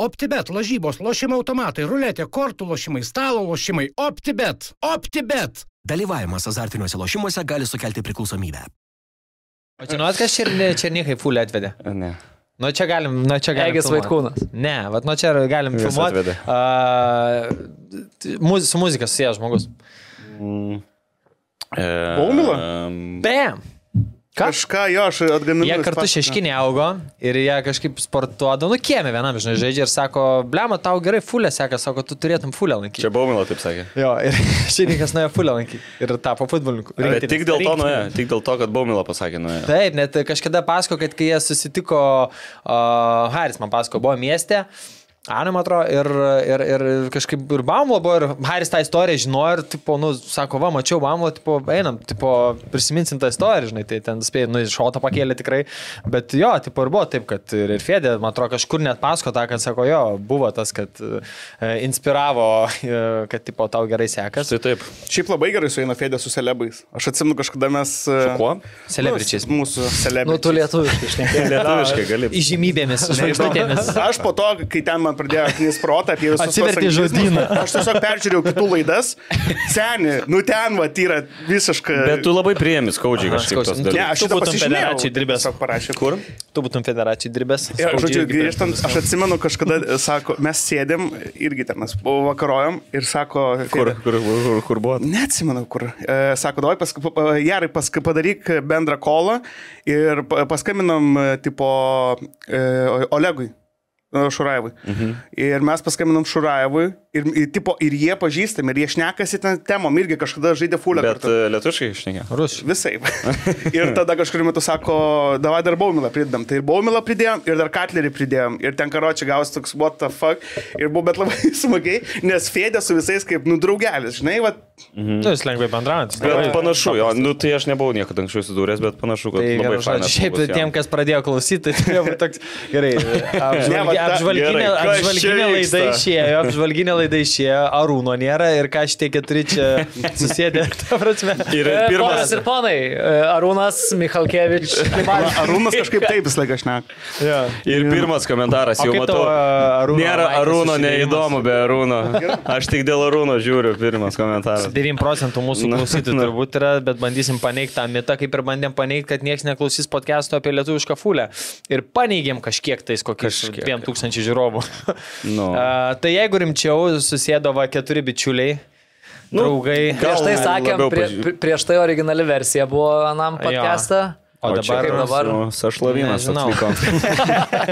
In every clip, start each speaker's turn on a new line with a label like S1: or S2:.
S1: OptiBet lažybos, lošimo automatai, ruletė, kortų lošimai, stalo lošimai. OptiBet. OptiBet.
S2: Dalyvavimas azartiniuose lošimuose gali sukelti priklausomybę.
S3: O žinot, kas Černykai fulį atvedė?
S4: Ne.
S3: Nu čia galim, nu čia galim.
S5: Egis
S3: filmuot.
S5: Vaitkūnas.
S3: Ne, vat nuo čia galim
S4: Vis
S3: filmuoti.
S4: atvedė.
S3: Uh, muz, su muzika susijęs žmogus.
S4: Baumila?
S3: Bam! Ką?
S4: Kažką jo, aš atgaminu.
S3: Jie
S4: iš
S3: kartu
S4: pat-
S3: šeškinė augo ir jie kažkaip sportuodavo, nu kiemė vienam, žinai, žaidžia ir sako, blema, tau gerai fulė seka, sako, tu turėtum fulę lankyti.
S4: Čia Baumila taip sakė.
S3: Jo, ir šiandienas nuėjo fulę lankyti ir tapo futbolininku.
S4: Bet
S3: Rinktinės-
S4: tik dėl to
S3: rinktinės.
S4: nuėjo, tik dėl to, kad Baumila pasakė nuėjo.
S3: Taip, net kažkada pasako, kad kai jie susitiko, uh, Haris man pasako, buvo mieste. Anu, man atrodo, ir, ir, ir kažkaip ir Bamlo buvo, ir Haris tą istoriją žinojo, ir, tipo, nu, sako, va, mačiau Bamlo, tipo, einam, tipo, prisiminsim tą istoriją, žinai, tai ten spėjai, nu, šotą pakėlė tikrai, bet jo, tipo, ir buvo taip, kad ir, ir Fedė, man atrodo, kažkur net pasako tą, kad sako, jo, buvo tas, kad e, inspiravo, e, kad, tipo, tau gerai sekasi.
S4: Tai taip.
S6: Šiaip labai gerai sueina Fedė su celebais. Aš atsimenu kažkada mes... Su
S4: Kuo?
S3: Celebričiais.
S6: Mūsų celebrai.
S5: Nu, tu lietuviškai išnekėjai.
S4: Lietuviškai gali.
S3: Įžymybėmis, žvaigždutėmis.
S6: Aš po to, kai ten man pradėjo knis protą apie visus tuos
S3: Atsivertei
S6: anglicizmus,
S3: žodyną.
S6: Aš tiesiog peržiūrėjau kitų laidas. Seni, nu ten va, yra visiškai...
S4: Bet tu labai priėmė skaudžiai kažkaip tos
S3: skaudžiai.
S6: Ne,
S3: tu būtum
S6: aš šitą
S4: dalykus.
S3: federacijai
S6: pasižymėjau.
S3: dirbęs.
S6: Tiesiog parašė.
S4: Kur?
S3: Tu būtum federacijai dirbęs.
S6: Ir,
S3: skaudžiai
S6: žodžiu,
S3: irgi per-
S6: grįžtant, aš atsimenu, kažkada, e, sako, mes sėdėm, irgi ten mes vakarojom ir sako,
S4: Kur,
S6: Fedė,
S4: kur, kur, kur buvo?
S6: Neatsimenu, kur. E, Sako, davai, pask... pa- pa- Jarai, pask... padaryk bendrą kolą ir pa- paskambinam, e, tipo, e, O- Olegui. e, Šurajevui. Mhm. Ir mes paskambinom Šurajevui ir, ir, tipo, ir jie pažįstami, ir jie šnekasi ten temom, irgi kažkada žaidė fulę.
S4: Bet
S6: kartu.
S4: e, lietuviškai išnekė.
S3: Rusiškai.
S6: Visai. ir tada kažkuriuo metu sako, davai dar baumilą pridedam. Tai ir baumilą pridėjom, ir dar katlerį pridėjom. Ir ten karočią gausi toks what the fuck. Ir buvo bet labai smagiai, nes fėdė su visais kaip, nu, draugelis, žinai, va,
S5: Mhm.
S3: Mm. Nu, jis lengvai bendraujantis.
S4: Bet panašu, jo, nu, tai aš nebuvau niekada anksčiau susidūręs, bet panašu, kad
S3: Tai
S4: labai
S3: gerai, žodžiu,
S4: fainas
S3: šiaip
S4: žmogus, jo.
S3: tiem, kas pradėjo klausyti, tai turėjo būti toks gerai.
S6: Ne, va,
S3: Apžvalgi,
S6: ta-
S3: apžvalginė
S4: gerai, kas
S3: apžvalginė
S4: čia
S3: laida
S4: vyksta?
S3: išėjo, apžvalginė laida išėjo, Arūno nėra ir ką šitie keturi čia susėdė. ta prasme.
S4: Ir
S5: E, Ponas
S4: pirmas,
S5: ir ponai, e, Arūnas Michalkevič.
S6: Arūnas kažkaip taip visą laiką šneka.
S3: Jo.
S4: ir pirmas komentaras,
S3: O
S4: jau
S3: kaip
S4: matau.
S3: tau Arūno?
S4: Nėra Arūno, neįdomu be Arūno. Aš tik dėl Arūno žiūriu pirmas komentaras.
S3: 9 procentų mūsų
S4: Na,
S3: klausytojų
S4: na.
S3: turbūt yra, bet bandysim paneigti tą mitą, kaip ir bandėm paneigti, kad niekas neklausys podcast'o apie lietuvišką fulę. Ir paneigėm kažkiek tais kokius 2000 žiūrovų.
S4: Nu.
S3: A, tai jeigu rimčiau, susėdavo keturi bičiuliai, nu, draugai.
S4: gal-
S5: Prieš tai sakėm,
S4: labiau
S5: prie,
S4: paži-
S5: pri- prieš tai originali versija buvo anam podcast'ą.
S3: O
S4: čia
S3: dabar-
S4: kaip
S5: dabar?
S4: nu, Sašlavinas
S3: Nežinau.
S4: atliko.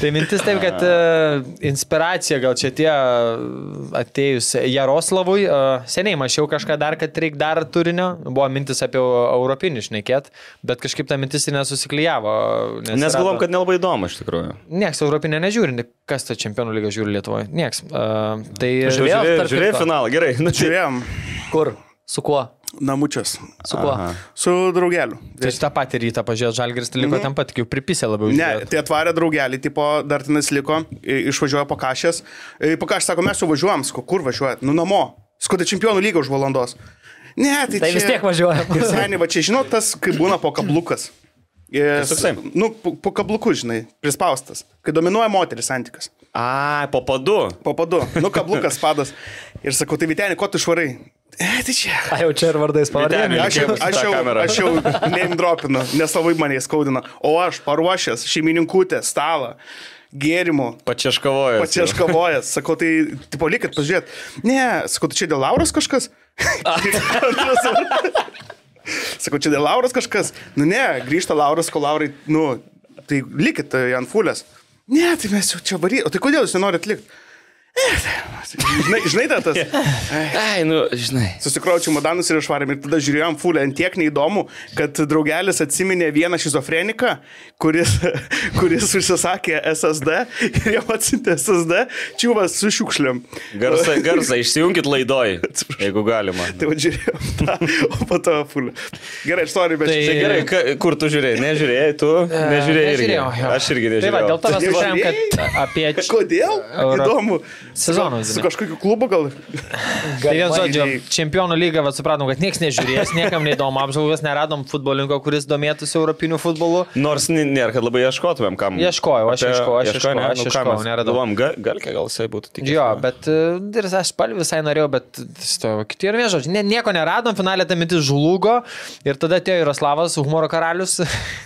S3: Tai mintis taip, kad e, inspiracija gal čia tie e, atėjus Jaroslavui, e, seniai mačiau kažką dar, kad reikia dar turinio, buvo mintis apie europinį išnekėt, bet kažkaip ta mintis ir nesusiklyjavo.
S4: Nes galvom, kad nelabai įdomu iš tikrųjų.
S3: Niekas europinė nežiūri, kas tą čempionų lygą žiūri Lietuvoje. Niekas. Uh, tai
S4: Tu
S5: Žiūrėjot,
S4: Žiūrėjai
S5: tarp
S4: žiūrėjai
S5: kitko?
S4: finalą, gerai. Nu, tai-
S6: Žiūrėjom,
S5: Kur? Su kuo?
S6: namučias.
S5: Su kuo?
S6: Su draugeliu.
S3: tai tą patį rytą pažiūrėjau, Žalgiris tai
S4: Mhm.
S3: liko ten pat, jau pripisė labiau.
S6: Ne,
S3: žiūrėt.
S6: tai atvarė draugelį, tipo, dar tenas liko, i- išvažiuoja pakašės. Pakašės sako, mes jau važiuojam, sako, kur važiuojat? Nu namo. Skuda čempionų lyga už valandos. Ne, tai,
S5: Tai
S6: čia...
S5: vis tiek važiuojam.
S6: Ir seniai, va čia, žinot, tas, kai būna po kablukas. Jis,
S4: toksai.
S6: nu, po po kabluku, žinai, prispaustas. Kai dominuoja moteris santykas.
S4: A, po padu.
S6: Po padu. Nu, kablukas padas. Ir sakau, tai Vitenė, ko tu švarai? E, tai čia.
S5: A jau čia ir vardais
S4: Vyteni.
S5: pavadėjome.
S6: Aš jau, aš
S4: Tą
S6: jau,
S4: kamerą.
S6: aš jau neimdropinu, nes labai mane įskaudino. O aš paruošęs šeimininkutę, stalą, gėrimų.
S4: Pačiaškavojo.
S6: Pats aš kavojęs, sakau, tai tipo likit, pažiūrėt. Ne, sakau, tai čia dėl Lauros kažkas? sakau, čia dėl Lauros kažkas? Nu ne, grįžta Lauras, kol Laurai, nu, tai likit tai ant fulės. Ne, tai mes jau čia varyti. O tai kodėl jūs nenorit likti? Žinai, žinai tą tas?
S4: Ai, nu, žinai.
S6: Susikraučiau modanus ir išvarėm ir tada žiūrėjom fulę ant tiek neįdomu, kad draugelis atsiminė vieną šizofreniką, kuris, kuris užsisakė SSD ir jam atsintė SSD čiūvas su šiukšliam.
S4: Garsą, garsą išsijunkit laidoj, jeigu galima.
S6: Tai vadžiūrėjom tą, o po to fulę. Gerai, aš noriu, bet
S3: Tai-
S6: tai...
S4: Tai gerai, ka, kur tu žiūrėjai? Nežiūrėjai, tu nežiūrėjai tai irgi.
S3: E, Nežiūrėjau, jo.
S4: Aš irgi
S3: Tai va,
S4: nežiūrėjau.
S3: dėl to mes
S6: Nežiūrėjai?
S3: važiuojam, kad apie... tai
S6: Kodėl?
S3: Euro-
S6: Įdomu.
S3: Sezonas.
S6: Su kažkokiu klubu gal.
S3: Tai vien žodžiu,
S6: Galvaniai.
S3: čempionų lygą vat, supratom, kad niekas nežiūrės, niekam neįdomu apžvalgas, neradom futbolinko, kuris domėtųsi europiniu futbolu.
S4: Nors n- nėra, kad labai ieškotumėm, kam.
S3: Ieškojau, aš ieškojau, aš
S4: ieškojau,
S3: ieškojau, aš
S4: nu, ką
S3: ieškojau,
S4: mes
S3: neradau.
S4: galvojom, ga- Galkė gal jisai būtų tik.
S3: Jo, bet e, ir aš spalvį visai norėjau, bet stovėjau kiti ir viežodžiu. Ne, nieko neradom, finalė ta mintis žlugo ir tada atėjo Jaroslavas, humoro karalius.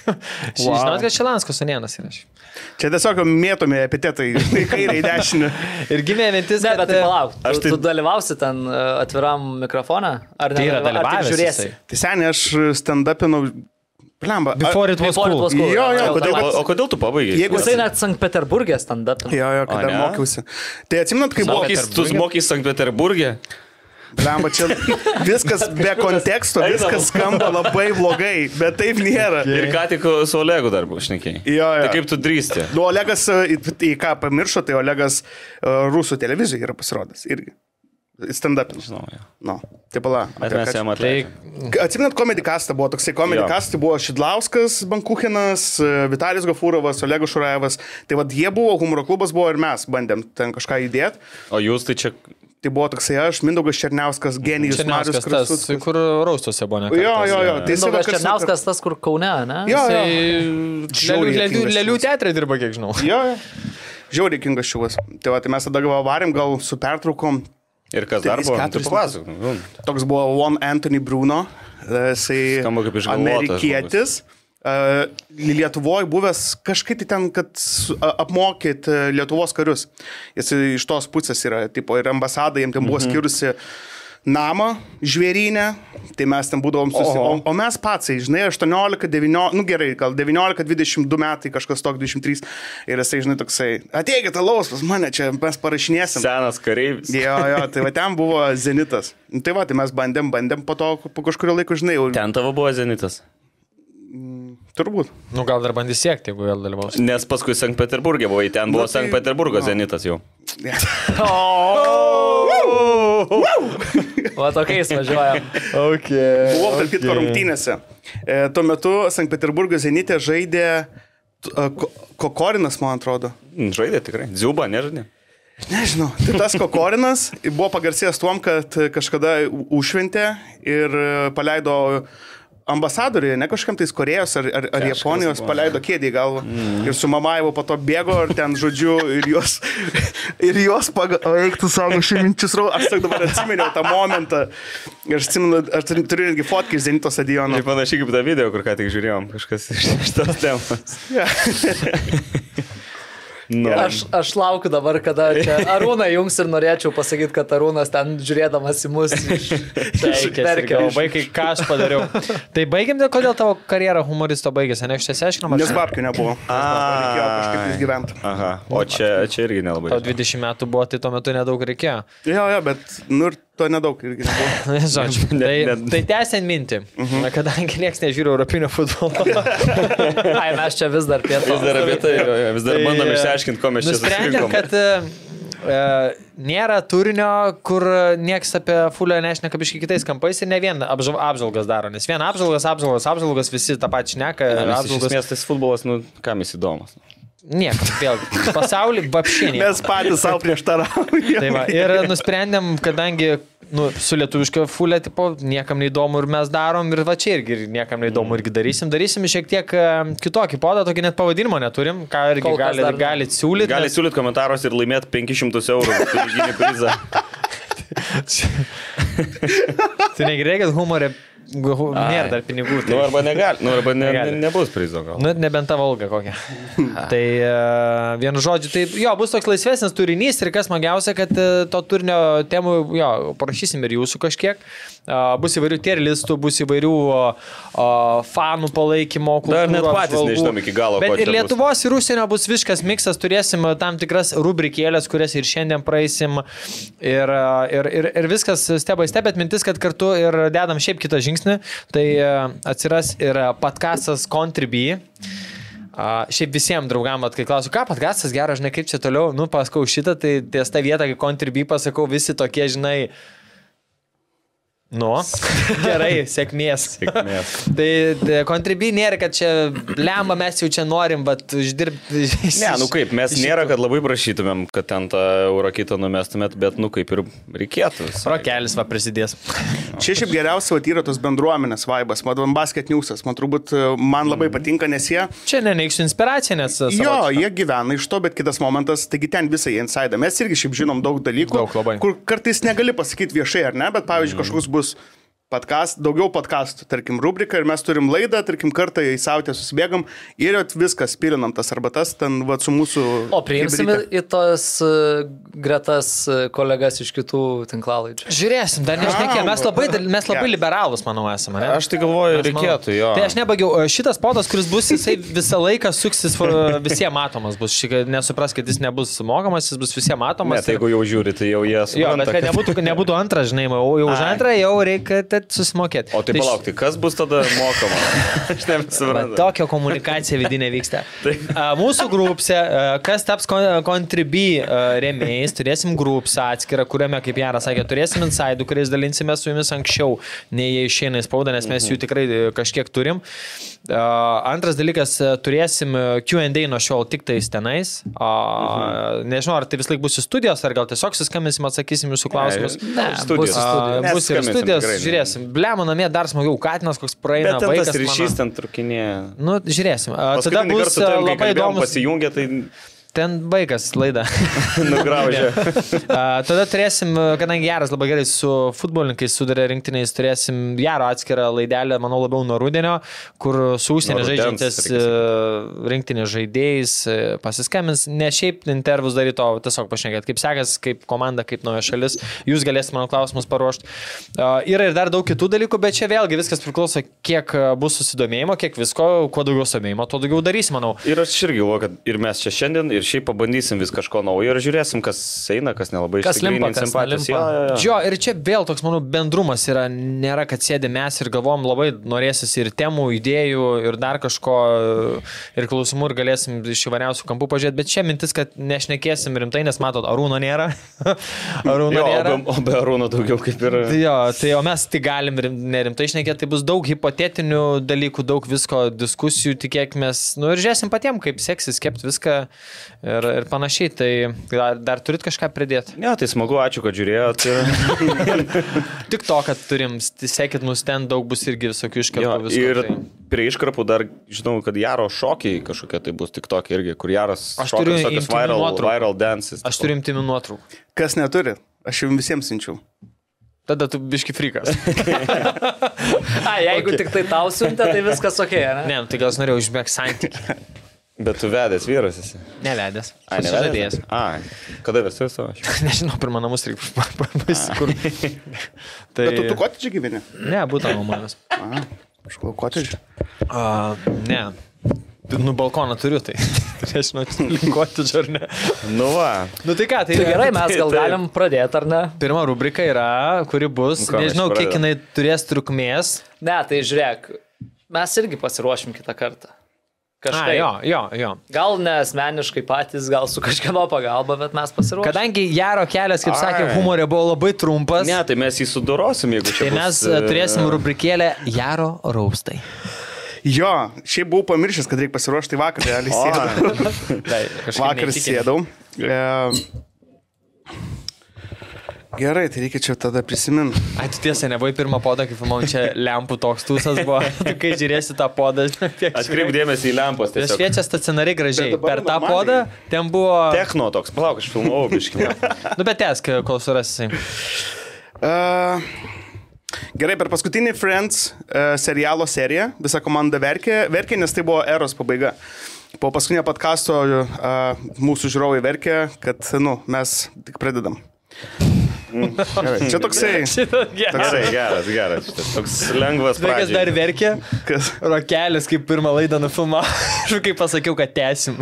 S3: wow. Žinot, kad Šilanskas Sonienas yra.
S6: Čia tiesiog mėtomi epitetai į kairę, į dešinę.
S3: Ir gimė mintis,
S5: Ne, bet tai
S3: e,
S5: palauk.
S4: Aš
S5: Aš
S4: tai-
S5: tai... Tu dalyvausi ten e, atviram mikrofoną? Ar
S3: Tai
S5: ne?
S3: yra dalyvavęs.
S5: Žiūrėsi.
S3: jisai.
S6: Tai seniai aš stand-upinau. Blemba. a-
S3: Before it was
S5: Before it
S3: cool.
S5: was cool.
S6: Jo, jo,
S5: Jau
S6: kodėl-
S5: dabar-
S4: O, o kodėl tu pabaigai?
S6: Jeigu
S5: Jisai net Sankt Peterburgė standartą.
S6: Jo, jo,
S4: O,
S6: kada
S4: ne?
S6: mokiausi. Tai atsiminat, kai buvo...
S4: Mokys, tu mokys Sankt Peterburgė?
S6: Blemba, čia viskas be konteksto, viskas skamba labai blogai, bet taip nėra.
S4: Ir ką tik su Olegu dar buvo šnekiai.
S6: E. Jo, jo.
S4: Tai kaip tu drįsti?
S6: Nu, Olegas, e, į, į ką pamiršo, tai Olegas e, rusų televizijoje yra pasirodęs irgi. Stand-up.
S4: Žinau, jo.
S6: Nu, taip pala.
S4: Bet mes jam
S3: Tai
S4: atleidžiame.
S6: Atsiminat, komedikastą buvo toksai
S4: Jo.
S6: komedikastas, tai buvo Šidlauskas, Bankuchinas, e, Vitalijus Gafūrovas, Olegas Šurajevas. Tai vad jie buvo, humoro klubas buvo ir mes bandėm ten kažką įdėti.
S4: O jūs tai čia...
S6: Tai buvo toksai aš, Mindaugas Černiauskas, Genijus Marius
S3: Černiauskas tas, tai
S6: Krastus.
S3: kur raustuose buvo ne.
S6: Jo, jo, jo, tai
S5: Mindaugas
S6: Sivakars-
S5: Nu, Černiauskas, tas, kur Kaune, ne?
S6: Jo, jo.
S3: Lelių, lelių, lelių teatrą dirba, kiek žinau.
S6: Jo, jo. Žiauriai kingas šiuvas. Tai, va, tai mes tada gal varėm, gal su pertraukom.
S4: Ir kas dar
S6: Trys,
S4: buvo?
S6: keturis
S4: Tu papasakok, nu,
S6: Toks buvo One Anthony Bruno, e, jisai
S4: Skamba kaip tai išgalvotas
S6: amerikietis. E, Lietuvoje buvęs kažkaip tai ten, kad su- a- apmokyt e, Lietuvos karius. Jis iš tos pusės yra, tipo, ir ambasada jiems ten buvo
S4: Mhm.
S6: skirusi namą žvėrynę, tai mes ten būdavom susi... O, o mes patsai, žinai, 18, 19, nu gerai, gal 19, 22 metai, kažkas tok 23, ir jisai, žinai, toksai, ateikit, alaus pas mane, čia mes parašinėsim.
S4: Senas kareivis.
S6: Jo, jo, tai va ten buvo Zenitas. Nu, Tai va, tai mes bandėm, bandėm, po to po kažkurio laiko, žinai, jau
S4: Ten tavo buvo Zenitas.
S6: turbūt.
S3: Nu gal dar bandys siekti, jeigu vėl dalyvaus.
S4: Nes paskui Sankt Peterburgė buvai, ten buvo
S6: tai-
S4: Sankt Peterburgo Zenitas jau.
S5: O tokiais važiuojam.
S3: Okay.
S6: Buvau tarp kitko rungtynėse. E, tuo metu Sankt Peterburgo Zenitė žaidė t- e, Ko- Kokorinas, man atrodo.
S4: Žaidė tikrai. Dziuba, nežinai.
S6: Nežinau. Tai tas Kokorinas buvo pagarsėjęs tuom, kad kažkada u- užšventė ir e, paleido ambasadoriuje, ne kažkam tais Korejos ar, ar, ar Japonijos, paleido kėdį į galvą. Mm. Ir su Mamajevu po to bėgo ir ten, žodžiu, ir jos, ir jos pagaiktų savo šeiminčius rau. Aš tik dabar atsiminiau tą momentą. Ir aš atsimenu, aš turiu- turiu netgi fotkį iš Zenito stadiono.
S4: Tai panašiai kaip tą video, kur ką tik žiūrėjom. Kažkas iš iš tos temos. Nu.
S5: Aš, aš laukiu dabar, kada čia Arūną jums ir norėčiau pasakyti, kad Arūnas ten žiūrėdamas į mus išperkė.
S3: Perkiau, vaikai, ką aš padariau. tai baigiam, dėl kodėl tavo karjera humoristo baigėsi, ne, aš čia seškinam,
S6: Nes
S3: aš
S6: babkių nebuvo. Reikėjo kažkaip išgyventi.
S4: Aha. O čia, čia irgi nelabai.
S3: tau 20 metų buvo, tai tuo metu nedaug reikėjo.
S6: Jo, jo, bet, nu ir to nedaug irgi nebuvo.
S3: Na, Žodžiu,
S4: Ne-
S3: tai,
S4: ne- Mhm.
S3: tai tęsiant mintį, na, kadangi niekas nežiūri europinio futbolo,
S5: Ai, mes čia vis dar
S4: Vis dar
S5: pietų.
S4: apie tai, jo, jo, vis dar
S3: Tai,
S4: bandom
S3: e,
S4: išsiaiškinti, ko mes čia
S3: nusprendėm,
S4: susirinkom.
S3: kad e, e, nėra turinio, kur niekas apie fulio nešneka biškai kitais kampais ir ne vien apžv- apžvalgas daro, nes vien apžvalgas, apžvalgas, apžvalgas, visi tą pačią šneka, apžvalgas.
S4: miestas futbolas, nu, kam jis įdomus.
S3: Niekas, vėlgi, pasaulį, bapšinį.
S6: Mes patys savo
S3: Tai
S6: prieštaraujame.
S3: va, ir nusprendėm, kadangi nu, su lietuviškio fulė, tipo, niekam neįdomu ir mes darom, ir va čia irgi ir niekam neįdomu irgi darysim. Darysim šiek tiek e, kitokį podą, tokį net pavadinimo neturim, ką irgi
S5: Kol kas
S3: galit,
S5: dar ne.
S3: galit siūlyti.
S4: Gali siūlyti komentaruose ir laimėti 500 eurų piniginį prizą.
S3: Tai negerai, kad humorė hu- nėra dar pinigų.
S4: Nu,
S3: Tai.
S4: arba negali, nu, arba ne, ne,
S3: Negali.
S4: nebus prizo gal.
S3: Nu, nebent tavo alga kokia. tai e, vienu žodžiu, tai jo, bus toks laisvesnis turinys ir kas smagiausia, kad e, to turinio temų, jo, parašysim ir jūsų kažkiek. E, Bus įvairių tierlistų, bus įvairių o, o, fanų palaikymo,
S4: Dar net
S3: kultūrų
S4: patys
S3: apžvalgų.
S4: nežinom iki galo, ko
S3: Bet
S4: čia
S3: ir
S4: bus.
S3: Lietuvos, ir užsienio bus viškas miksas, turėsim e, tam tikras rubrikėlės, kurias ir šiandien praeisim. Ir, e, ir, ir, ir viskas stebai stebėt mintis, kad kartu ir dedam šiaip kitą žingsnį. Tai e, atsiras ir e, podcastas Contribui. A, šiaip visiems draugam, vat, kai klausiu, ką podcastas geras, žinai, kaip čia toliau, nu, pasakau šitą, tai ties tą vietą, kai kontribį pasakau, visi tokie, žinai, Nu, gerai, sėkmės.
S4: Sėkmės.
S3: Tai tai kontribui nėra, kad čia lemba mes jau čia norim, bet uždirbti.
S4: Ne, nu kaip, mes nėra, kad labai prašytumėm, kad ten tą euro kitą numestumėt, bet nu kaip ir reikėtų. visai.
S3: Rokelis va prisidės.
S6: Čia šiaip geriausia vat, yra tos bendruomenės vaibas, Madon Basket Newsas, man turbūt e, man labai patinka, nes jie...
S3: Čia neneiksiu inspiraciją, nes...
S6: Jo,
S3: Mm. savotiška.
S6: jie gyvena iš to, bet kitas momentas, taigi ten visą jie inside. Mes irgi šiaip žinom daug dalykų,
S3: Daug labai. Mm.
S6: kur kartais negali pasakyti viešai, ar ne, bet pavyzdžiui, kažkoks bus podcast, daugiau podcastų, tarkim, rubrika ir mes turim laidą, tarkim, kartą į sautę susibėgam ir jau viskas, pilinam tas arba tas, ten va su mūsų...
S5: O priimsime
S6: chebryte.
S5: į tos e, gretas e, kolegas iš kitų tinklalaidžių.
S3: Žiūrėsim, dar nešnekėjom. Mes labai, mes labai
S6: Geras.
S3: liberalus, manau, esame. Ne?
S4: Aš tai galvoju,
S3: Aš manau.
S4: reikėtų jo.
S3: Tai aš nebagiau, šitas podas, kuris bus, jisai visą laiką suksis, for- visiems matomas bus. Šik- Nesupraskit, jis nebus mokamas, jis bus visiems
S4: Ne,
S3: matomas. ir-
S4: tai jeigu jau žiūri, tai jau jie
S3: Jo, bet
S4: supranta.
S3: kad
S4: kad-
S3: nebūtų, kad nebūtų antras, žinai, jau, jau už antrą jau reikia tad susimokėti.
S4: O tai
S3: š-
S4: palauk, tai kas bus tada mokama? Aš
S3: va,
S4: nebesuprantu.
S3: Tokia komunikacija vidinė vyksta. A, Mūsų grupse, a, kas taps kontribui remėjais, turėsim grupsą atskirą, kuriame, kaip Jaras sakė, turėsim insidų, kuriais dalinsime su jumis anksčiau, nei jie išeina į spaudą, nes
S4: Mhm.
S3: mes jų tikrai e, kažkiek turim. A, Antras dalykas, e, turėsim e, QA nuo šiol tik tais tenais. A,
S4: Mhm.
S3: Nežinau, ar tai vis laik bus į studijos, ar gal tiesiog suskambinsim, atsakysim jūsų klausimus.
S5: Ne,
S4: Nu,
S5: bus
S4: studijos.
S5: į studiją.
S4: Mes
S3: Bus ir
S4: skambinsim
S3: studijos,
S4: tikrai.
S3: žiūrėsim. Blemo namie dar smagiau, Katinas koks praeina.
S4: Bet ten tas
S3: vaikas
S4: ryšys
S3: mano.
S4: ten trukinėje.
S3: Nu, žiūrėsim. A, Tada
S4: Paskutinį
S3: bus
S4: kartą
S3: a,
S4: tavim, kai
S3: labai
S4: kalbėjom,
S3: įdomus.
S4: Pasijungė, tai
S3: Ten baigas laida.
S4: nugraužė.
S3: A, Tada turėsim, a, kadangi Jaras labai gerai su futbolininkais sudarė rinktiniais, turėsim Jaro atskirą laidelę, manau, labiau nuo rudenio, kur su užsienio
S4: Nuo rudens,
S3: žaidžiantis
S4: reikia
S3: a, rinktinės žaidėjais a, pasiskambins. Ne šiaip intervus daryti, o tiesiog pašnekėt, kaip sekas, kaip komanda, kaip nauja šalis. Jūs galėsite mano klausimus paruošti. A, Yra ir dar daug kitų dalykų, bet čia vėlgi viskas priklauso, kiek a, bus susidomėjimo, kiek visko, kuo daugiau susidomėjimo, tuo daugiau darysim, manau.
S4: Ir aš irgi galvoju, kad ir mes čia šiandien, ir šiaip pabandysim vis kažko naujo ir žiūrėsim, kas eina, kas nelabai
S5: Kas limpa, kas
S4: simpatijos.
S5: nelimpa.
S3: Jo,
S4: Jo,
S3: ir čia vėl toks, manau, bendrumas yra, nėra, kad sėdėm mes ir galvom labai norėsis ir temų, idėjų, ir dar kažko, ir klausimų, ir galėsim iš įvairiausių kampų pažiūrėti, bet čia mintis, kad nešnekėsim rimtai, nes matot, arūno nėra. arūno
S4: jo o,
S3: nėra.
S4: be, o be Arūno daugiau kaip ir...
S3: Tai Jo, tai o mes tik galim rim, nerimtai išnekėti, tai bus daug hipotetinių dalykų, daug visko, diskusijų, tikėkime, nu ir žiūrėsim patiems, kaip seksis, kept viską ir, ir panašiai, tai dar, dar turit kažką pridėti.
S4: Ne, tai smagu, ačiū, kad žiūrėjot. Ir,
S3: Tik to, kad turim, st- sekit mus ten daug bus irgi visokių
S4: jo,
S3: iškarpų visko.
S4: ir
S3: tai.
S4: prie iškarpų dar žinau, kad Jaro šokiai kažkokie tai bus tik tokie irgi, kur Jaras
S3: Aš
S4: šoka
S3: turiu
S4: visokius
S3: intymių
S4: viral,
S3: nuotraukų.
S4: viral dances.
S3: Aš turiu imtinų nuotraukų.
S6: Kas neturi, aš jums visiems siunčiau.
S3: Tada tu biški frikas.
S5: A, jeigu tik tai tau siuntė, tai viskas ok, ne?
S3: Ne, nu, tai gal aš norėjau užmėgti santykių.
S4: Bet tu vedęs vyras esi.
S3: Neledęs.
S4: Ai,
S3: Neledęs.
S4: A, kada versi savo?
S3: Nežinau, pirmą namus reikia pasikurti. Tai...
S6: Bet tu, tu kotidžiai gyveni?
S3: Ne, būtų nuomonės.
S6: A, Aš galvoju, kotidžiai.
S3: A, ne. Nu, balkoną turiu, tai nežinau, linkoti čia ar ne.
S4: Nu va,
S3: Nu tai ką, tai
S5: Tai gerai, mes gal
S4: Taip.
S5: galim pradėti, ar ne?
S3: Pirma rubrika yra, kuri bus,
S4: Nu ką, mes
S3: nežinau, kiek
S4: pradedam.
S3: jinai turės trukmės.
S5: Ne, tai žiūrėk, mes irgi pasiruošim kitą kartą.
S3: A,
S5: Kažkaip.
S3: jo, jo, jo.
S5: Gal ne asmeniškai patys, gal su kažkieno pagalba, bet mes pasiruošim.
S3: Kadangi Jaro kelias, kaip sakė,
S4: Ai.
S3: humorė buvo labai trumpas,
S4: ne,
S3: ne,
S4: tai mes jį sudorosim, jeigu čia...
S3: tai mes e, turėsim rubrikėlę Jaro raustai.
S6: Jo, šiaip buvau pamiršęs, kad reikia pasiruošti vakar, realiai sėdau.
S3: Tai kažkaip
S6: Vakar
S3: neįtikina.
S6: sėdau. E, gerai, tai reikia čia tada prisiminti.
S3: Ai, tu tiesa, nebuvai pirmą podą, kai filmavau čia lempų toks tūsas buvo, Tu kai žiūrėsi tą podą.
S4: Atkreip dėmesį į lempas
S3: Jis
S4: tiesiog.
S3: šviečia stacionariai gražiai.
S6: Bet dabar
S3: Per tą
S6: normaliai.
S3: podą ten buvo...
S4: Techno toks, palauk, aš filmavau biškinę.
S3: Nu, bet tęsk, kol surasi.
S6: Uh, gerai, per paskutinį Friends uh, serialo seriją visa komanda verkė, verkė, nes tai buvo eros pabaiga. Po paskutinio podkasto uh, mūsų žiūrovai verkė, kad, nu, mes tik pradedam.
S3: Mm.
S6: Gerai, čia toksai.
S4: Gerai, geras, geras. šitas Toks lengvas
S3: Vaikas dar
S4: pradžiai.
S3: verkė.
S6: Kas?
S3: Rokelis, kaip pirmą laidą nufilmavo. Aš kaip pasakiau, kad tęsim.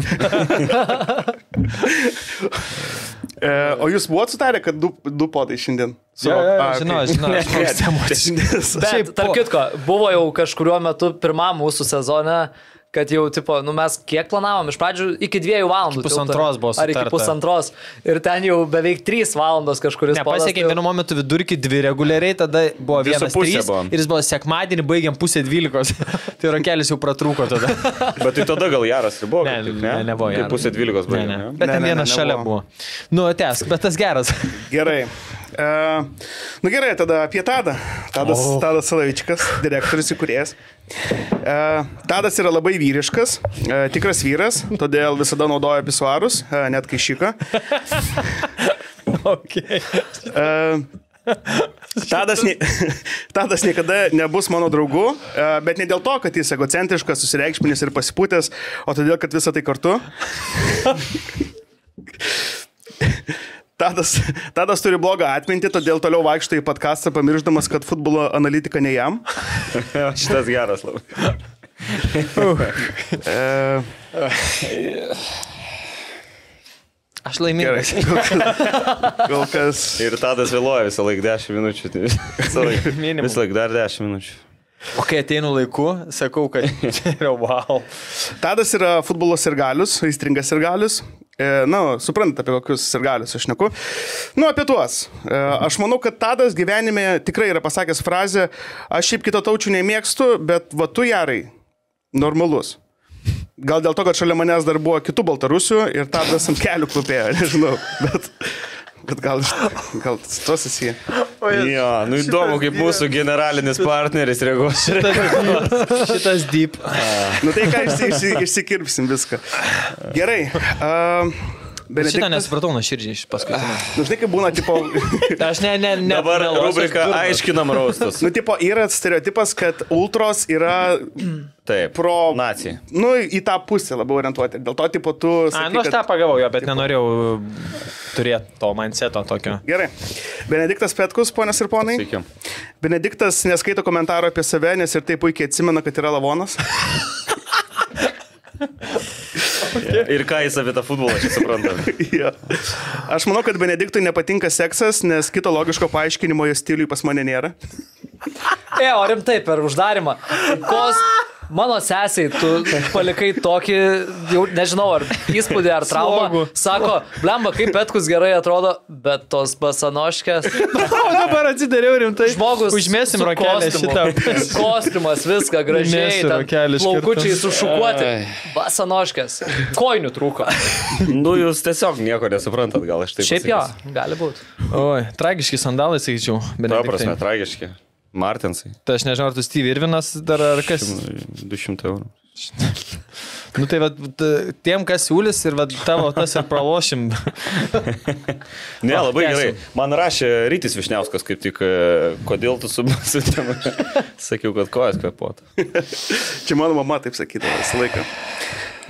S6: E, o jūs buvot sutarę, kad du, du podai šiandien? Su- A,
S3: Žinau,
S6: okei.
S3: žinau. aš klausiau emocijų.
S5: Bet,
S3: Šiaip
S5: tarp
S3: po-
S5: kitko, buvo jau kažkuriuo metu pirmam mūsų sezone, kad jau, tipo, nu mes kiek planavom, iš pradžių iki dviejų valandų.
S3: Iki pusantros
S5: tilto.
S3: buvo
S5: Ar iki
S3: sutarta.
S5: pusantros. Ir ten jau beveik trys valandos kažkuris. polas, tai
S3: Nepasiekė
S5: jau-
S3: vienu momentu vidurkį dvi reguliariai, tada buvo
S4: Viso
S3: vienas
S4: pusė
S3: pusė.
S4: buvom.
S3: Ir jis buvo sekmadienį, baigiam pusę dvylikos. tai rokelis jau pratrūko tada.
S4: Bet tai tada gal Jaras ribo,
S3: Ne,
S4: kaip tik,
S3: ne, nebuvo.
S4: Kaip
S3: jam.
S4: pusė dvylikos
S3: ne,
S4: buvo.
S3: ne.
S4: ne?
S3: Bet ten
S6: Ne, ne, ne,
S3: vienas šalia
S6: nebuvo.
S3: buvo. Nu, tęsk, bet tas geras.
S6: Gerai. Uh, nu gerai, tada apie Tadą. Tadas, oh. Tadas Salavičkas, direktorius įkūrėjas. Uh, Tadas yra labai vyriškas, uh, tikras vyras, todėl visada naudoja pisuarus, uh, net kai šika.
S3: okay.
S6: Uh, Tadas, nie, tadas niekada nebus mano draugu, e, bet ne dėl to, kad jis egocentriškas, susireikšminis ir pasipūtęs, o todėl, kad visą tai kartu. Tadas, tadas turi blogą atmintį, todėl toliau vaikšto į podcastą, pamiršdamas, kad futbolo analitika ne jam.
S4: Šitas geras labai.
S6: E,
S3: Aš
S6: gerai,
S3: laimingas.
S6: kol kas- kol kas.
S4: Ir Tadas vėluoja visą laiką 10 minučių. tai Visą laiką,
S3: Minimum.
S4: visą laiką dar 10 minučių.
S3: O kai ateinu laiku, sakau, kad čia yra wow.
S6: Tadas yra futbolo sirgalius, aistringas sirgalius. E, na, suprantat, apie kokius sirgalius aš neku. Nu, apie tuos. E, aš manau, kad Tadas gyvenime tikrai yra pasakęs frazę, aš šiaip kito taučių nemėgstu, bet va tu jarai, normalus. Gal dėl to, kad šalia manęs dar buvo kitų baltarusių ir Tadas ant kelių klupėjo, nežinau, bet, bet gal, gal tuos esi.
S4: Jo, nu įdomu, kaip mūsų generalinis partneris reaguos.
S3: Šitas deep.
S6: Nu tai ką, išsi, išsi, išsikirpsim viską. Gerai. Uh,
S3: Šitą nesupratau nuo širdžiai iš paskutinio.
S6: Nu, žinai, kaip būna, tipo,
S3: Aš ne, ne, ne.
S4: Dabar
S3: nelosiu, aš
S4: rubrika
S3: durnas.
S4: aiškinam raustus.
S6: nu, tipo, yra stereotipas, kad ultros yra,
S4: Taip.
S6: Pro-
S4: Nacija.
S6: nu, į tą pusę labiau orientuoti. Dėl to, tipo, tu...
S3: A,
S6: sakai,
S3: nu aš tą
S6: kad-
S3: pagavau jo, bet nenorėjau turėti to mindseto tokio.
S6: Gerai. Benediktas Petkus, ponios ir ponai.
S4: Sakykim.
S6: Benediktas neskaito komentaro apie save, nes ir taip puikiai atsimena, kad yra lavonas.
S4: Ir ką jis apie tą futbolą čia supranta?
S6: Jo. Aš manau, kad Benediktui nepatinka seksas, nes kito logiško paaiškinimo jo stiliui pas mane nėra.
S5: E, o rimtai, per uždarimą. Kos... Mano sesiai, tu palikai tokį, jau nežinau, ar įspūdį, ar traumą. Sako, blemba, kaip Petkus gerai atrodo, bet tos basanoškės.
S3: O dabar atsidariau rimtai.
S5: Žmogus.
S3: Užmėsim
S5: su
S3: rokelį šitą.
S5: kostiumu. Kostiumas, viską gražiai.
S3: Mėsiu
S5: ten
S3: rokelį iš karto.
S5: Plaukučiai sušukuoti.
S4: Ai.
S5: Basanoškės. Koinių trūko.
S4: Nu, jūs tiesiog nieko nesuprantat, gal aš taip.
S5: Šiaip jo,
S4: pasakysiu.
S5: gali būti.
S3: Oi, tragiški sandalai, sakyčiau.
S4: Ta
S3: Benediktai.
S4: prasme, tragiški. Martinsai.
S3: Tai aš nežinau, ar tu Steve Irvinas dar ar kas.
S4: 200 eurų.
S3: Nu tai vat, t- tiem, kas siūlys ir vat, tavo tas ir pralošim.
S4: Ne,
S3: Va,
S4: labai
S3: tęsim.
S4: gerai. Man rašė Rytis Višniauskas kaip tik, e, kodėl tu su ten. Sakiau, kad kojas kvepuotų.
S6: Čia mano mama taip sakydavo visą laiką.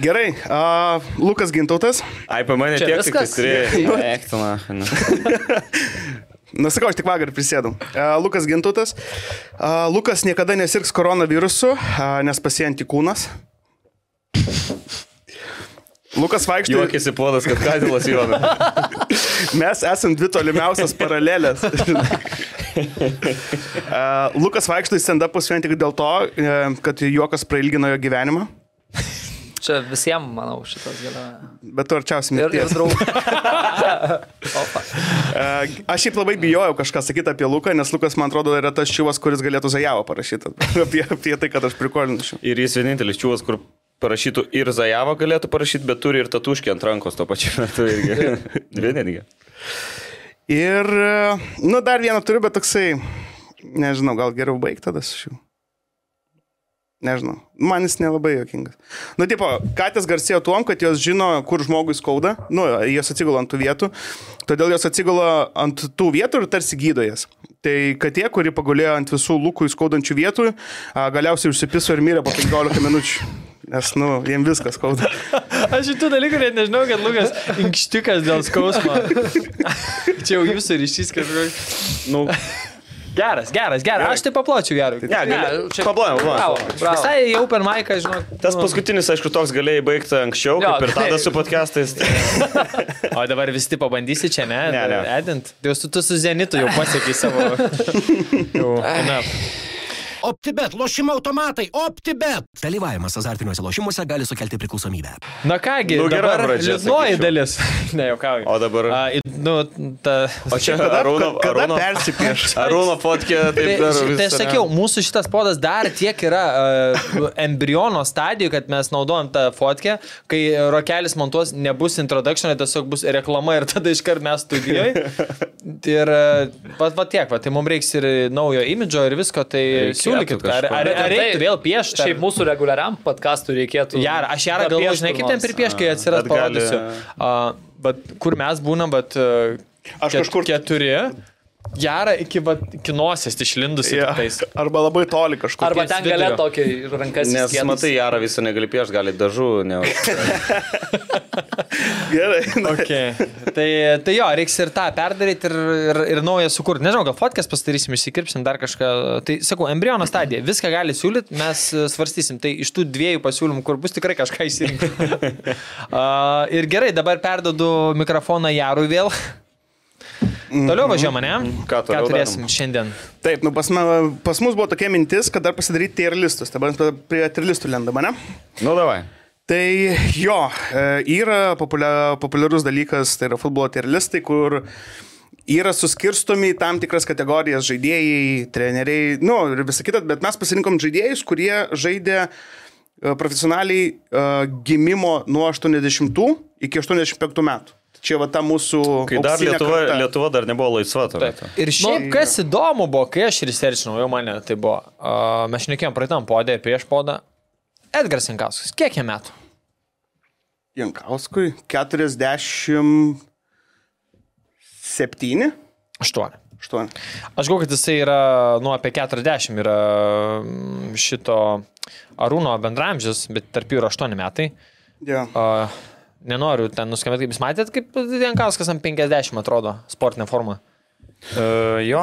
S6: Gerai. Uh, Lukas Gintautas.
S4: Ai, apie mane
S5: Čia
S4: tiek tik
S5: viskas?
S4: strėjo. Ektina.
S6: Na, sakau, aš tik vakar prisėdau. Uh, Lukas Gintutas. Uh, Lukas niekada nesirgs koronavirusu, uh, nes pasienti kūnas. Lukas vaikšto.
S4: Juokėsi podas, kad Kadilas Jonas.
S6: Mes esam dvi tolimiausias paralelės. Uh, Lukas vaikšto į stand-upus vien tik dėl to, e, kad juokas prailgino jo gyvenimą.
S5: Čia visiems, manau, šitas galioja.
S6: Bet tu arčiausiai
S5: Ir, ir
S6: mirties. E,
S5: draugai.
S6: Aš šiaip labai bijojau kažką sakyti apie Luką, nes Lukas, man atrodo, yra tas šyvas, kuris galėtų Zajavo parašyti. apie, apie tai, kad aš prikolinu.
S4: Ir jis vienintelis čiūvas, kur parašytų ir Zajavą galėtų parašyti, bet turi ir tatuškį ant rankos tuo pačiu metu. irgi. Dvi netgi.
S6: Ir, e, nu, dar vieną turiu, bet toksai, nežinau, gal geriau baigti tada su šiuo. Nežinau, man jis nelabai jokingas. Nu, tipo, katės garsėjo tuom, kad jos žino, kur žmogui skauda, nu, jos atsigula ant tų vietų, todėl jos atsigula ant tų vietų ir tarsi gydo jas. Tai katė, kuri pagulėjo ant visų lūkų įskaudančių vietų, a, galiausiai užsipiso ir mirė po 15 minučių, nes, nu, jiem viskas skauda.
S3: Aš šitų dalykų net nežinau, kad Lukas inkštikas dėl skausmo. Čia jau jūsų ryšys kažkoks.
S4: Nu,
S3: Geras, geras, geras. Aš tai papločiau gerui.
S4: ne, gali. Pablaim,
S5: Bravo,
S4: pablaim.
S5: bravo.
S3: Visai jau per maiką, žinok.
S4: Tas paskutinis, aišku, toks galėjai baigti anksčiau,
S5: Jo,
S4: kaip ir tada
S5: taip.
S4: su podcastais.
S3: O dabar visi tai pabandysi čia, ne?
S4: Ne, ne.
S3: Edint. Tai jau su, tu su Zenitu jau pasiekiai savo. jau, na.
S5: O
S1: OptiBet, lošimo automatai, OptiBet.
S2: Dalyvavimas azartiniuose lošimuose gali sukelti priklausomybę.
S3: Na kągi,
S4: Nu, gera
S3: dabar
S4: pradžia,
S3: Liūdnoji
S4: sakyčiau.
S3: dalis. ne, jokauju.
S4: O dabar-
S3: A, į- nu, ta...
S4: O čia
S6: Kada,
S4: Arūno,
S6: kada
S4: Arūno,
S6: persipieš?
S4: Arūno fotkė, taip
S3: Tai,
S4: dar
S3: tai aš
S4: visą-
S3: sakiau, mūsų šitas podas dar tiek yra uh, embriono stadijoje, kad mes naudojam tą fotkę, kai rokelis montuos, nebus introduction, tiesiog bus reklama ir tada iškart mes studijoje. Ir uh, pat, pat tiek, va, tai mums reiks ir naujo imidžo ir visko, tai
S4: Reikėtų
S3: siūlykit, ar, ar,
S4: kažko.
S3: ar reikėtų vėl piešti.
S5: Šiaip mūsų reguliariam podcastui reikėtų.
S3: Jar, aš ją galvoju, žinai, kaip ten pripieš, kai atsiras
S4: bet gali-
S3: parodysiu. Uh, bet kur mes būnam, bet... Uh,
S6: Aš kažkur-
S3: Keturi. Jara iki, vat, iki nosies išlindusi.
S6: Jo.
S3: Yeah. Tais.
S6: Arba labai toli kažkur.
S5: Arba
S3: ties
S5: ten galėtų
S3: vidurio.
S5: tokį rankas
S4: Nes
S5: įskiedus.
S4: matai, Jara visą negali piešti, gali dažų, ne.
S6: Gerai. na.
S3: Okay. tai, tai jo, reiks ir tą perdaryti ir, ir, ir naują sukurti. Nežinau, gal fotkės pasidarysim, išsikirpsim dar kažką. Tai sakau, embriono stadija. Viską gali siūlyti, mes e, svarstysim. Tai iš tų dviejų pasiūlymų, kur bus tikrai kažką įsirinkti. uh, ir gerai, dabar perdodu mikrofoną Jarui vėl. Toliau važiuojam, ne?
S4: Mhm. Ką toliau
S3: Ką turėsim
S4: darom?
S3: šiandien?
S6: Taip, nu pas, me- pas mus buvo tokia mintis, kad dar pasidaryti tier listus. Dabar mes prie tier listų lendama, ne?
S4: Nu, davai.
S6: Tai jo, e, yra populia- populiarus dalykas, tai yra futbolo tier listai, kur yra suskirstomi į tam tikras kategorijas žaidėjai, treneriai, nu ir visa kita, bet mes pasirinkom žaidėjus, kurie žaidė e, profesionaliai e, gimimo nuo 80 iki 85 metų. Čia va ta mūsų...
S4: Kai dar
S6: auksinė
S4: Lietuva,
S6: karta.
S4: Lietuva dar nebuvo laisva. tuo metu.
S3: Ir šiaip, nu, kas įdomu buvo, kai aš researchinau, jau mane tai buvo, uh, mes šnekėjom praeitam podė, prieš podą. Edgaras Inkauskas, kiek jam metų?
S6: Jankauskui 47.
S3: 8.
S6: 8.
S3: Aš galvoju, kad jisai yra, nu, apie 40 yra mm, šito Arūno bendramžis, bet tarp jų yra 8 metai.
S6: Ja.
S3: A, nenoriu ten nuskambėti, kaip jūs matėt, kaip Jankauskas ant 50 atrodo, sportinė forma.
S4: Uh, jo.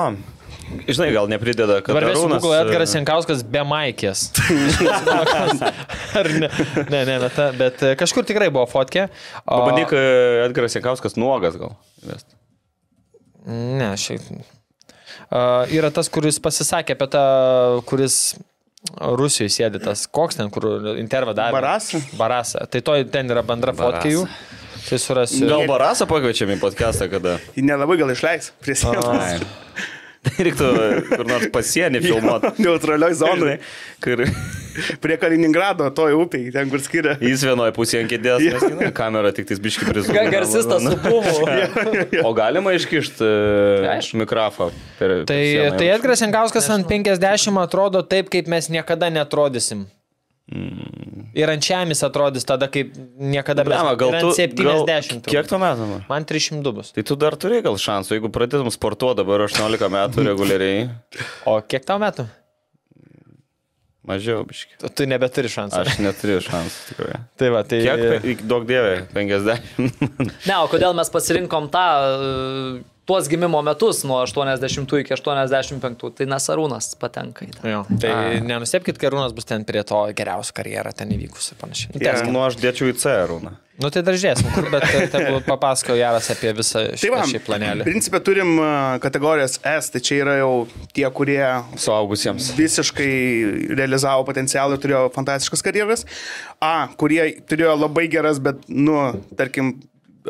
S4: Žinai, gal neprideda, kad
S3: Dabar vėl
S4: Arūnas,
S3: Google Edgaras
S4: e,
S3: Jankauskas be maikės. Ar ne, ne, ne, ne ta, bet e, kažkur tikrai buvo fotkė. O-
S4: Pabandyk e, Edgaras Jankauskas nuogas gal. įvest.
S3: Ne, šiaip. Uh, yra tas, kuris pasisakė apie tą, kuris Rusijoje sėdi, tas koks ten, kur intervą davė.
S6: Barasa?
S3: Barasa. Tai to ten yra bendra fotkė jų. Tai surasiu.
S4: Gal Barasą pakviečiam į podcastą, kada?
S6: Jį Nelabai gal išleis prie sienos.
S4: Ai. Reiktų kur nors pasienį filmuoti.
S6: Neutralioj zonai.
S4: Kur
S6: Prie Kaliningrado, toj upėj, ten kur skiria.
S4: jis vienoje pusėje ant kėdės, nes na, kamera tik tais biški
S5: Ką
S4: prizuoja.
S5: garsistas su pumu.
S4: O galima iškišti
S5: aišku.
S4: mikrofą per... per
S3: Tai,
S4: sieną?
S3: tai Edgaras Jankauskas ant 50 atrodo taip, kaip mes niekada netrodysim. Ir ant žemės atrodys tada, kaip niekada mes.
S4: Mm. Blemba, gal
S3: ir
S4: tu...
S3: ant 70.
S4: gal- Kiek tu metų? man?
S3: Man 302 bus.
S4: Tai tu dar turi gal šansų, jeigu pradėtum sportuoti dabar 18 metų reguliariai,
S3: O kiek tau metų?
S4: mažiau biški.
S3: Tu- Tu nebeturi šansų.
S4: Aš neturiu šansų tikrai.
S3: Tai va, tai...
S6: E.
S4: Kiek, pe- daug dievė, 50.
S5: Ne, o kodėl mes pasirinkom tą, e, tuos gimimo metus nuo 80 iki 85, tai nesarūnas patenka į tą.
S3: Jo, tai A. nenustepkite, kai Rūnas bus ten prie to geriausią karjerą ten įvykus ir panašiai. Yeah.
S4: Nu, aš dėčiau į C rūną.
S3: Nu tai dar žiūrėsim, kur, bet e, tegul papasakojo Jaras apie visą
S6: Tai va,
S3: šitą šį planelį.
S6: principė turim a, kategorijos S, tai čia yra jau tie, kurie
S4: Suaugusiems.
S6: visiškai realizavo potencialą ir turėjo fantastiškas karjeras. A, kurie turėjo labai geras, bet, nu, tarkim,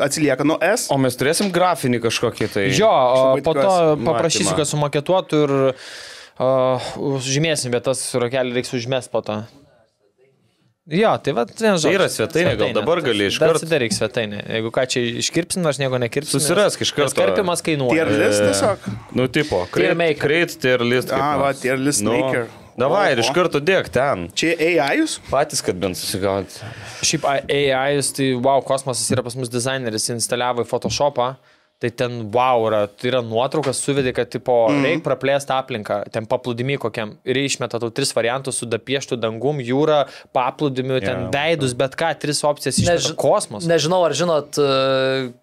S6: atsilieka nuo S.
S4: O mes turėsim grafinį kažkokį tai.
S3: Jo, o
S6: labai
S3: po to
S6: tikiuosi
S3: paprašysiu,
S4: matymą.
S3: kad sumaketuotų ir uh, žymėsim, bet tas rokelį reiks užmest po to. Jo, tai va, nežinau.
S4: Tai yra svetainė, gal dabar gali iškart-
S3: Atsidaryk svetainę. Jeigu ką čia iškirpsim, aš nieko nekirpsiu.
S4: Susirask iš karto.
S3: Karpimas kainuoja.
S6: Tier list tiesiog.
S4: E, Nu, tipo,
S5: Tier maker.
S4: kreit, tier list. kaip
S6: A,
S4: nors. Nu,
S6: va, tier list maker.
S4: Davai, ir
S6: Oho.
S4: iš karto dėk ten.
S6: Čia AI jūs?
S4: Patys, kad bent susigaut.
S3: Šiaip AI, -us, tai wow, kosmosas yra pas mus dizaineris, jis instaliavo į Photoshopą, tai ten wow, yra, tai yra nuotraukas suvedė, kad tipo,
S4: Mhm.
S3: mm. reikia praplėsti aplinką, ten paplūdimi kokiam ir išmeta tau tris variantus su dapieštų dangum, jūra, paplūdimiu, ten yeah,
S4: Jo,
S3: veidus, bet ką, tris opcijas iš
S5: Neži-
S3: kosmosą.
S5: Nežinau, ar žinot e,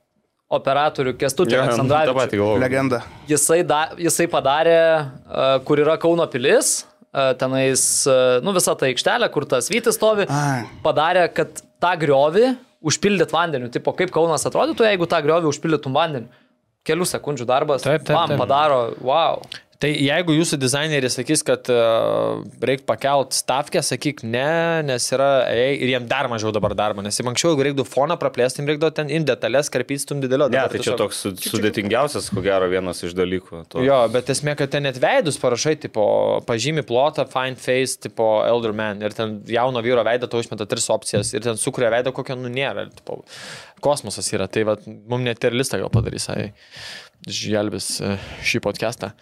S5: operatorių Kestutį
S4: Jo, nu, tą
S5: Aleksandravą.
S4: patį galvoju.
S6: Legenda.
S5: Jisai, da, jisai padarė, e, kur yra Kauno pilis, e, tenais, e, nu visą tą aikštelę, kur tas vytis stovi,
S6: Ai.
S5: padarė, kad tą griovį užpildyt vandeniu. Tipo, kaip Kaunas atrodytų, jeigu tą griovį užpildytum vandeniu. Kelių sekundžių darbas.
S3: Taip, taip,
S5: Man
S3: taip.
S5: padaro, wow.
S3: Tai jeigu jūsų dizaineris sakys, kad uh, reikia pakelt stavkę, sakyk ne, nes yra, ei, ir jiem dar mažiau dabar darbo, nes jiem anksčiau, jeigu reiktų foną praplėsti, jiem reiktų ten in detalės, karpyti stum didelio.
S4: Ne,
S3: dabar
S4: tai čia
S3: tiesiog-
S4: toks su- sudėtingiausias, ko gero, vienas iš dalykų. To.
S3: Jo, bet esmė, kad ten net veidus parašai, tipo, pažymi plotą, find face, tipo, elder man. Ir ten jauno vyro veidą tau išmeta tris opcijas. Ir ten sukuria veidą, kokio nu nėra. Ir, tipo, kosmosas yra. Tai va, mums net ir listą gal padarys, ai, žvelbis šį podcastą.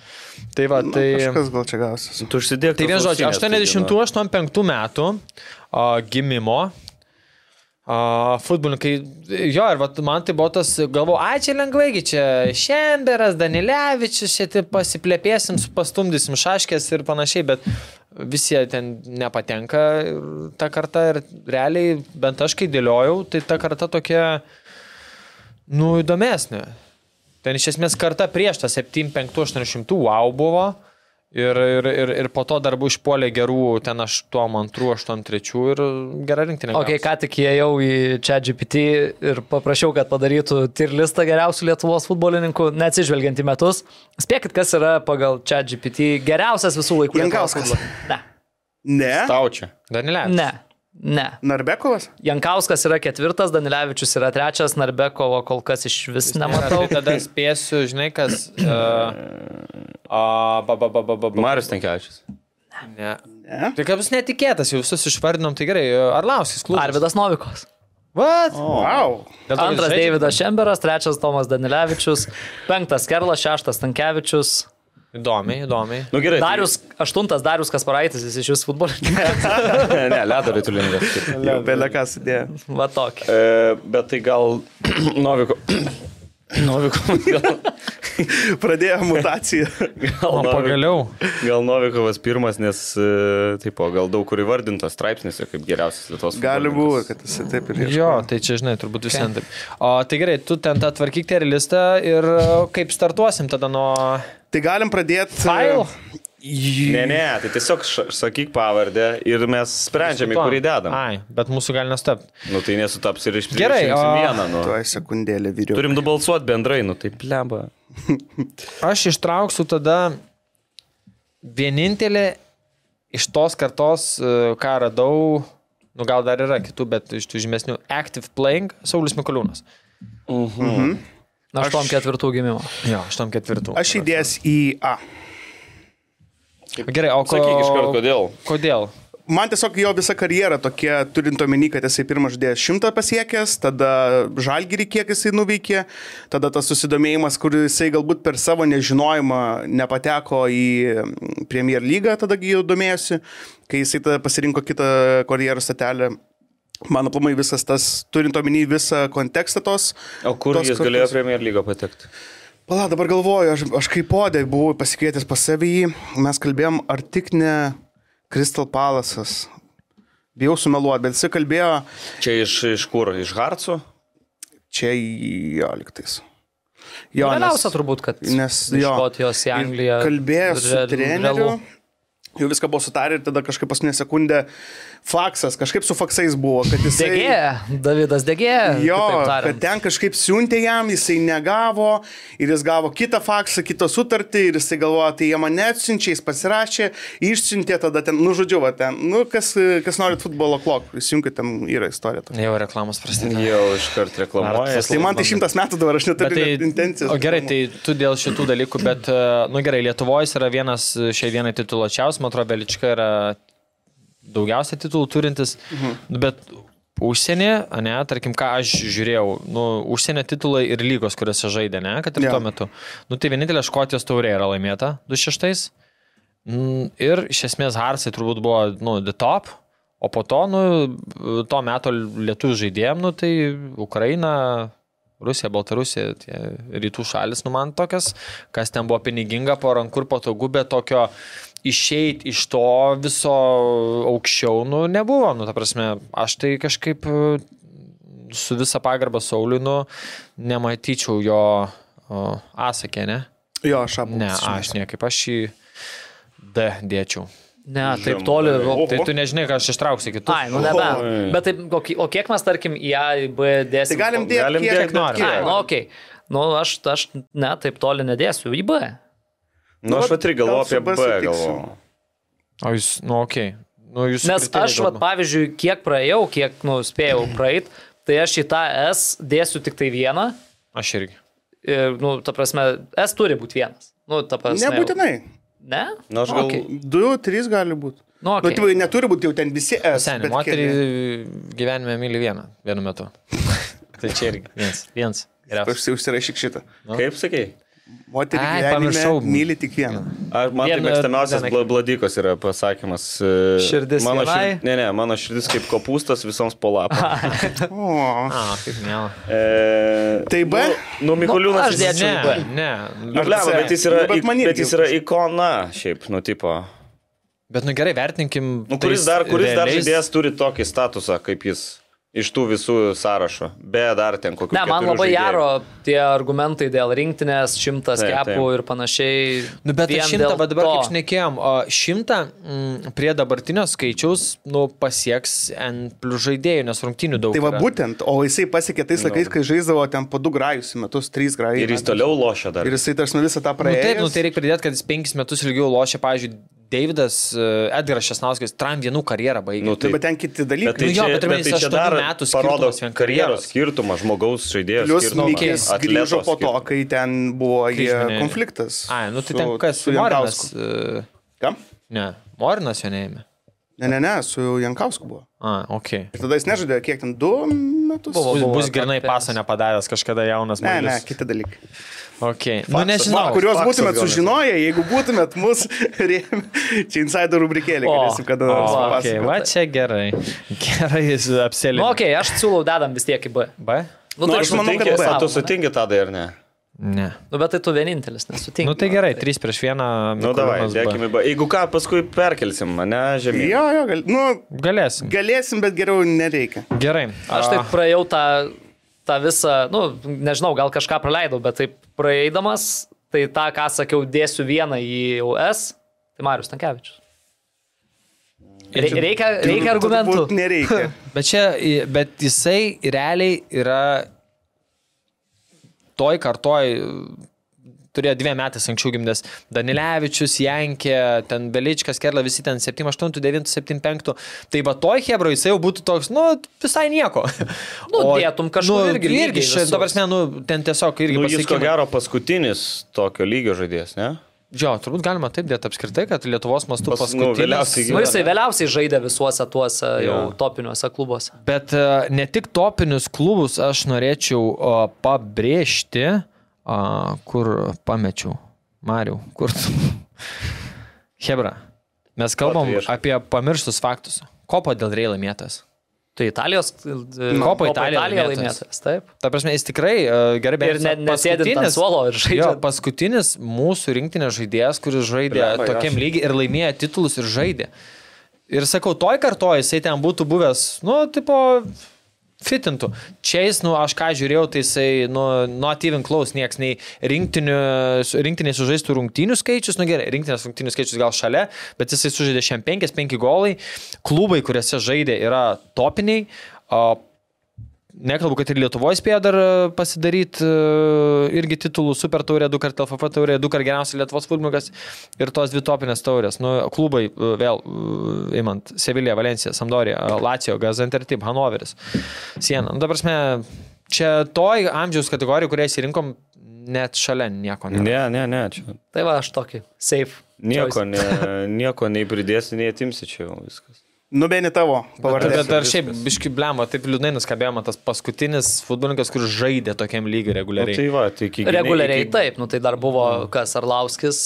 S3: Tai va, tai...
S6: Kažkas gal čia gausis.
S4: Tu užsidėk.
S3: Tai vien
S4: tas
S3: žodžiu,
S4: ausines, tai
S3: 80-85 metų o, gimimo. Uh, futbolininkai, jo, ir vat, man tai buvo tas, galvoju, ai čia lengvai, gi čia Šemberas, Danilevičius, čia taip pasiplėpėsim, pastumdysim šaškės ir panašiai, bet visi jie ten nepatenka ir ta karta ir realiai, bent aš kai dėliojau, tai ta karta tokia, nu, įdomesnė. Ten iš esmės karta prieš tą 75-800 wow buvo. Ir, ir, ir, ir po to dar buvo išpuolė gerų, ten aš tuo antru, aštuom trečių ir gerą rinktinę.
S5: Ok, ką tik įėjau į čia GPT ir paprašiau, kad padarytų tier listą geriausių Lietuvos futbolininkų, neatsižvelgiant į metus. Spėkit, kas yra pagal čia GPT geriausias visų laikų. Lietuvos
S6: Jankauskas.
S5: futbolininkas.
S6: Ne.
S4: Tau čia.
S3: Danilė.
S5: Ne, ne, ne.
S6: Narbekovas?
S5: Jankauskas yra ketvirtas, Danilevičius yra trečias, Narbekovo kol kas iš vis nematau.
S3: Matau, tada spėsiu, žinai, kas. Uh, uh, ba, ba, ba, ba, ba, ba.
S4: Marius Tenkevičius.
S3: Ne.
S6: Ne.
S3: Tai kaip bus netikėtas, jau visus išvardinom, tai gerai. Arlauskis, klubas.
S5: Arvidas Novikos.
S3: What?
S6: Wow.
S3: Dėl to, kad
S5: Antras
S3: žaidžia-
S5: Davidas Šemberas, trečias Tomas Danilevičius, penktas Kerlas, šeštas Tankievičius,
S3: Įdomiai, įdomiai.
S4: Nu gerai. tai-
S5: Darius, aštuntas Darius Kasparaitis, jis iš jūsų futbolininkas.
S4: ne, ledo ritulingas.
S6: Jau belekas idėja.
S5: Va tokį.
S4: E, bet tai gal Noviko. Noviko. Gal,
S6: Pradėjo mutaciją.
S4: gal,
S3: O
S4: Novik,
S3: pagaliau.
S4: gal Novikovas pirmas, nes e, taip, o gal daug kur įvardintas straipsnėse kaip geriausias Lietuvos.
S6: Gali būti,
S4: futbolininkas.
S6: kad jis taip ir
S3: Jo, tai čia, žinai, turbūt visi okay. taip. O tai gerai, tu ten tą tvarkyk tier listą ir o, kaip startuosim tada nuo...
S6: Tai galim e, pradėti.
S3: File?
S4: Ne, ne, tai tiesiog š, sakyk pavardę ir mes sprendžiame,
S3: Tuo.
S4: kurį dedam.
S3: Ai, bet mūsų gali nestapti.
S4: Nu tai nesutaps ir iš
S3: Gerai, o-
S4: vieną. Nu.
S6: Tuoj sekundėlį video.
S4: Turim du balsuoti bendrai, nu taip lemba.
S3: Aš ištrauksiu tada vienintelį iš tos kartos, e, ką radau, nu gal dar yra kitų, bet iš tų žymesnių Active Playing, Saulis Mikoliūnas.
S5: Na, aštuom ketvirtų gimimo.
S3: Jo, 84.
S6: Aš įdės į A.
S3: Gerai, o ko...
S4: Sakyk iš karto, kodėl.
S3: Kodėl?
S6: Man tiesiog jo visa karjera tokia, turint omeny, kad jisai pirmas žaidėjas šimtą pasiekęs, tada žalgyrį kiek jisai nuveikė, tada tas susidomėjimas, kur jisai galbūt per savo nežinojimą nepateko į mm, Premier lygą, tada gi jau domėjosi, kai jisai tada pasirinko kitą karjeros statelę. Mano plumai visas tas, turint omeny visą kontekstą tos.
S4: O kur
S6: tos
S4: jis
S6: kartos-
S4: galėjo Premier lygą patekti?
S6: Pala, dabar galvoju, aš, aš kaip podė buvau pasikvietęs pas save jį, mes kalbėjom, ar tik ne Crystal Palace'as. Bijau sumeluoti, bet jisai kalbėjo
S4: Čia iš, iš kur? Iš Harco?
S6: čia į jo liktais. Jo,
S5: Galiausia turbūt, kad
S6: nes jo.
S5: Škotijos į
S6: Ir
S5: Angliją.
S6: Kalbėjo su
S5: Re-
S6: treneriu.
S5: realu.
S6: Jau viską buvo sutarę ir tada kažkaip paskutinę sekundę faksas, kažkaip su faksais buvo, kad jisai...
S5: Degė, Davidas Degė.
S6: tai- Jo,
S5: kitaip
S6: kad
S5: tariant.
S6: ten kažkaip siuntė jam, jisai negavo ir jis gavo kitą faksą, kitą sutartį ir jisai galvoja, tai jie mane atsiunčia, jis pasirašė, išsiuntė tada ten, nu žodžiu, va ten, nu kas, kas norit futbolo klok, įsijunkit, ten yra istorija. Tokia.
S3: Jau reklamos prasidėjo.
S4: Jau iškart reklamuoja.
S6: Tai man tai šimtas metų dabar, aš
S3: Bet tai-
S6: neturiu net intencijos.
S3: O gerai, tai tu dėl šitų dalykų, bet, e, nu gerai, Lietuvoje jis yra vienas e, šiai dienai tituluočiausias, man atrodo, Velička yra daugiausia titulų turintis, mhm. bet užsienį, ne, tarkim, ką aš žiūrėjau, nu, užsienio titulai ir lygos, kuriuose žaidė, ne, kad ir
S6: Jo.
S3: tuo metu. Nu, tai vienintelė Škotijos taurė yra laimėta 26. Mm, Ir iš esmės Harsai turbūt buvo, nu, the top. O po to, nu, to meto lietuvių žaidėjim, nu, tai Ukraina, Rusija, Baltarusija, tie rytų šalis, nu, man tokias, kas ten buvo piniginga, po rankų ir patogu, bet tokio išeiti iš to viso aukščiau, nu, nebuvo. Nu, ta prasme, aš tai kažkaip e, su visa pagarba Saulinu nematyčiau jo asakė, ne?
S6: Jo, aš abu.
S3: Ne, aš niekaip, aš jį D dėčiau.
S5: Ne, taip toli. o-
S3: Tai tu nežinai, ką aš ištrauksiu kitus.
S5: Ai, nu nebent. Bet taip, o ki- o kiek mes, tarkim, į A, į B dėsim?
S6: Tai galim dėti,
S4: Galim dėt,
S6: kiek
S4: norim.
S6: kiek.
S5: Ai, nu, okei. Okay. Nu, aš, aš, ne, taip toli nedėsiu į B.
S4: Nu, aš
S6: vat
S4: vat irgi galvoju
S6: gal su
S4: apie B.
S6: B sutiksim.
S4: Galvoju.
S3: O jūs, nu, okei. Okay. Nu, jūs
S5: Nes
S3: kriterijai
S5: aš, vat,
S3: dauguma.
S5: pavyzdžiui, kiek praėjau, kiek nuspėjau praeit, tai aš į tą S dėsiu tik tai vieną.
S3: Aš irgi.
S5: Ir, nu, ta prasme, S turi būti vienas. Nu, ta prasme.
S6: Nebūtinai.
S5: Ne?
S4: Na, Nu, aš gal-
S5: Okay.
S6: Du, trys gali būti.
S5: Nu,
S6: Nu,
S5: okay.
S6: tai neturi būti jau ten visi S.
S3: Seniai,
S6: bet
S3: moterį
S6: keli.
S3: gyvenime myli vieną, vienu metu. tai čia irgi. Vienas. Vienas. Geriausias.
S6: Aš užsirašyk šitą.
S4: Kaip sakei?
S6: Moterį
S3: Ai,
S6: gyvenime
S3: pamiršau.
S6: myli tik vieną.
S4: Ar man tai
S3: Vien-
S4: mėgstamiausias
S3: vienai-
S4: bla- bladikos yra pasakymas. e,
S3: Širdis
S4: mano
S3: vienai?
S4: Ne, ne, mano širdis kaip kopūstas visoms po lapą.
S6: O.
S3: A, kaip ne.
S4: E,
S6: Tai B?
S4: Nu, nu Mikuliūnas.
S5: aš dėčiau
S4: jis-
S5: į
S3: Ne,
S5: B.
S3: ne.
S4: Nu, blema, bet jis yra,
S6: Nu, bet
S4: ik-
S6: man irgi
S4: bet jis yra ikona, šiaip, nu, tipo.
S3: Bet nu gerai, vertinkim.
S4: Nu, kuris dar,
S3: tais
S4: kuris dar
S3: Tai realiais-
S4: žaidėjas turi tokį statusą, kaip jis iš tų visų sąrašo. Be dar ten kokių.
S5: Ne, man
S4: keturių žaidėjų.
S5: labai jaro tie argumentai dėl rinktinės, šimtas
S4: Taip,
S5: kepų ir panašiai.
S3: Nu, bet
S5: Vien
S3: aš šimtą,
S5: dėl
S3: bet dabar
S5: to.
S3: kaip šnekėjom, o šimtą m, prie dabartinio skaičiaus, nu, pasieks N plus žaidėjų, nes rungtinių daug.
S6: Tai va
S3: yra.
S6: būtent, o jisai pasiekė tais laikais, kai žaisdavo ten po du grajus į metus, trys grajus.
S4: Ir jis toliau lošia dar.
S6: Tai Ir jisai tarsi visą tą
S3: Nu,
S6: praėjo.
S3: taip, nu, tai reikia pridėti, kad jis penkis metus ilgiau lošia, pavyzdžiui, Davidas, e, Edgaras Šesnauskas, tram vienų karjerą baigė.
S4: Nu,
S3: Nu,
S6: Taip,
S4: tai,
S6: bet ten kiti dalykai.
S4: bet tai
S3: Nu jo,
S4: čia,
S3: bet
S4: bet tai
S3: pirmiausia,
S4: čia
S3: aštuonių
S4: dar
S3: metų
S4: parodo
S3: skirtumas vien
S4: karjeros
S3: karjeros.
S4: skirtumą, žmogaus žaidėjo
S6: Plius
S4: skirtumą.
S6: Mikis
S4: atleto
S6: grįžo po to,
S4: skirtumą.
S6: kai ten buvo jie
S3: Kryžminė.
S6: konfliktas.
S3: Ai, nu tai
S6: su-
S3: ten kas, su Morinas.
S6: Jankausku.
S3: e,
S6: Kam?
S3: Ne, Morinas jo neėmė.
S6: Ne, ne, ne, su Jankausku buvo.
S3: A, okei. Okay.
S6: Ir tada jis nežaidė, kiek ten, du metus?
S5: Buvo.
S3: Bus, bus
S5: etape.
S3: grinai paso nepadaręs kažkada jaunas
S6: Ne, ne,
S3: Marius.
S6: kiti dalykai.
S3: Okei. Nu, nežinau.
S6: Va, kuriuos
S4: faksas
S6: būtumėt
S4: gal net.
S6: sužinoję, jeigu būtumėt mus rėmę. Čia insider rubrikėlė,
S5: O,
S6: galėsim kada
S3: O,
S6: nors
S3: okei, va
S6: papasakoti.
S3: čia gerai. Gerai, jis apsėlė.
S5: Nu, okei, okay, aš siūlau dedam vis tiek į B.
S3: B?
S5: Nu,
S4: Nu,
S5: tai
S4: aš
S5: aš manau,
S4: sutinki,
S5: kad
S6: kad
S5: bus
S4: o tu
S5: savo, ne?
S4: sutinki tada ar ne?
S3: Ne.
S5: Nu, bet tai tu vienintelis, nesutinki.
S3: Nu tai gerai, 3 prieš 1.
S4: Nu, davai, dėkime. Jeigu ką, paskui perkelsim mane žemyn.
S6: Jo, jo, gal, nu,
S3: Galėsim.
S6: galėsim, bet geriau nereikia.
S3: Gerai. tai A,
S5: Aš
S4: Ah.
S5: taip praėjau tą, tą visą, nu, nežinau, gal kažką praleidau, bet taip praeidamas, tai tą, ką sakiau, dėsiu vieną į US, tai Marius Tankievičius. Reikia, reikia argumentų.
S6: Turbūt Nereikia.
S3: Bet čia, i- bet jisai realiai yra toj kartoj, turėjo dviem metais anksčiau gimdęs Danilevičius, Jankė, ten Beličkas, Kerla, visi ten 7, 8, 9, 7, 5. Tai va toj Hebra jisai jau būtų toks, nu, visai nieko.
S5: Nu, dėtum kažkur irgi lygiai
S3: Irgi, čia,
S5: visus.
S3: dabar mes, nu, ten tiesiog irgi
S4: Nu, jis ko
S3: pasakymai.
S4: gero paskutinis tokio lygio žaidėjas, ne?
S3: Jo, turbūt galima taip dėti apskritai, kad Lietuvos mastu
S4: Pas- nu,
S3: paskutinis.
S4: vėliausiai
S5: Nu, jisai vėliausiai žaidė visuose tuose jau
S4: Jo.
S5: topiniuose klubuose.
S3: Bet e, ne tik topinius klubus aš norėčiau o, pabrėžti, o, kur pamečiau. Mariu, kur tu? Hebra, mes kalbam
S4: tu ieškai?
S3: apie pamirštus faktus. Kopo dėl Reil laimėtas.
S5: Tai Italijos. e,
S3: Kopa Italija
S5: Italija
S3: laimėtojas.
S5: laimėtas, taip.
S3: Ta prasme, jis tikrai e, gerai
S5: Ir
S3: bet
S5: ne- nesėdint ant suolo ir žaidžiant.
S3: Jo, paskutinis mūsų rinktinės žaidėjas, kuris žaidė
S6: Blemba, jo.
S3: tokiam lygiai ir laimėjo titulus ir žaidė. Ir sakau, toj kartoj jisai ten būtų buvęs, nu, tipo, fitintų. Čia jis, nu, aš ką žiūrėjau, tai jisai, nu, not even close, nieks, nei rinktinių- rinktinės sužaistų rungtinių skaičius, nu gerai, rinktinės rungtinių skaičius gal šalia, bet jisai sužaidė šiam 5-5 golai, klubai, kuriuose žaidė, yra topiniai. O, Nekalbu, kad ir Lietuvoje spėjo dar pasidaryti irgi titulų Super taurė, du kart LFF taurė, du kart geriausias Lietuvos futbolininkas ir tos dvi topinės taurės. Nu, klubai e, vėl, e, imant, Sevilija, Valencija, Samdorija, Lacijo, Gazantertip, Hanoveris, Siena. Nu, dabar mes čia toj amžiaus kategorijai, kurią įsirinkom, net šalia nieko nėra.
S4: Ne, ne, ne, čia.
S5: Tai va, aš tokį. Safe.
S4: Nieko,
S5: choice.
S4: ne, nieko nei pridėsi, nei atimsi čia jau viskas.
S6: Nubeni Nu, tavo
S3: Bet,
S6: pavardė.
S3: bet dar šiaip, biški blemo, taip liūdnai nuskambėjo tas paskutinis futbolininkas, kuris žaidė tokiam lygiui
S4: Nu,
S3: reguliariai.
S4: tai va, tai iki...
S5: Reguliariai
S4: iki-
S5: taip, nu tai dar buvo kas Arlauskis,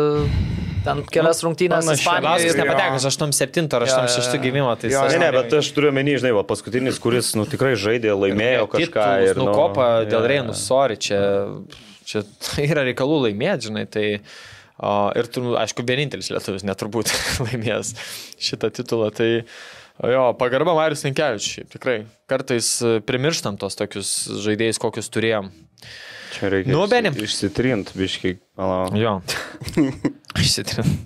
S5: e, ten kelias rungtynės
S4: panašiai.
S3: Klausimas
S5: Ispanijoje.
S6: Arlauskis
S3: nepatekęs 87 ar
S5: Jo, jo, jo.
S3: 86 gimimo, tai
S6: Jo,
S3: jis-
S4: Ne, ne, bet aš turiu menį, žinai, va, paskutinis, kuris, nu, tikrai žaidė, laimėjo kažką
S3: Titulus,
S4: ir...
S3: Nu, kopą dėl
S4: jo,
S3: Reinų, sorry, čia, čia yra reikalų laimėti, žinai, tai... O, ir, turbūt, aišku, vienintelis lietuvis neturbūt laimės šitą titulą. Tai, jo, pagarba Marius Ninkevičiui, tikrai. Kartais e, primirštam tos tokius žaidėjus, kokius turėjom.
S4: Čia reikia
S3: Nu,
S4: išsi-
S3: Benim.
S4: Išsitrint, biškai.
S3: Jo. Išsitrinu.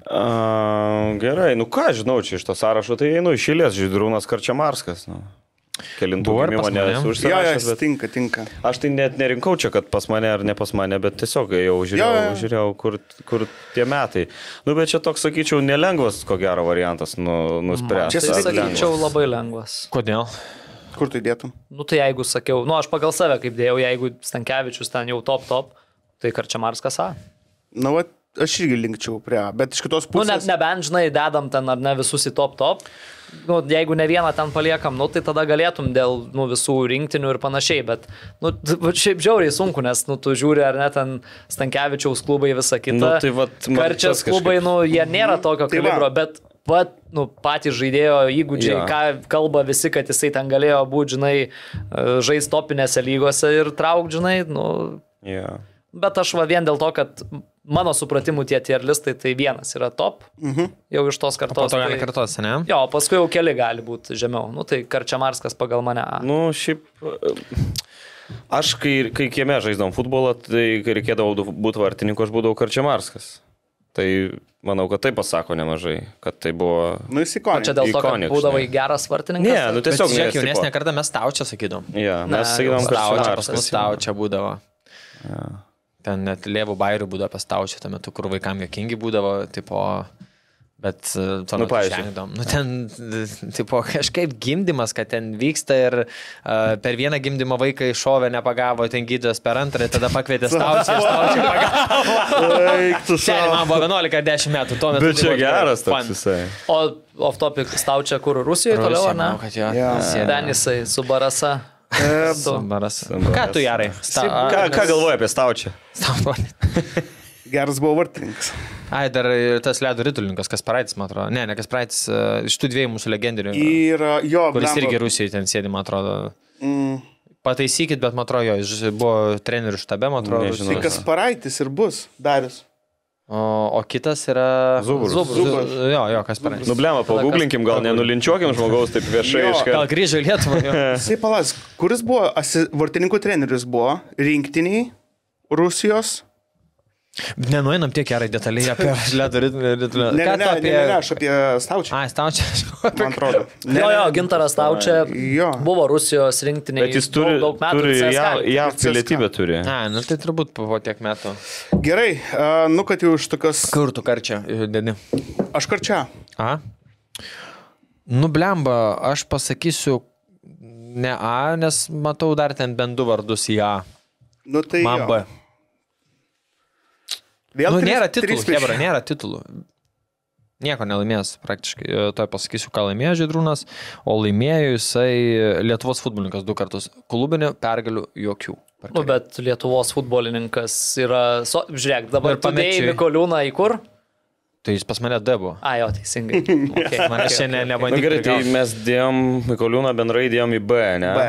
S4: Gerai, nu ką aš žinau, čia iš to sąrašo tai einu, išėlės Žydrūnas Karčiamarskas. Nu. kelintų
S3: Buvo ir
S4: gimimo
S3: pas mane.
S4: nesu
S6: Jo, jo,
S4: užsirašęs.
S6: jis
S4: bet-
S6: tinka, tinka.
S4: Aš tai net nerinkau čia, kad pas mane ar ne pas mane, bet tiesiog jau žiūrėjau,
S6: Jo, jo.
S4: žiūrėjau kur, kur tie metai. Nu, bet čia toks, sakyčiau, nelengvas, ko gero, variantas nu, nuspręsti.
S6: Čia
S4: ar
S5: Tai
S6: lengvas?
S5: sakyčiau labai lengvas.
S3: Kodėl?
S6: Kur tu dėtum?
S5: Nu tai jeigu sakiau, nu aš pagal save kaip dėjau, jeigu Stankievičius ten jau top top, tai Karčiamarskas A.
S6: Na, va, Nu, aš irgi linkčiau prie, A, bet iš kitos
S5: Nu,
S6: pusės.
S5: ne, nebent, žinai, dedam ten ar ne visus į top top. Nu, jeigu ne vieną ten paliekam, nu, tai tada galėtum dėl nu, visų rinktinių ir panašiai, bet nu, t- va šiaip žiauriai sunku, nes nu, tu žiūri ar net ten Stankievičiaus klubai visą kitą.
S4: Nu, tai vat man
S5: Karčias
S4: tas kažkaip-
S5: klubai, nu, jie nėra tokio
S6: Tai va.
S5: kalibro, bet pat, nu, patys žaidėjo įgūdžiai,
S4: Jo.
S5: ja. ką kalba visi, kad jisai ten galėjo būti, žinai, žaisti topinėse lygose ir trauk, žinai, nu,
S4: Yeah.
S5: Bet aš va vien dėl to, kad mano supratimu tie tier listai tai vienas yra top, mhm. jau iš tos
S3: Po
S5: kartos.
S3: to gali
S5: Tai...
S3: kartos, ne?
S5: Jo, o paskui jau keli gali būti žemiau. Nu tai Karčiamarskas pagal mane. A.
S4: Nu, šiaip. e, Aš, kai, kai kieme žaidžiam futbolą, tai kai reikėdavo du- būti vartininku, aš būdavau Karčiamarskas. Tai manau, kad tai pasako nemažai, kad tai buvo.
S6: Nu, jis įkonė.
S5: Čia dėl to, kad
S4: iconic,
S5: būdavai
S4: žinai.
S5: geras vartininkas.
S4: Ne, nu tiesiog.
S3: Bet žiūrėk,
S4: nes, tipo,
S3: jaunesnė karta mes taučią sakydom.
S4: Ja, mes
S5: Na,
S4: sakydavom,
S5: jau
S4: kad
S3: Staučia, pas mus
S4: Šnarskas.
S3: staučia būdavo. Ten net lėvų bairių būdavo pas staučia, tuo metu, kur vaikam jokingi būdavo, tipo, bet to
S4: Nu,
S3: nu,
S4: pavyzdžiui.
S3: žengdom. Nu, ten, e, tipo, kažkaip gimdymas, kad ten vyksta ir uh, per vieną gimdymą vaiką iššovė, nepagavo, ten gydytojas per antrą, ir tada pakvietė staučia, staučia pagavo.
S6: Eik tu
S3: Seniai,
S6: savo.
S3: man buvo 11 ar 10 metų, tuo metu.
S4: Bet
S3: tai
S4: Nu, čia
S3: buvo tikrai
S4: geras toks
S3: fun.
S4: visai.
S5: O off topic staučia kur Rusijoje
S3: Rusija,
S5: toliau, ar ne?
S3: manau, kad jo.
S6: Jo.
S3: Sėdi.
S5: Denisai su Barasa.
S6: E,
S5: Su...
S3: Sambaras.
S4: Sambaras.
S3: Ką tu, Jarai? Sta...
S4: Ką, ką galvoji apie Staučią?
S3: Stambolį.
S6: Geras buvo vartininkas.
S3: Ai, dar ir tas ledo rytulininkas, kas paraitis, man atrodo. Ne, ne kas paraitis, iš tų dviejų mūsų legendinių, į...
S6: Ir uh, jo,
S3: kuris
S6: blemba,
S3: irgi Rusijoje ten sėdi, man atrodo.
S6: mm,
S3: Pataisykit, bet man atrodo, jo, jis buvo trenerių štabe, man atrodo.
S4: Nežinau.
S6: Tai
S3: Rusijoj.
S6: kas paraitis ir bus, Darius.
S3: O, o kitas yra.
S4: Zubrus.
S6: Zubras.
S3: Zu- Jo, jo, kas paraitis.
S4: Nublema, pagublinkim, Nu, gal nenulinčiuokim žmogaus taip viešai
S6: Jo,
S4: iš
S3: Gal
S4: karto.
S3: grįžo į Lietuvą. jo.
S6: Jisai palas, kuris buvo, asi, vartininkų treneris buvo, rinktiniai Rusijos.
S3: Nenuinam tiek gerai detaliai apie ledo rytulininką.
S6: Ne, ne,
S3: Ką tu
S6: ne, apie...
S3: apie...
S6: ne, ne, aš apie Staučią.
S3: Ai, stau čia.
S6: Man atrodo. Ne,
S5: Jo,
S6: ne,
S5: jo, Gintaras Taučia
S6: Jo.
S5: buvo Rusijos rinktinė.
S4: Bet jis turi,
S5: daug metų.
S4: turi
S5: CSKA.
S4: jav, jav
S6: CSKA.
S4: pilietybę turi.
S3: Na, nu tai turbūt po tiek metų.
S6: Gerai, a, nu kad jau iš tokios.
S3: Kur tu karčia? Dedi.
S6: Aš karčia.
S3: A. Nublemba, Nu, aš pasakysiu ne A, nes matau dar ten bent du vardus į A.
S6: Nu tai.
S3: Man
S6: jo.
S3: B.
S6: Vėl
S3: Nu,
S6: trys-
S3: nėra
S6: trys
S3: titulų,
S6: prieš-
S3: Hebra, nėra titulų. Nieko nelaimės praktiškai. E, Tuoj pasakysiu, ką laimėjo Žydrūnas, o laimėjo jisai Lietuvos futbolininkas du kartus. Klubinių pergalių jokių. per
S5: Nu,
S3: karjerą.
S5: bet Lietuvos futbolininkas yra... So... Žiūrėk, dabar
S3: Ir
S5: padėjai
S3: pamečiui.
S5: Mikoliūną į kur?
S3: Tai jis pas mane D buvo. Nu,
S5: A, jo, teisingai. Okay,
S3: Man aš čia ne-
S4: Na
S3: nebandysiu.
S4: gerai, tai
S3: prigaut.
S4: mes dėjom Mikoliūną bendrai dėjom į B, ne?
S6: B.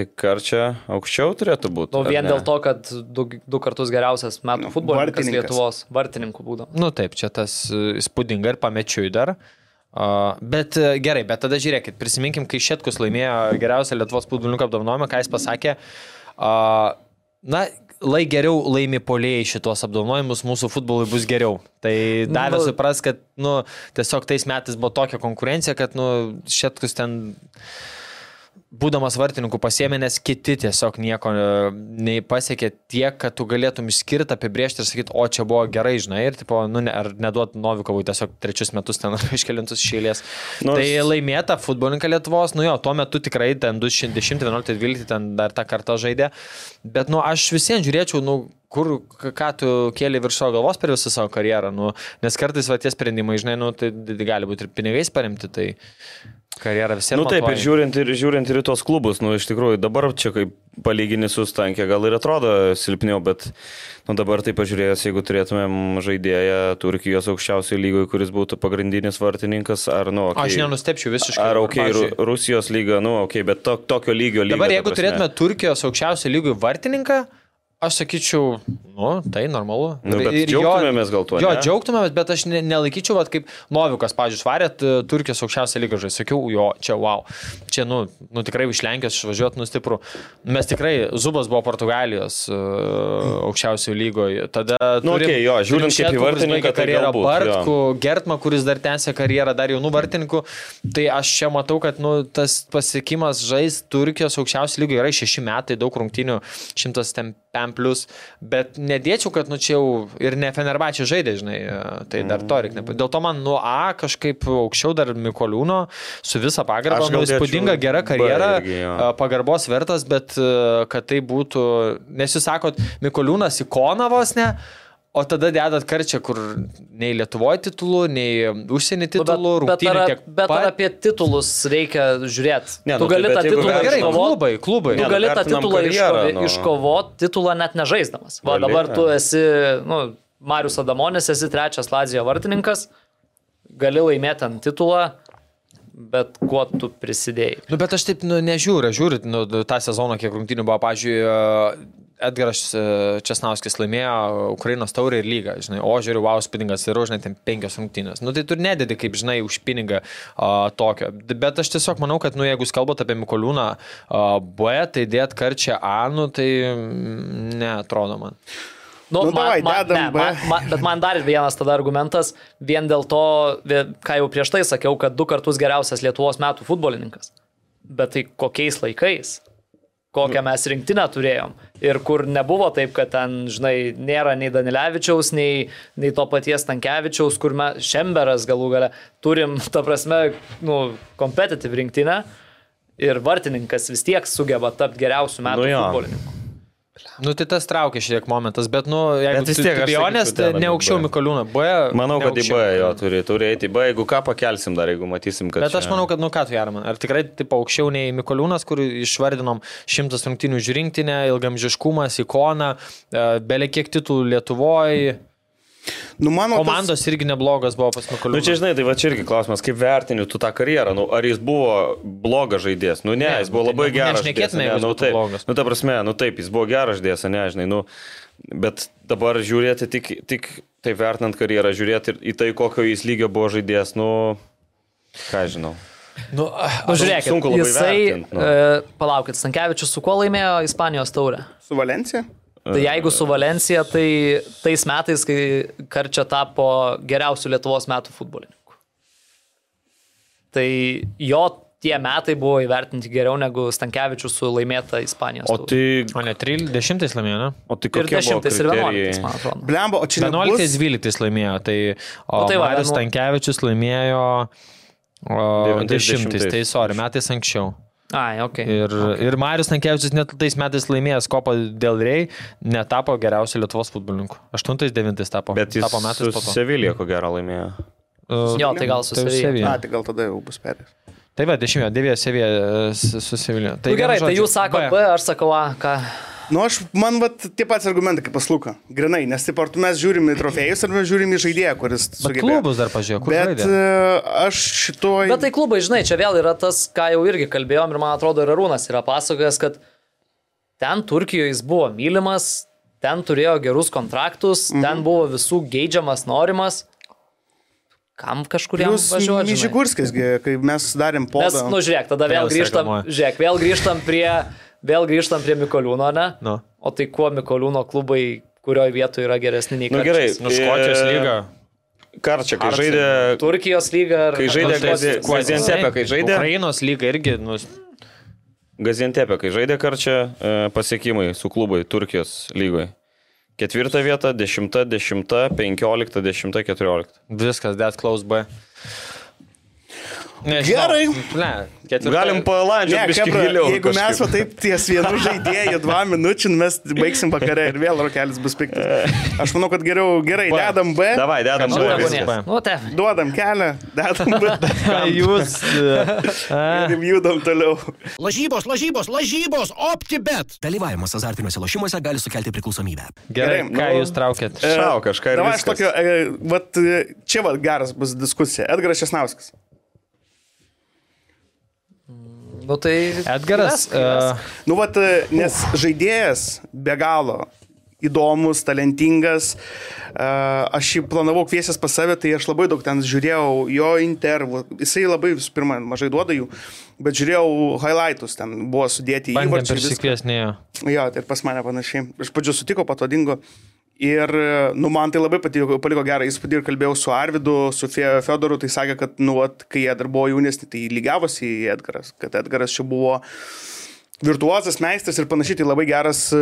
S4: Tai karčia aukščiau turėtų būti.
S5: Nu,
S4: ar
S5: vien
S4: ne?
S5: dėl to, kad du, du kartus geriausias metų
S6: Nu,
S5: futbolininkas
S6: vartininkas.
S5: Lietuvos vartininkų būdamas.
S3: Nu taip, čia tas e, įspūdinga ir pamečiui dar. Uh, bet e, gerai, bet tada žiūrėkit, prisiminkim, kai Šetkus laimėjo geriausią Lietuvos futbolininko apdovanojimą, ką jis pasakė. Uh, na, lai geriau laimi polėjai šitos apdovanojimus, mūsų futbolui bus geriau. Tai davė
S5: Nu.
S3: supras, kad nu, tiesiog tais metais buvo tokia konkurencija, kad nu, Šetkus ten būdamas vartininku pasiemė, nes kiti tiesiog nieko e, nei pasiekė tiek, kad tu galėtum išskirti, apibriežti ir sakyti, o čia buvo gerai, žinai, ir tipo, nu, ne, ar neduot Novikovui tiesiog trečius metus ten iškelintus šėlės.
S4: Nors-
S3: Nors... Tai laimėta futbolininką Lietuvos, nu jo, tuo metu tikrai ten 210, 11, 12 ten dar tą kartą žaidė, bet nu aš visiems žiūrėčiau, nu kur, k- ką tu kėlė virš savo galvos per visą savo karjerą, nu, nes kartais va tie sprendimai, žinai, nu, tai d- gali būti ir pinigais paremti, tai karjerą visiems.
S4: Nu taip, ir žiūrint, ir žiūrint ir į tos klubus, nu iš tikrųjų dabar čia kaip palyginį sustankė, gal ir atrodo silpniau, bet nu dabar tai pažiūrėjęs, jeigu turėtumėm žaidėją Turkijos aukščiausioje lygoje, kuris būtų pagrindinis vartininkas, ar nu... Okay,
S3: Aš nenustepčiau visiškai.
S4: Ar ok,
S3: pavyzdžiui,
S4: Ru- Rusijos lyga, nu ok, bet to, tokio lygio lyga.
S3: Dabar jeigu
S4: ta prasme.
S3: turėtume Turkijos aukščiausio lygio vartininką, Aš sakyčiau, nu, tai normalu.
S4: Nu, bet
S3: Ir jo-
S4: džiaugtumėmės gal tuo,
S3: Jo,
S4: ne?
S3: džiaugtumėmės, bet aš ne, nelaikyčiau, vat, kaip Novikas, pavyzdžiui, švarėt Turkijos aukščiausią lygą žaidžiu. Sakiau, jo, čia wow. Čia, nu, nu tikrai iš Lenkijos išvažiuot nustiprų. Mes tikrai, Zubas buvo Portugalijos uh, aukščiausiojo lygoje. Tada...
S4: Nu,
S3: turim-
S4: okei, jo,
S3: turim
S4: žiūrint kaip į
S3: Šetų, kuris
S4: vartininką,
S3: baigė
S4: tai
S3: karjerą
S4: galbūt,
S3: Bartku, Gertma, kuris dar tęsia karjerą dar jaunų vartininkų, tai aš čia matau, kad nu, tas pasiekimas žais Turkijos aukščiausių lygių yra 6 metai, daug rungtinių, 105 plus, bet nedėčiau, kad nu čia jau ir ne Fenerbačiai žaidė, žinai, tai dar to reikia. nepa- Dėl to man nuo A kažkaip aukščiau dar Mikoliūno su visa pagarba,
S4: Aš
S3: nu,
S4: gal dėčiau
S3: įspūdinga gera
S4: B
S3: karjera,
S4: irgi, jo.
S3: a, pagarbos vertas, bet e, kad tai būtų, nes jūs sakot, Mikoliūnas ikona vos ne, o tada dedat karčią, kur nei Lietuvoje titulų, nei užsienį
S5: Nu, bet-
S3: titulų,
S5: bet,
S3: rungtynių
S5: ar,
S3: tiek
S5: bet ar
S3: pat.
S5: apie titulus reikia žiūrėti.
S4: Ne,
S5: tu
S4: nu, tai
S5: gali
S4: bet
S5: tą
S4: jeigu
S5: titulą
S4: vertinam-
S3: Gerai,
S5: iškovot.
S3: klubai, klubai.
S5: Tu
S4: Ne, nu,
S5: gali tą
S4: vertinam
S5: titulą
S4: karjerą,
S5: iškovoti,
S4: nu.
S5: iškovot, titulą net nežaisdamas. Va,
S4: Gali,
S5: dabar tu
S4: ne.
S5: esi, nu, Marius Adamonis, esi trečias Lazijos vartininkas, gali laimėti ant titulą, bet kuo tu prisidėjai.
S3: Nu, bet aš taip nu, nežiūriu, žiūriu nu, tą sezoną, kiek rungtynių buvo, pažiūrėjau, Edgaras e, Česnauskis laimėjo Ukrainos taurę ir lygą, žinai, o žiūriu, wow, spinningas ir užnai ten penkios rungtynės. Nu, tai tu ir nededi, kaip žinai, už pinigą a, tokio. D- Bet aš tiesiog manau, kad, nu, jeigu jūs kalbate apie Mikoliūną a, B, tai dėt karčią A, nu, tai mm, neatrodo man.
S5: Nu,
S6: Nu, davai, dedam
S5: ne,
S6: B.
S5: man, man, bet man dar vienas tada argumentas, vien dėl to, vė- ką jau prieš tai sakiau, kad du kartus geriausias Lietuvos metų futbolininkas. Bet tai kokiais laikais? Kokią mes rinktinę turėjom. Ir kur nebuvo taip, kad ten, žinai, nėra nei Danilevičiaus, nei, nei to paties Tankievičiaus, kur mes Šemberas galų gale turim, ta prasme, nu, kompetitiv rinktinę. Ir vartininkas vis tiek sugeba tapti geriausių metų
S4: Nu
S5: nu,
S4: jo.
S5: futbolininku.
S3: Nu, tai tas traukia šiek tiek momentas, bet, nu, jeigu
S4: Bet vis
S3: tu-
S4: tiek
S3: tu
S4: aš
S3: abejonės,
S4: sakyčiau,
S3: tai
S4: dedam į
S3: ne aukščiau
S4: B.
S3: Mikoliūną B.
S4: Manau,
S3: ne
S4: kad į
S3: aukščiau.
S4: B jo turi, turi eiti į B, jeigu ką pakelsim dar, jeigu matysim, kad...
S3: Bet aš
S4: čia-
S3: manau, kad nu ką tu, Jarman, ar tikrai taip aukščiau nei Mikoliūnas, kur išvardinom šimtas rungtinių žiūrinktinę, ilgamžiškumas, ikona, belie kiek titulų Lietuvoje,
S6: Nu, mano tas-
S3: komandos irgi neblogas buvo pas
S4: Nu, čia
S3: Mikoliūną.
S4: žinai, tai va čia irgi klausimas, kaip vertini tu tą karjerą, nu, ar jis buvo blogas žaidėjas, nu ne,
S3: Ne,
S4: ne jis buvo
S3: tai
S4: labai
S3: ne-
S4: geras.
S3: nešnekėtume,
S4: žaidėjas,
S3: jeigu
S4: ne,
S3: jis
S4: nu,
S3: būtų
S4: taip,
S3: blogas.
S4: nu ta prasme, nu taip, jis buvo geras žaidėjas, ne, žinai, nu, bet dabar žiūrėti tik, tik taip vertinant karjerą, žiūrėti ir į tai, kokio jis lygio buvo žaidėjas, nu, ką aš žinau.
S3: Nu,
S5: Nu, žiūrėkit,
S4: sunku labai
S5: jisai,
S4: vertint, nu.
S5: e, palaukit, Stankievičius su kuo laimėjo Ispanijos taurę?
S6: Su Valencija?
S4: E.
S5: Tai jeigu su Valencija, tai tais metais, kai Karčia tapo geriausiu Lietuvos metų futbolininku. Tai jo tie metai buvo įvertinti geriau negu Stankievičius su laimėta Ispanijos
S4: O
S5: taurė.
S4: tai,
S3: O ne 30 laimėjo, ne?
S4: o tai
S5: Ir
S4: kokie buvo
S5: 10 ir 11,
S4: kriterijai?
S5: man atrodo.
S6: Blemba, o čia nebus.
S3: 11-12 laimėjo, tai o,
S5: Nu, tai
S3: tai
S5: va,
S3: Marius
S5: vienu-
S3: Tankievičius laimėjo o,
S4: 90.
S3: 10, tai sorry, metais anksčiau.
S5: Ai, okei. Okay.
S3: Ir, okay. ir Marius Tankievičius net tais metais laimėjęs Kopą dėl Rei netapo geriausiu Lietuvos futbolininku. 8-9 tapo.
S4: Bet jis
S3: tapo metais po
S4: su
S3: to.
S4: Sevilija ko gero laimėjo.
S3: Uh,
S5: Jo, tai gal su Sevilla.
S6: Na, tai gal tada jau bus perės.
S3: Tai va, 10, 9 Sevija e, su Sevilija.
S5: Tai gerai, tai jūs sakote B, aš sakau A, ką.
S6: Nu, aš, man vat, tie patys argumentai kaip pasluka. Grinai, nes taip ar tu mes žiūrim į trofėjus, ar mes žiūrim į žaidėją, kuris...
S3: Bet
S6: sugebėjo.
S3: klubus dar pažiūrėjau, kur
S6: Bet
S3: žaidė.
S6: e, aš šitoj...
S5: Bet tai klubai, žinai, čia vėl yra tas, ką jau irgi kalbėjom ir man atrodo, ir Arūnas yra pasakojęs, kad ten Turkijoje jis buvo mylimas, ten turėjo gerus kontraktus, mhm. ten buvo visų geidžiamas, norimas. Kam kažkuriam
S6: Jūs
S5: važiuoti?
S6: Mižigurskis, kai mes darėm
S5: Nes,
S6: podą.
S5: nu, žiūrėk, tada vėl
S3: Vėl
S5: grįžtam,
S3: sekamoji.
S5: žiūrėk, vėl grįžtam prie, vėl grįžtam prie Mikoliūno, ne?
S3: Nu.
S5: O tai kuo Mikoliūno klubai, kurioje vietoje yra geresni nei
S4: Nu,
S5: Karčis?
S4: gerai. E, Karčia, kai žaidė...
S5: Turkijos lyga ar...
S4: Kai žaidė Gazi- Gaziantepė, kai žaidė...
S3: Ukrainos lyga irgi, nu,
S4: Gaziantepė, kai žaidė karčią, e, pasiekimai su klubai Turkijos lygoje. Ketvirta vieta, dešimta, dešimta, penkiolikta, dešimta, keturiolikta.
S3: viskas, dead close B. Nežinau.
S6: Gerai.
S3: Ne, ketvirta-
S4: Galim palandžiai,
S6: Ne,
S4: biškai
S6: kebra,
S4: giliau.
S6: jeigu mes va
S4: kažkaip.
S6: taip ties vienu žaidėju dva minučių, mes baigsim vakare ir vėl rokelis bus piktas. Aš manau, kad geriau gerai, dedam B,
S4: Davai, dedam
S5: Nu,
S3: Žaidė
S5: negu
S4: žodį.
S3: viskas.
S5: ne. Nu, te.
S6: duodam kelią, dedam B
S3: Jūs. e,
S6: ir judam toliau.
S1: Lažybos, lažybos, lažybos, OptiBet.
S2: Dalyvavimas azartiniuose lošimuose gali sukelti priklausomybę.
S3: Gerai,
S6: Gerai,
S3: ką
S6: nu-
S3: jūs traukėt?
S4: Šau kažką ir
S6: Davai, aš
S4: viskas.
S6: tokio, e, vat, e, čia va geras bus diskusija. Edgaras Česnauskis.
S5: Nu, tai...
S3: Edgaras.
S5: Įvesk, įvesk.
S3: e,
S6: Nu, vat, e, nes žaidėjas be galo įdomus, talentingas. E, Aš jį planavau kviesęs pas save, tai aš labai daug ten žiūrėjau jo intervų. Jisai labai, visų pirma, mažai duoda jų, bet žiūrėjau highlightus, ten buvo sudėti
S3: Bandėm
S6: įvarčiai. viską.
S3: persikviesnėjo.
S6: Jo, tai ir pas mane panašiai. Iš pradžių sutiko, pato dingo. Ir, nu, man tai labai patiko, paliko gerą įspūdį ir kalbėjau su Arvidu, su Fe- Fedoru, tai sakė, kad, nu, vat, kai jie dar buvo jaunesni, tai lygiavosi į Edgaras, kad Edgaras čia buvo virtuozas, meistras ir panašiai, tai labai geras, e,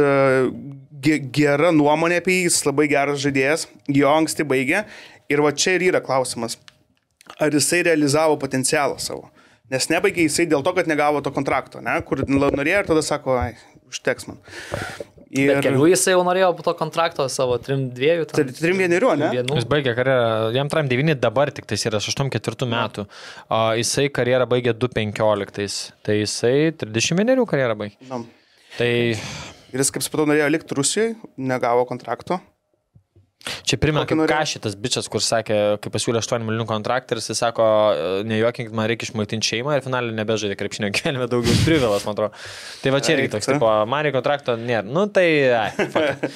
S6: ge, gera nuomonė apie jį, jis labai geras žaidėjas, jo anksti baigė. Ir va čia ir yra klausimas, ar jisai realizavo potencialą savo. Nes nebaigė jisai dėl to, kad negavo to kontrakto, ne, kur la- norėjo ir tada sako, ai, užteks man.
S5: Ir
S6: Ir
S5: kelių jisai jau norėjo po to kontrakto savo trim dviejų.
S6: Tri- trim vienerių, ne?
S3: Jis baigė karjerą, jam tram 9 dabar tik tai yra, 84 metų. O jisai karjerą baigė 2.15. Tai jisai 31 karjerą baigė.
S6: Na.
S3: Tai
S6: Ir jis, kaip supratau, norėjo likti Rusijoje, negavo kontrakto.
S3: čia primena,
S6: Kokį
S3: kaip ką
S6: norėjai?
S3: šitas bičias, kur sakė, kai pasiūlė 8 milijonų kontraktą ir jis sako, "E, nejuokinkit, man reikia išmaitinti šeimą ir finaliai nebežaidė krepšinio kelime daugiau privilas, man atrodo. Tai va čia irgi
S6: Eik
S3: toks,
S6: tu.
S3: tipo, man reikia kontrakto, nėra. Nu tai... ai, fuck it.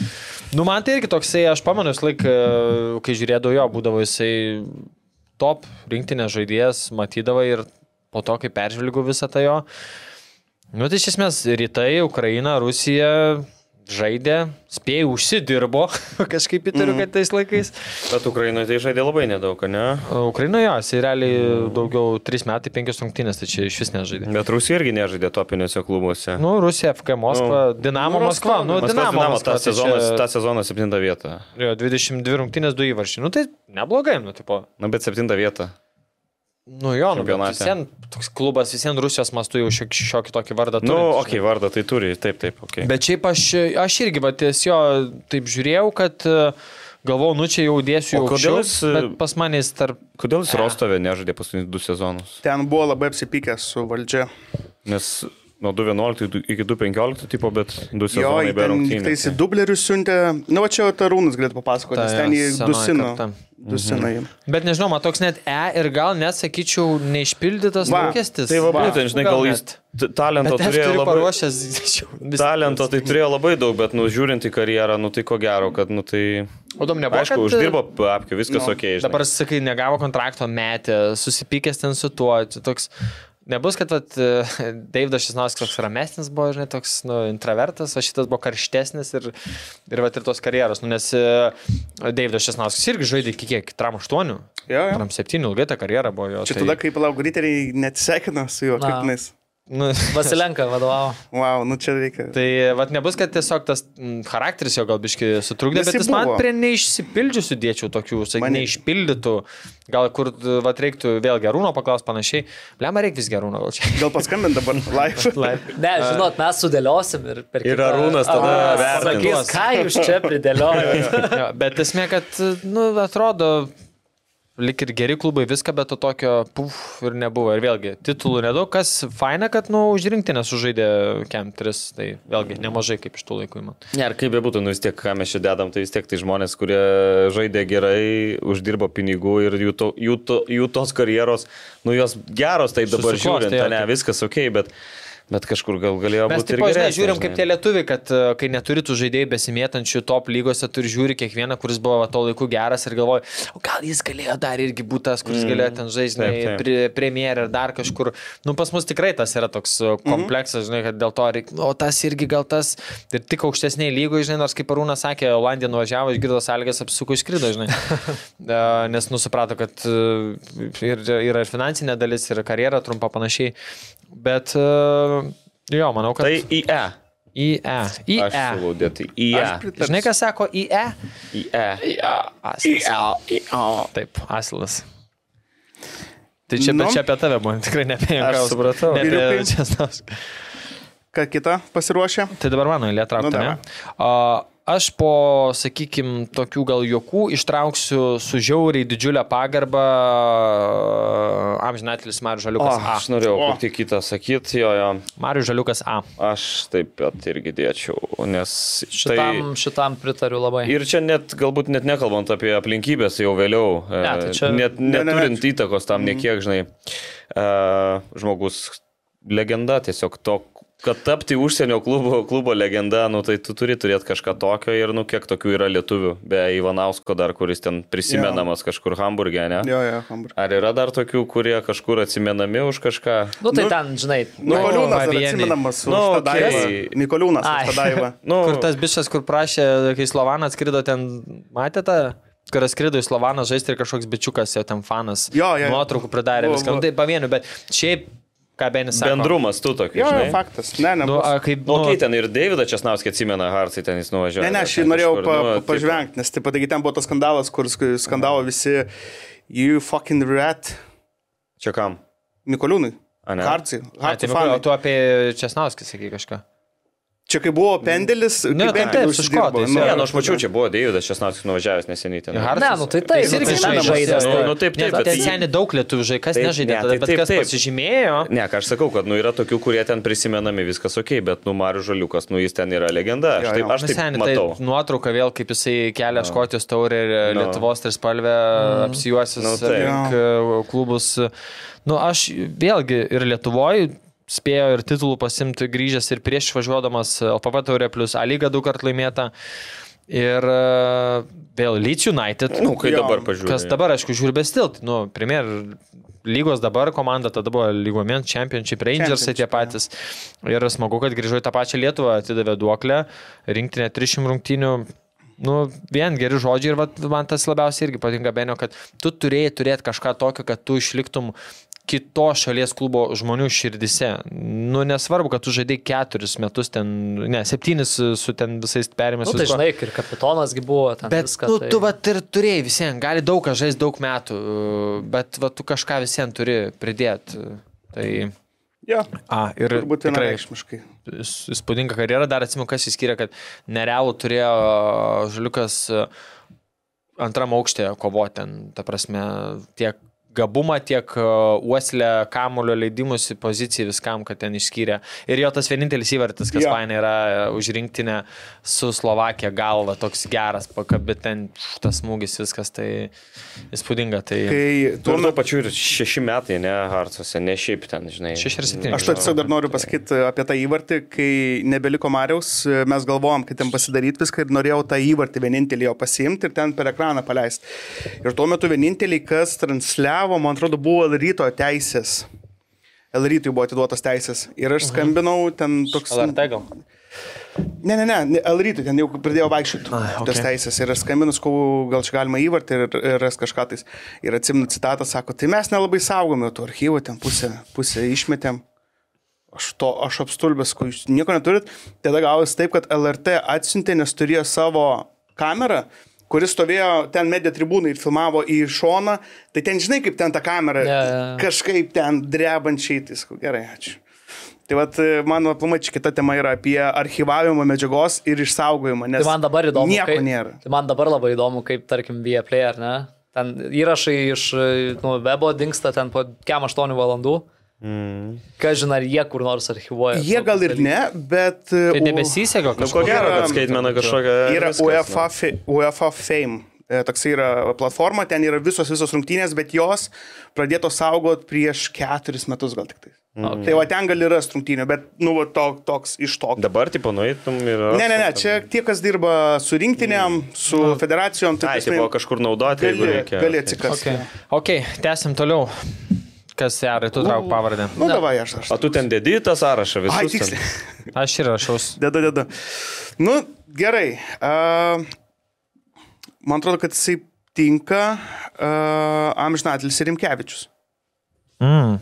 S3: Nu man tai irgi toksai, aš pamenu, jis laik, e, kai žiūrėdavo jo, būdavo jisai top rinktinės žaidėjas, matydavo ir po to, kai peržvelgiu visą tą jo. Nu tai iš esmės rytai, Ukraina, Rusija žaidė, spėjai užsidirbo, kažkaip įtariu, kad tais laikais.
S4: Bet Ukrainoje tai žaidė labai nedaug, ne?
S3: Ukrainoje, jisai realiai daugiau 3 metai, 5 rungtynės, tai čia iš vis nežaidė.
S4: Bet Rusija irgi nežaidė topiniuose klubuose.
S3: Nu, Rusija, FK Moskva, Dinamo
S6: nu,
S3: Moskva,
S6: Roskova,
S3: nu,
S4: Maskvos
S3: Dinamo
S4: Dinamo
S3: Moskva.
S4: tą
S3: tai
S4: sezoną,
S3: čia-
S4: tą sezoną septintą vietą.
S3: Jo, 22 rungtynės, 2 įvarčiai. Nu tai neblogai, nu, tipo.
S4: Na, bet septintą vietą.
S3: Nu jo, nu, bet
S4: Čempionate.
S3: visien, toks klubas, visien Rusijos mastu jau šiek tiek tokį vardą turi.
S4: Nu, okei, okay, vardą tai turi, taip, taip, okei. Okay.
S3: Bet šiaip aš, aš irgi, va, ties jo taip žiūrėjau, kad e, galvojau, nu čia jau dėsiu jau
S4: O kodėl
S3: aukščiau,
S4: jis, e,
S3: bet pas mane jis tarp...
S4: Kodėl jis Rostovė nežaidė paskutinius du sezonus?
S6: Ten buvo labai apsipykęs su valdžia.
S4: Nes nuo 2.11 iki 2.15 tipo, bet du
S6: Jo,
S4: sezonai
S6: jį
S4: be
S6: ten
S4: rungtynių.
S6: tai į dublerius siuntė. Na, va čia Tarūnas galėtų papasakoti,
S3: Ta,
S6: nes
S3: jo,
S6: ten jį
S3: senoji
S6: dusino.
S3: karta.
S6: Dusino jį.
S3: Bet nežinau, man toks net E ir gal net, sakyčiau, neišpildytas
S6: Va,
S3: lūkestis.
S4: Tai va, būtent, žinai, gal jis t- talento
S3: Bet aš
S4: turėjo
S3: turiu
S4: labai...
S3: paruošęs vis-
S4: Talento tai turėjo labai daug, bet, nu, žiūrint į karjerą, nu, tai ko gero, kad, nu, tai...
S3: O dom nebuvo.
S4: Aišku,
S3: kad, e,
S4: uždirbo apkiu, viskas
S6: nu,
S4: ok. Žinai.
S3: Dabar, sakai, negavo kontrakto metę, susipykęs ten su tuo, čia toks... Nebus, kad vat, e, Deividas Šisnauskas toks ramesnis buvo, žinai, toks nu, intravertas, o šitas buvo karštesnis ir, ir, vat, ir tos karjeros. Nu, nes e, Deividas Šisnauskas irgi žaidė iki kiek? Tram 8,
S6: Jo, jo.
S3: Tram 7, ilgai ta karjera buvo jo. tai,
S6: Čia tada, kai palauk griteriai neatsekino su juo,
S5: Na.
S6: kaip nais.
S3: Nu,
S5: Vasilenka vadovavo.
S6: Wow, nu čia reikia.
S3: tai vat, nebus, kad tiesiog tas m, charakteris jo gal biški sutrukdė,
S6: Nes
S3: bet
S6: jis
S3: jis man
S6: buvo.
S3: prie neišsipildžiusių dėčių tokių, sakyk,
S6: Man irgi.
S3: neišpildytų, gal kur e, vat, reiktų vėl gerūno paklausti panašiai. Lemą reikia vis gerūno gal čia.
S6: Gal paskambint dabar live?
S5: Ne, žinot, mes sudėliosim ir per kitą.
S4: Ir Arūnas tada vertins. Tai-
S5: pasakys, ką jūs čia pridėliojate.
S3: Jo, bet esmė, kad, nu, atrodo, lik ir geri klubai viską, bet to tokio, puf, ir nebuvo. Ir vėlgi, titulų nedaug, kas faina, kad, nu, užrinkti nesužaidė Kem 3, tai vėlgi nemažai kaip iš tų laikų man.
S4: Ne, ar kaip bebūtų, nu vis tiek, ką mes čia dedam, tai vis tiek tai žmonės, kurie žaidė gerai, uždirbo pinigų ir jų, to, jų, to, jų tos karjeros, nu jos geros, tai dabar
S3: Susiklostė,
S4: žiūrint,
S3: jo,
S4: ne,
S3: taip.
S4: viskas ok, bet, bet kažkur gal galėjo
S3: Mes
S4: būti
S3: taip
S4: ir
S3: pat
S4: gerai.
S3: žiūrim, kaip tie lietuvi, kad e, kai neturi tų žaidėjų besimėtančių top lygose, turi žiūri kiekvieną, kuris buvo va, to laiku geras ir galvoja, o gal jis galėjo dar irgi būti tas, kuris galėjo ten žaisti
S4: Mm, Taip, taip.
S3: premjerą ar dar kažkur. Nu, pas mus tikrai tas yra toks e,
S4: Mhm.
S3: kompleksas, žinai, kad dėl to reikia, o tas irgi gal tas, ir tik aukštesniai lygoje, žinai, nors kaip Arūnas sakė, Olandija nuvažiavo, išgirdo sąlygas, apsuko išskrido, žinai. E, Nes nusuprato, kad e, ir, yra ir finansinė dalis, ir karjera trumpa panašiai. Bet e, jo, manau, kad...
S4: Tai į E.
S3: IE. IE.
S4: Aš siūlau dėti į E.
S6: Aš pritariu.
S3: E. Žinai, ką sako IE?
S4: Į E.
S3: Asilas. Taip, asilas. Tai čia, bet
S6: Nu.
S3: čia apie tave buvo, tikrai ne apie ją.
S6: Aš supratau.
S3: Ne apie
S6: Vyriukai.
S3: Česnauską.
S6: Ką kita pasiruošė?
S3: Tai dabar mano eilė
S6: Nu,
S3: traukti.
S6: davai.
S3: Nu, aš po, sakykim, tokių gal juokų ištrauksiu su žiauriai didžiulę pagarbą amžinatelis Marius Žaliukas
S6: Ah,
S3: A.
S4: Aš norėjau
S6: O.
S4: kaip tik kitą sakyti, jo, jo.
S3: Marius Žaliukas A.
S4: Aš taip pat irgi dėčiau, nes tai
S5: Šitam, šitam pritariu labai.
S4: Ir čia net, galbūt net nekalbant apie aplinkybės jau vėliau, ne,
S5: tai čia-
S4: net
S6: ne, ne.
S4: neturint įtakos tam, niekiek, žinai, e, žmogus legenda tiesiog to, kad tapti užsienio klubo, klubo legenda, nu, tai tu turi turėti kažką tokio ir, nu, kiek tokių yra lietuvių, be Ivanausko dar, kuris ten prisimenamas kažkur Hamburgė, ne?
S6: Jo, jo, Hamburg.
S4: Ar yra dar tokių, kurie kažkur atsimenami už kažką?
S5: Nu tai
S6: Nu,
S5: ten, žinai,
S6: Nikoliūnas
S5: va,
S6: dar
S5: vieni.
S6: atsimenamas su
S4: Nu,
S6: no,
S4: okei.
S6: Tadaiva. Nikoliūnas
S5: Ai.
S6: su Tadaiva.
S4: Nu,
S3: Kur tas bišas, kur prašė, kai Slovanas skrido ten, matėte tą, kur skrido į Slovaną žaisti ir kažkoks bičiukas, jo ten fanas.
S6: Jo, jo, jo.
S3: Nuotraukų pridarė
S6: Buvo,
S3: viską.
S6: buvo.
S3: Nu, Tai pavieniu, bet šiaip, ką Benis sakė.
S4: bendrumas tu tokiu.
S6: Jo, jo,
S4: žinai.
S6: faktas. Ne, ne,
S3: Nu,
S6: bus.
S3: a, kaip,
S4: Nu,
S3: nu,
S4: okay, ten ir Davidą Česnavskį atsimena, Hartsai ten jis nuvažiavo.
S6: Ne, ne, aš jį
S4: ten
S6: norėjau
S4: kažkur,
S6: pa,
S4: nu,
S6: pa,
S4: tipo,
S6: pažvengti, nes taip pat ten buvo tas skandalas, kur sk- skandavo visi You fucking rat
S4: tai Čia kam?
S6: Nikoliūnui.
S4: A, ne?
S6: Hartsai.
S3: ai, tai
S6: Hartsai
S3: va,
S6: fanai.
S3: o tu apie Česnauskį sakai kažką.
S6: Čia kai buvo pendelis,
S3: Ne,
S6: kaip
S3: tai
S6: pendelis
S3: taip, su
S6: užsidirbo.
S3: škotais,
S6: Nu,
S3: jo.
S4: Ne, nu aš mačiau, čia buvo Davidas Česnavskis nuvažiavęs neseniai ten.
S3: Hartsas-
S5: Ne, nu tai taip,
S3: jis irgi
S6: nu, tai
S3: žinai
S6: žinoma,
S3: žaidė.
S4: nu, nu, taip, taip,
S3: Nes,
S4: bet
S3: ten
S4: jį-
S3: seniai daug lietuvių žaidė, kas
S4: Taip,
S3: nežaidė,
S4: ne,
S3: tada,
S4: tai
S3: bet
S4: taip,
S3: kas
S4: taip.
S3: pasižymėjo.
S4: Ne, ką aš sakau, kad nu, yra tokių, kurie ten prisimenami, viskas ok, bet nu Marius Žaliukas, nu jis ten yra legenda.
S6: Jo,
S4: Aš
S6: jo.
S4: taip, aš
S3: Nu,
S4: taip
S3: seniai,
S4: matau.
S3: Tai nuotrauka vėl, kaip jisai kelia Škotijos taurę ir
S4: Nu.
S3: no. Lietuvos trispalvę mm. apsijuosius
S4: Nu,
S3: no,
S4: taip.
S3: klubus. Nu, aš vėlgi ir Lietuvoje spėjo ir titulų pasimti grįžęs ir prieš važiuodamas LPP taurė plus A lyga du kart laimėta. Ir e, vėl Leeds United.
S4: Nu, kai
S6: Jo.
S4: dabar pažiūrėjau.
S3: Kas dabar, aišku, žiūri bestilt. Nu, Premier lygos dabar komanda, tada buvo lygomen, Championship Rangersai tie patys. Ir smagu, kad grįžo į tą pačią Lietuvą, atidavė duoklę, rinktinė 300 rungtinių. Nu, vien geri žodžiai ir vat, man tas labiausiai irgi patinka, Benio, kad tu turėjai turėti kažką tokio, kad tu išliktum kitos šalies klubo žmonių širdise. Nu, nesvarbu, kad tu žaidai keturis metus ten, ne, septynis su ten visais perimės.
S5: Nu tai žinai, ir kapitonasgi buvo ten.
S3: Bet
S5: viską,
S3: nu,
S5: tai...
S3: tu vat ir turėjai visiems, gali daug kas žaisti daug metų, bet vat, tu kažką visiems turi pridėti. Tai...
S6: Jo,
S3: A, ir
S6: turbūt
S3: tikrai
S6: vienareikšmiškai.
S3: įs- įspūdinga karjera, dar atsimenu, kas įskyrė, kad nerealų turėjo uh, Žaliukas uh, antram aukštė kovoti, ten, ta prasme, tiek gabumą, tiek uh, uoslę, kamulio leidimus į poziciją viskam, kad ten išskyrė. Ir jo tas vienintelis įvartis, kas
S6: Jo.
S3: fainai yra e, už rinktinę su Slovakija galva, toks geras, pakabit ten pš, tas smūgis, viskas tai įspūdinga. Tai...
S6: Kai
S4: Tuo
S6: tuo
S4: metu
S6: metu
S4: pačiu ir šeši metai, ne, Hartsose, ne šiaip ten, žinai.
S3: Šeši ar septyni.
S6: Aš to tiesiog dar noriu pasakyti apie tą įvartį, kai nebeliko Mariaus, mes galvojom, kad ten pasidaryti viską ir norėjau tą įvartį vienintelį jo pasiimti ir ten per ekraną paleisti. Ir tuo metu vienintelį, kas transliavo, man atrodo, buvo L ryto teisės. L rytui buvo atiduotas teisės. Ir
S3: Mhm.
S6: aš skambinau ten toks...
S3: LRT gal.
S6: Ne, ne, ne, ne, L rytui ten jau pradėjau vaikščioti okay. tas teisės. Ir aš skambinu, sakau, gal čia galima įvartį ir, ir ras kažką tais. Ir atsiminu citatą, sako, tai mes nelabai saugome tų archyvų, ten pusę, pusę išmetėm. Aš, to, aš apstulbęs, kai jūs nieko neturit. Tada gavosi taip, kad LRT atsiuntė, nes turėjo savo kamerą, kuris stovėjo ten media tribūnai ir filmavo į šoną. Tai ten žinai, kaip ten ta kamera
S5: Jo, jo, jo.
S6: kažkaip ten drebančiai. Tai sakau, gerai, ačiū. Tai vat, e, mano pamačiai kita tema yra apie archivavimą medžiagos ir išsaugojimą.
S5: Tai man dabar įdomu.
S6: Nieko
S5: kaip,
S6: kaip... nėra.
S5: Tai man dabar labai įdomu, kaip, tarkim, Vieplay, ar ne? Ten įrašai iš e, nu, webo dinksta ten po 8 valandų. Mm. Ką žinai, ar jie kur nors archivuoja.
S6: Jie gal ir ne, bet... e,
S3: Tai
S6: u-
S3: nebesisega
S4: Nu, ko
S3: kažkas.
S4: gero,
S6: yra-
S4: kad skaitmena kažkokia.
S6: Yra
S4: viskas,
S6: UEFA,
S4: nu.
S6: fi- UEFA Fame. E, Toksai yra platforma, ten yra visos, visos rungtynės, bet jos pradėtos saugot prieš keturis metus gal tik tai.
S4: Mhm.
S6: Okay. Tai va ten gali rasti rungtynę, bet nu va to, toks iš to.
S4: Dabar, tipo, nu, nueitum ir...
S6: Ne, ne, ne, čia tie, kas dirba su rinktiniam, su federacijom, tai
S4: Mhm. Nu, Ai, tai buvo kažkur naudoti, jeigu
S6: gali,
S4: reikia.
S6: gali atsikasti.
S3: Okay.
S6: Okay.
S3: ok, tęsim toliau. Kas yra, tu trauk pavardę.
S6: Nu, davai, aš aš.
S4: O tu ten dedi tą sąrašą visą.
S6: Ai, tiksliai.
S3: Aš ir rašaus.
S6: Deda, deda. Nu, gerai. Uh, man atrodo, kad jisai tinka uh, Amžinatilis ir Rimkevičius.
S3: Mm.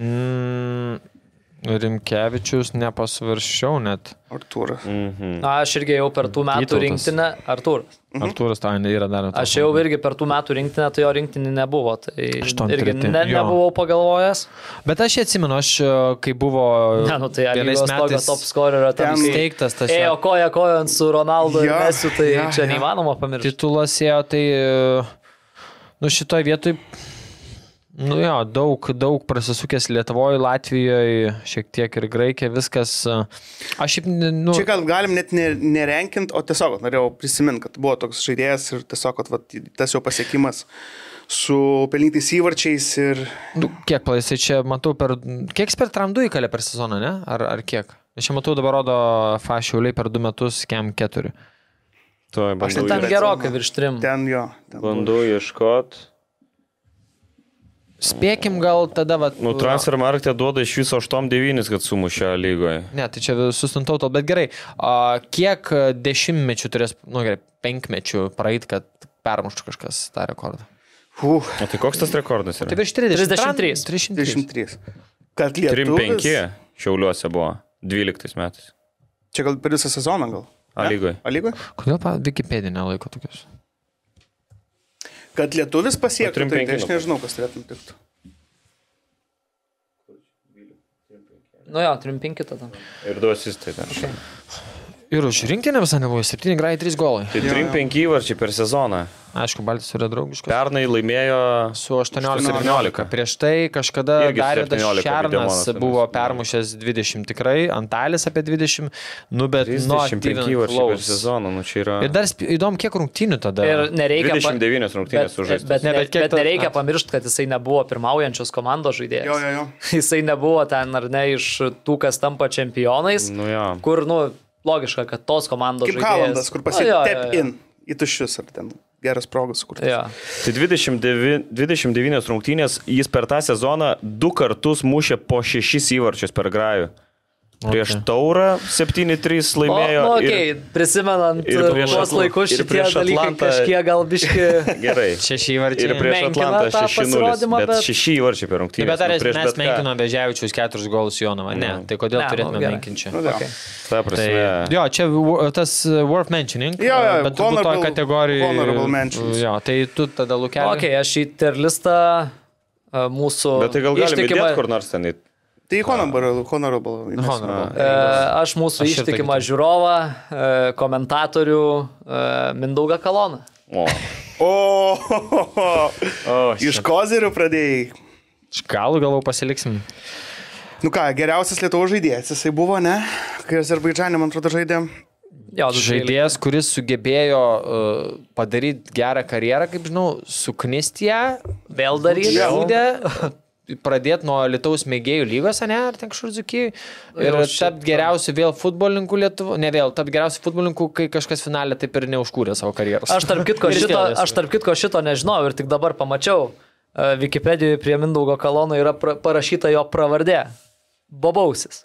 S3: Mm. Rimkevičius nepasvaršiau net.
S6: Artūras.
S4: Mm.
S5: Na, aš irgi jau per tų metų
S3: Vytautas.
S5: rinktinę. Artur.
S3: Artūras Tainė yra dar.
S5: Aš jau irgi per tų metų rinktinę, tai jo rinktinį nebuvo. Tai
S3: Aštuom
S5: irgi
S3: treti,
S5: ne,
S3: jo.
S5: nebuvau pagalvojęs.
S3: Bet aš jį atsimenu, aš e, kai buvo...
S5: Ne, nu tai Alėlis
S3: vienais
S5: Matas top scorerio ten.
S6: ten
S5: kai
S3: steigtas tas jo.
S5: Ėjo koja kojon su Ronaldu ir
S6: Jo,
S5: Mesiu, tai
S6: jo,
S5: čia
S6: jo.
S5: neįmanoma pamiršti.
S3: titulas ėjo, tai... e, Nu šitoje vietoje... Nu jo, daug, daug prasisukęs Lietuvoje, Latvijoje, šiek tiek ir Graikijoje, viskas. e, Aš šiaip... ne- Nu,
S6: Čia gal galim net ne- nerenkint, o tiesiog vat norėjau prisiminti, kad buvo toks žaidėjas ir tiesiog vat, vat, tas jo pasiekimas su pelnytais įvarčiais ir
S3: Nu, kiek palaisai čia matau per... Kiek jis per tramdu įkalė per sezoną, ne? Ar, ar kiek? Aš čia matau dabar rodo fašiuliai per du metus, kem keturi.
S4: Tuoj
S6: Aš
S4: bandau,
S6: tai
S4: tai
S5: Ten
S6: Žiūrėk,
S5: gerokai
S6: Sauliau.
S5: virš trim.
S6: Ten jo. Ten
S4: bandau ieškoti.
S3: Spėkim gal tada, va.
S4: Nu, transfer marketė duoda iš viso 8-9, kad sumušė lygoje.
S3: Ne, tai čia sustantau tol, bet gerai. A, kiek a, dešimtmečių turės, nu gerai, penkmečių praeit, kad permuštų kažkas tą rekordą?
S6: Uf,
S4: O tai koks tas rekordas yra?
S3: Tai virš 30.
S5: 33.
S3: 33.
S6: 23. Kad
S4: 3-5
S6: lietuvis.
S4: Šiauliuose buvo 12 metais.
S6: Čia gal per visą sezoną gal.
S4: A lygoje.
S6: O lygoje?
S3: Kodėl pa- Wikipedia nelaiko tokius?
S6: Kad lietuvis pasiektų,
S4: Trim
S6: tai, tai
S4: penki
S6: aš
S4: dabar.
S6: nežinau, kas turėtų nutikti.
S5: Nu jo, trim penki tada.
S4: Ir du asistai ten.
S3: Ir už rinktinę visą nebuvo 7 grai 3 golai.
S4: Tai 3-5 įvarčiai per sezoną.
S3: Aišku, Baltis yra draugiškas.
S4: Pernai laimėjo
S3: Su 18-17.
S4: 18.
S3: Prieš tai kažkada
S4: Irgi su
S3: Dariudas
S4: 17
S3: Šernas
S4: Demonas
S3: buvo
S4: tenais.
S3: permušęs 20 tikrai, Antalis apie 20, nu bet nuo
S4: 35 įvarčiai per sezoną. Nu, čia yra
S3: Ir dar sp- įdomu, kiek rungtynių tada.
S5: Ir nereikia. pa-
S4: 29
S5: Bet,
S4: rungtynės
S5: bet,
S4: sužaistas.
S5: bet,
S3: Ne,
S5: ne,
S3: bet
S5: bet,
S3: kiek
S5: bet
S3: ta-
S5: nereikia
S3: at-
S5: pamiršti, kad jisai nebuvo pirmaujančios komandos žaidėjas.
S6: Jo, jo, jo.
S5: Jisai nebuvo ten ar ne iš tų, kas tampa čempionais,
S4: Nu, jo.
S5: kur, nu, logiška, kad tos komandos.
S6: Kaip
S5: žaidėjas-
S6: Kalandas, kur
S5: Nu, jo,
S6: pasiekė
S5: jo,
S6: tap
S5: jo.
S6: in į tuščius ar ten geras progas sukurti.
S5: Jo.
S4: Tai 29, 29 rungtynės jis per tą sezoną du kartus mušė po šešis įvarčius per grajų. Prieš okay. taurą 7-3
S5: O,
S4: laimėjo.
S5: nu,
S4: ir-
S5: okay, ir, prisimenant
S4: ir prieš
S5: tuos
S4: Atl-
S5: laikus
S4: ir
S5: šitie
S4: prieš
S5: dalykai
S4: Atlantą-
S5: kažkiek gal biški.
S4: Gerai.
S3: Šeši įvarčiai.
S4: Ir prieš
S5: menkina
S4: Atlantą
S5: tą
S4: 6-0.
S5: pasirodymą,
S4: Bet
S5: bet-
S4: 6 įvarčiai per rungtynės.
S3: Nu, bet ar
S4: prieš
S3: mes
S4: bet ką.
S3: menkinome Beževičius keturis golus Jonovą? Ne. Tai kodėl
S5: Ne, nu,
S3: turėtume
S5: gerai.
S3: menkinti čia?
S6: Nu, tai jo.
S4: Ta
S3: Tai,
S4: prasme.
S3: jo, čia wo- tas uh, worth mentioning.
S6: Jo, jo,
S3: uh, bet turbūt to
S6: honorable-
S3: kategorijoje.
S6: honorable mentions.
S3: Jo, tai tu tada lūkeli.
S5: Ok, Nu, aš į terlistą a, mūsų.
S4: Bet tai gal galime
S5: ištikimą-
S4: įdėti kur nors ten. į-
S6: Tai honorable, honorable. įmesim.
S3: Honorable.
S4: Tai
S5: E, Aš mūsų
S3: Aš
S5: aš
S3: ir tai
S5: ištikimą žiūrovą, e, komentatorių Mindaugą Kaloną.
S4: O.
S6: O, ho, ho, ho.
S4: o
S6: iš kozerių pradėjai.
S3: Galų galų pasiliksim.
S6: Nu ką, geriausias lietuvo žaidėjas jisai buvo, ne? Kai Azerbaidžanė, man atrodo, žaidė.
S5: Jo, du žaidėjai.
S3: Žaidėjas, kuris sugebėjo uh, padaryti gerą karjerą, kaip žinau, suknisti ją,
S5: Vėl daryti.
S3: žaidė. Pradėti nuo Lietuvos mėgėjų lygos, ne, ar ten kažkur Zukijai. Ir
S5: Jau šitą.
S3: tapti geriausiu vėl futbolininku Lietuvo, ne vėl, tapti geriausiu futbolininku, kai kažkas finalė taip ir neužkūrė savo karjeros.
S5: Aš tarp, kitko,
S3: Ir vėl
S5: šito,
S3: esu.
S5: aš tarp kitko šito nežinojau ir tik dabar pamačiau. E, Wikipedijoje prie Mindaugo Kalono yra pra, parašyta jo pravardė. Bobausis.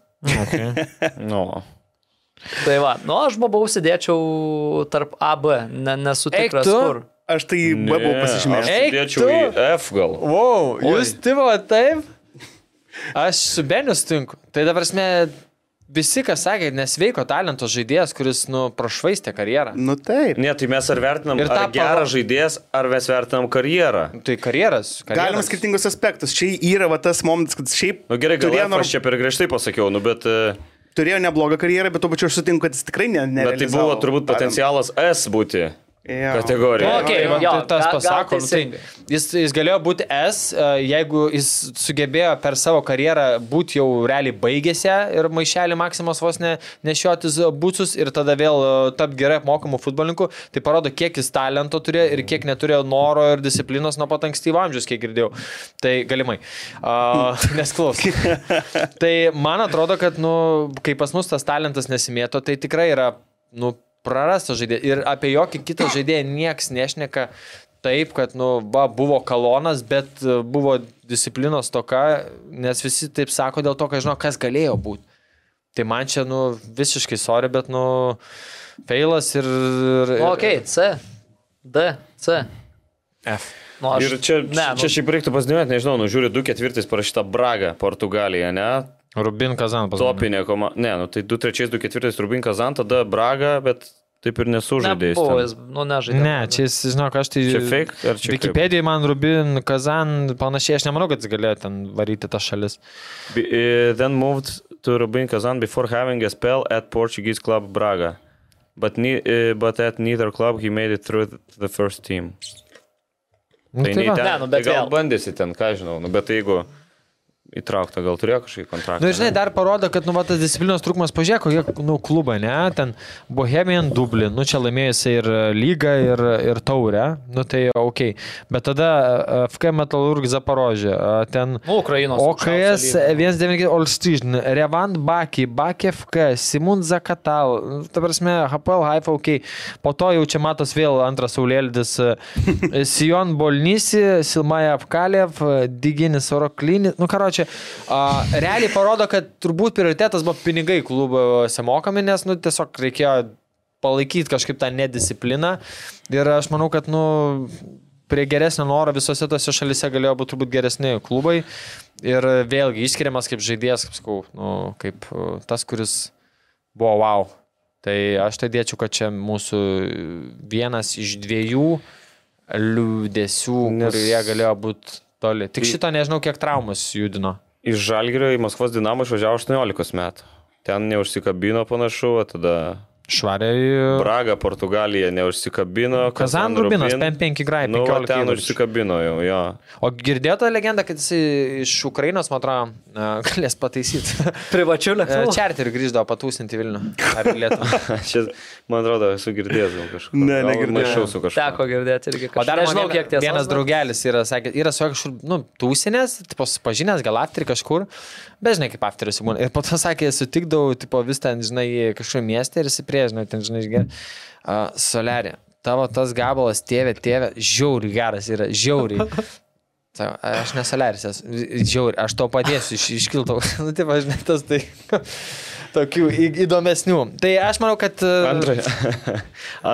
S4: Nu.
S5: Tai va, nu aš bobausi dėčiau tarp AB, ne, nesu
S3: Eik
S5: tikras
S3: tu.
S5: kur.
S6: Aš tai
S4: Ne,
S6: buvau
S4: Aš
S6: pasižymėjęs.
S3: Eik
S4: sudėčiau į
S3: tu.
S4: F gal.
S3: Wow, jūs tipo taip? Aš su Beniu sutinku. Tai dabar mes visi, kas sakė, nesveiko talento žaidėjas, kuris, nu, prašvaistė karjerą.
S6: Nu taip.
S4: Ne, tai mes ar vertinam
S3: Ir
S4: ir
S3: tą
S4: tą
S3: pavo-
S4: gerą žaidėjas, ar mes vertinam karjerą.
S3: Tai karjeras. karjeras.
S6: Galima skirtingus aspektus. Čia yra va, tas momentas, kad šiaip
S4: Nu gerai, gal
S6: turėjo,
S4: F aš čia per griežtai pasakiau, nu, bet, e,
S6: turėjo neblogą karjerą, bet tuo pačiu aš sutinku, kad jis tikrai ne.
S4: bet tai
S6: nerealizavo
S4: buvo turbūt
S6: talento.
S4: potencialas S būti
S6: Jo.
S4: kategorija.
S5: Nu, Okei,
S3: Tai va,
S5: jo,
S3: tai tas
S5: ga- gal
S3: pasako, nu,
S5: teisingai.
S3: tai jis, jis galėjo būti S, e, jeigu jis sugebėjo per savo karjerą būti jau realiai baigėsi ir maišelį Maksimos vos ne, nešiotis būsus ir tada vėl tap gerai apmokamų futbolininkų, tai parodo, kiek jis talento turėjo ir kiek neturėjo noro ir disciplinos nuo pat ankstyvo amžiaus, kiek girdėjau. Tai galimai. Uh, Nesklaus. tai man atrodo, kad, nu, kai pas mus tas talentas nesimėto, tai tikrai yra, nu, prarastas žaidėjas. Ir apie jokį kitą žaidėją nieks nešneka taip, kad, nu, va, buvo kalonas, bet e, buvo disciplinos toka, nes visi taip sako dėl to, kad žino, kas galėjo būti. Tai man čia, nu, visiškai sorry, bet, nu, feilas ir... ir
S5: Nu, ok, C, D, C.
S3: F.
S5: Nu, aš,
S4: Ir čia,
S5: ne, nu,
S4: čia šiaip reiktų pasidėmėti, nežinau, nu žiūri 2-4 parašyta Braga, Portugalija, ne?
S3: Rubin Kazan pasakė.
S4: Topinė komanda. Ne, nu tai 2-3-2-4 Rubin Kazan, tada Braga, bet taip ir nesužaidė. jis ten.
S5: Nebuvo jis, nu nežaidė.
S3: Ne, čia jis, žinok, aš tai...
S4: Čia fake ar čia kaip?
S3: Wikipedijai man Rubin Kazan panašiai, aš nemanau, kad jis galėjo ten varyti tas šalis.
S4: Be- eh, Then moved to Rubin Kazan before having a spell at Portuguese club Braga. But, ne, eh, but at neither club he made it through the first team.
S3: Nu,
S4: Tai, tai
S3: va.
S4: ten,
S5: Ne, nu, bet
S4: tai gal
S5: vėl.
S4: bandėsi ten, ką žinau, nu, bet tai jeigu įtraukta, gal turėjo kažkokį kontraktą.
S3: Na, nu, žinai, dar parodo, kad, nu, va, tas disciplinos trūkumas, pažiūrėk, kokie, nu, klubai, ne, ten Bohemian Dublin, nu, čia laimėjusi ir lygą, ir, ir taurę, nu, tai ok. Bet tada e, FK Metalurg Zaporožė, e, ten...
S5: Nu, Ukrainos.
S3: OKS 199 Olstyžn, Revand Baki, Baki FK, Simon Zakatal, nu, ta prasme, HPL Haifa, ok. Po to jau čia matos vėl antras Saulėlydis, e, Sion Bolnysi, Silmaja Apkalėv, Diginis Oroklinis, nu, karo čia. A, realiai parodo, kad turbūt prioritetas buvo pinigai klubuose mokami, nes, nu, tiesiog reikėjo palaikyti kažkaip tą nediscipliną. Ir aš manau, kad, nu, prie geresnio noro visose tose šalise galėjo būti turbūt geresni klubai. Ir vėlgi išskiriamas kaip žaidėjas, kaip sakau, nu, kaip uh, tas, kuris buvo wow. Tai aš tai dėčiau, kad čia mūsų vienas iš dviejų liūdėsių,
S4: Nes-
S3: Nes... kurie galėjo būti toli. Tik šito nežinau, kiek traumas judino.
S4: Iš Žalgirio į Maskvos Dinamą išvažiavo 18 metų. Ten neužsikabino panašu, o tada
S3: Švariai.
S4: Braga, Portugalija neužsikabino.
S3: Kazan Rubinas,
S4: Rubin.
S3: 5-5 grai,
S4: Nu, va,
S3: 15
S4: ten
S3: įvarčių.
S4: užsikabino jau, jo.
S3: O girdėjote legendą, kad jis iš Ukrainos, man atrodo, e, galės pataisyti.
S5: Privačiu
S3: E,
S5: lėktuvu.
S3: Čarterį grįždavo patūsinti Vilnių. Ar į Lietuvą.
S4: Čia, man atrodo, esu girdėjęs gal kažką.
S6: Ne,
S4: Gal
S6: negirdėjau.
S4: Maišau su
S5: Teko
S4: kažkuo.
S5: girdėti irgi kažką.
S3: O dar
S5: nežinau,
S3: man viena-
S5: kiek tiesa.
S3: Vienas
S5: bet-
S3: draugelis yra, sakė, yra su juo kažkur, nu, tūsinės, tipo, susipažinęs, gal afterį kažkur, bet žinai, kaip afteris būna. Ir po to sakė, sutikdavau, tipo, vis ten, žinai, kažkur miestą ir įsipriežinau, ten, žinai, išgeriau. Uh, Solerė, tavo tas gabalas, tėvė, tėvė, žiauri geras yra, žiauri. Sako, aš nesoleris esu, žiauri, aš to padėsiu, iš, iškiltau. Nu, tai važinai, tas tai tokių į- įdomesnių. Tai aš manau, kad... e,
S4: Antra,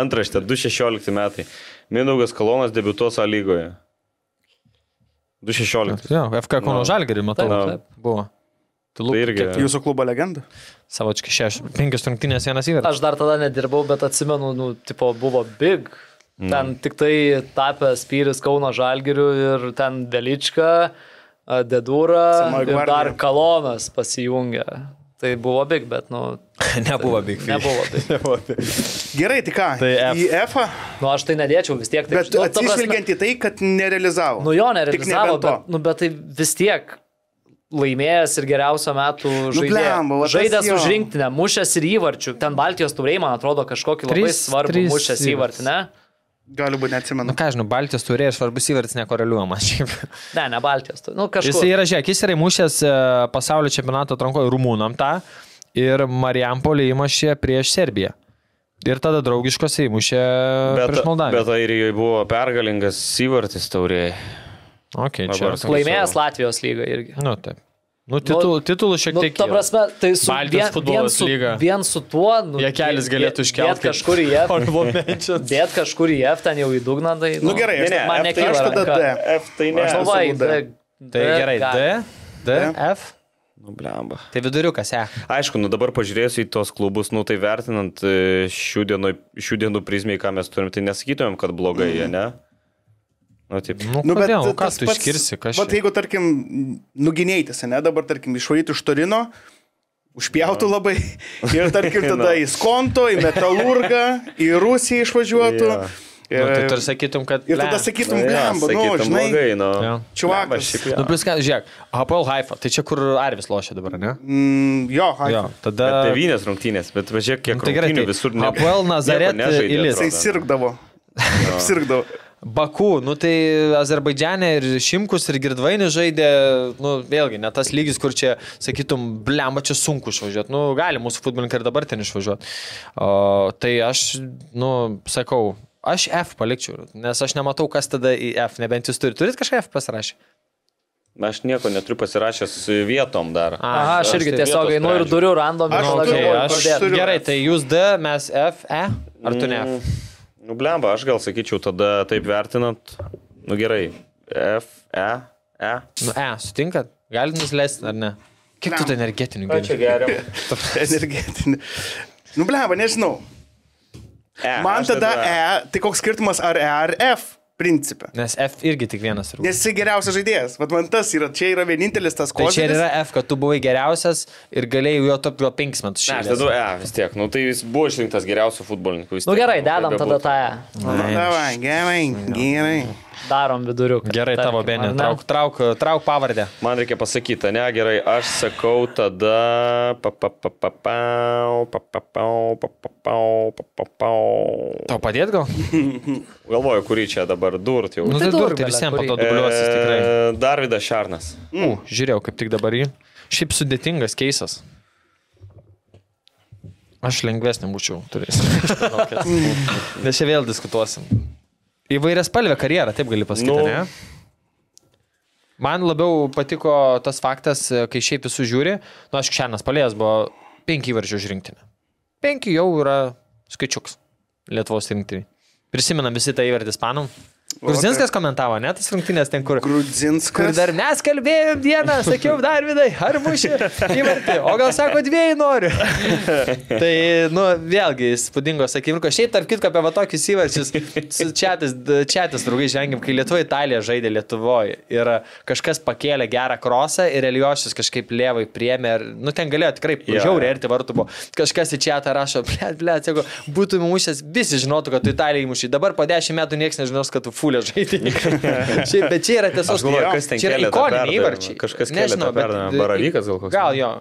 S4: antraštė, 216 metai. Mindaugas Kalonas debiutuos A lygoje. 216.
S3: Jo, FK Kauno
S4: Nu.
S3: Žalgerį, matau.
S4: Na,
S5: taip.
S3: Buvo. Tu
S4: Tai irgi.
S6: Jūsų klubo legenda.
S3: Savo čia šešios, penkios rungtynės vienas įvartis.
S5: Aš dar tada nedirbau, bet atsimenu, nu, tipo, buvo big.
S3: Mm.
S5: Ten tik tai tapė Spyris Kauno Žalgiriu ir ten Delička, Dedūra
S6: Senoji
S5: ir dar
S6: gvardija.
S5: Kalonas pasijungė. Tai buvo big, bet, nu,
S3: Nebuvo Big Fish.
S5: nebuvo big.
S6: Gerai, tai ką?
S3: Tai F.
S6: Į F.
S5: Nu, aš tai nedėčiau vis tiek. Tai,
S6: Bet nu, atsižvelgiant į tai, kad nerealizavo.
S5: Nu, jo
S6: Tik
S5: nerealizavo,
S6: nebent to.
S5: bet, nu, bet tai vis tiek laimėjęs ir geriausio metų žaidėjas.
S6: Nu, blemba, va tas
S5: Žaidęs
S6: jo.
S5: už rinktinę, mušęs ir įvarčių. Ten Baltijos turėjai, man atrodo, kažkokį labai
S3: Trys-
S5: svarbų
S3: trys
S5: mušęs
S3: įvarčiai.
S5: įvartį, ne?
S6: Gali būti, neatsimenu.
S3: Nu ką žinau, Baltijos turėjo svarbus įvartis nekoreliuojamas. šiaip.
S5: Ne, ne Baltijos. tu- Nu,
S3: Jis
S5: kažkur.
S3: yra, žiūrėk, jis yra įmušęs e, pasaulio čempionato atrankoje Rumūnam tą ir Marijampolį įmušė prieš Serbiją. Ir tada draugiškose įmušė
S4: Bet,
S3: prieš Moldaviją.
S4: bet Airijoje buvo pergalingas įvartis taurėje.
S3: Okay, čia.
S4: Dabar-
S5: Laimėjęs Latvijos lygą irgi.
S3: Nu, taip. Nu, titul, titulų šiek
S5: Nu,
S3: tiek.
S5: ta
S3: yra.
S5: prasme, tai su,
S3: Baltijos
S5: vien, vien,
S3: futbolos
S5: su,
S3: lyga.
S5: vien su tuo, nu,
S3: Jie kelis
S5: dė-
S3: galėtų iškelt
S5: Dėt
S3: kaip-
S5: kažkur į F,
S3: Honorable mentions.
S5: dėt kažkur į F, ten jau į dugną. Tai,
S6: Nu gerai, aš-
S5: ne, man
S6: F tai aš
S5: nekyla.
S6: tada
S5: ranka.
S6: D.
S4: F tai
S5: Aš galvoju,
S6: esu D.
S5: D.
S3: Tai gerai, D, D, F.
S4: Nu, blemba.
S3: Tai viduriukas, e.
S4: Aišku, nu dabar pažiūrėjus į tos klubus, nu tai vertinant e, šių dienų, šių dienų prizmiai, ką mes turim, tai nesakytumėm, kad blogai
S6: Mhm.
S4: jie, ne? Nu, taip.
S3: Nu, nu kodėl? Nu, Ką tu iškirsi?
S6: Bet
S3: Kažkaip.
S6: jeigu, tarkim, nuginėjtis, ne, dabar, tarkim, išvarytų iš Torino, užpjautų labai ir, tarkim, tada
S4: Na.
S6: į Skonto, į Metalurgą, į Rusiją išvažiuotų.
S4: Jo.
S6: Ir,
S3: Nu, tai tu ir sakytum, kad...
S6: ir tada
S3: ble.
S6: sakytum, blemba, nu, žinai,
S4: blogai, nu.
S3: Jo.
S6: Čiuvakas.
S4: Blemba, šiaip
S3: Nu,
S4: jau.
S3: plus, ką, žiūrėk, Hapoel Haifa, tai čia kur Arvis lošia dabar, ne?
S6: mm, jo, ai,
S3: Jo, tada...
S6: tai
S4: Bet devynės rungtynės, bet važiuok,
S3: Nu,
S4: kiek nu,
S3: tai
S4: tai
S3: gerai,
S4: rungtynių
S3: tai
S4: visur ne.
S3: Hapoel Nazaret
S4: nieko nežaidė,
S3: Ilis.
S4: atrodo.
S6: jisai sirgdavo. Sirgdavo.
S3: Baku, nu tai Azerbaidžiane ir Šimkus ir Girdvainis žaidė, nu vėlgi, ne tas lygis, kur čia, sakytum, blemba, čia sunku išvažiuoti, nu gali mūsų futbolininkai ir dabar ten išvažiuoti. O, tai aš, nu, sakau, aš F palikčiau, nes aš nematau, kas tada į F, nebent jūs turite. Turit kažką F pasirašę?
S4: Aš nieko neturiu pasirašęs vietom dar.
S5: Aha, aš irgi
S3: tai
S5: tiesiog
S4: vietos
S5: einu ir
S4: sprendžiu.
S5: duriu random.
S6: Aš
S5: ir tada
S6: turiu,
S5: galvoju,
S6: aš
S5: pradėt.
S6: turiu.
S3: Gerai, tai jūs D, mes F, E, ar tu ne F?
S4: Nu, blemba, aš gal sakyčiau tada taip vertinant, nu gerai, F, E, E.
S3: Nu, e, sutinkat? Galit nusileisti ar ne? Kiek tu
S6: Blemba.
S3: tai energetinių geriau?
S4: geriau.
S6: Energetinį. Nu, blemba, nežinau.
S4: E,
S6: Man
S4: aš
S6: tada E, tai koks skirtumas ar E ar F principė.
S3: Nes F irgi tik vienas. turbūt.
S6: Nes jisai geriausias žaidėjas. Vat man tas yra, čia yra vienintelis tas
S3: Tai
S6: kodas.
S3: čia ir yra F, kad tu buvai geriausias ir galėjai jo tapti gal 5 metus
S4: Ne, aš
S3: šiandien.
S4: dedu E vis tiek, nu tai jis buvo išrinktas geriausiu futbolininku. vis
S5: Nu
S4: tiek,
S5: gerai,
S4: kaip
S5: dedam tada
S4: bebūtų.
S5: tą. E.
S6: Davai, gerai, gerai.
S5: darom viduriuką.
S3: Gerai, tavo
S5: tarkim,
S3: benė.
S5: ar ne?
S3: Trauk, trauk, trauk pavardę.
S4: Man reikia pasakyti, ne, gerai, aš sakau tada... pa, pa, pa, pa, pau, pa, pa, pau, pa, pa, pau, pa, pa, pau.
S3: Tau padėt gal?
S4: Galvoju, kurį čia dabar durt jau.
S3: Nu,
S5: tai
S3: tai dur,
S5: durk,
S3: tai
S5: bele,
S3: visiems
S5: kurį.
S3: pato dubliuosis tikrai.
S4: E, Darvidas Šarnas.
S3: U, žiūrėjau, kaip tik dabar jį. Šiaip sudėtingas keisas. Aš lengvesnį būčiau turėjęs. Nes čia vėl diskutuosim. Įvairias spalvę karjerą, taip gali pasakyti,
S4: Nu.
S3: nu. ne? Man labiau patiko tas faktas, kai šiaip visų žiūri, nu aš šiandien palėjęs buvo penki įvarčių žrinktinė. Penki jau yra skaičiuks Lietuvos rinktinė. Prisimenam visi tą įvartį spanam. Gruzinskas komentavo, ne tas rinktinės ten, kur... Kur
S6: Grudzinskas.
S3: dar mes kalbėjom dieną, sakiau, dar vidai, ar mušė įvartį, o gal sako, dviejų noriu. tai, nu, vėlgi, įspūdingos akimirkos. Šiaip, tarp kitko, apie va tokius įvarčius, čiatis, čiatis, draugai, žengėm, kai Lietuva Italija žaidė Lietuvoje ir kažkas pakėlė gerą krosą ir Eliošius kažkaip lievai priemė, ir, nu, ten galėjo tikrai
S4: Jo,
S3: yeah. žiauriai
S4: jo.
S3: arti vartų buvo. Kažkas į čiatą rašo, blėt, blėt, jeigu būtum mušęs, visi žinotų, kad tu Italijai mušė, dabar po dešimt metų niekas nežinos, kad tu fulė žaidėjai. Šiaip, bet čia yra tiesiog
S4: Aš galvoju,
S3: Jo.
S4: kas ten
S3: Čia yra
S4: kėlė tą
S3: Ikoniniai
S4: perdavimą.
S3: įvarčiai.
S4: Kažkas kėlė tą
S3: bet-
S4: perdavimą. Baravykas gal koks?
S3: Gal jo.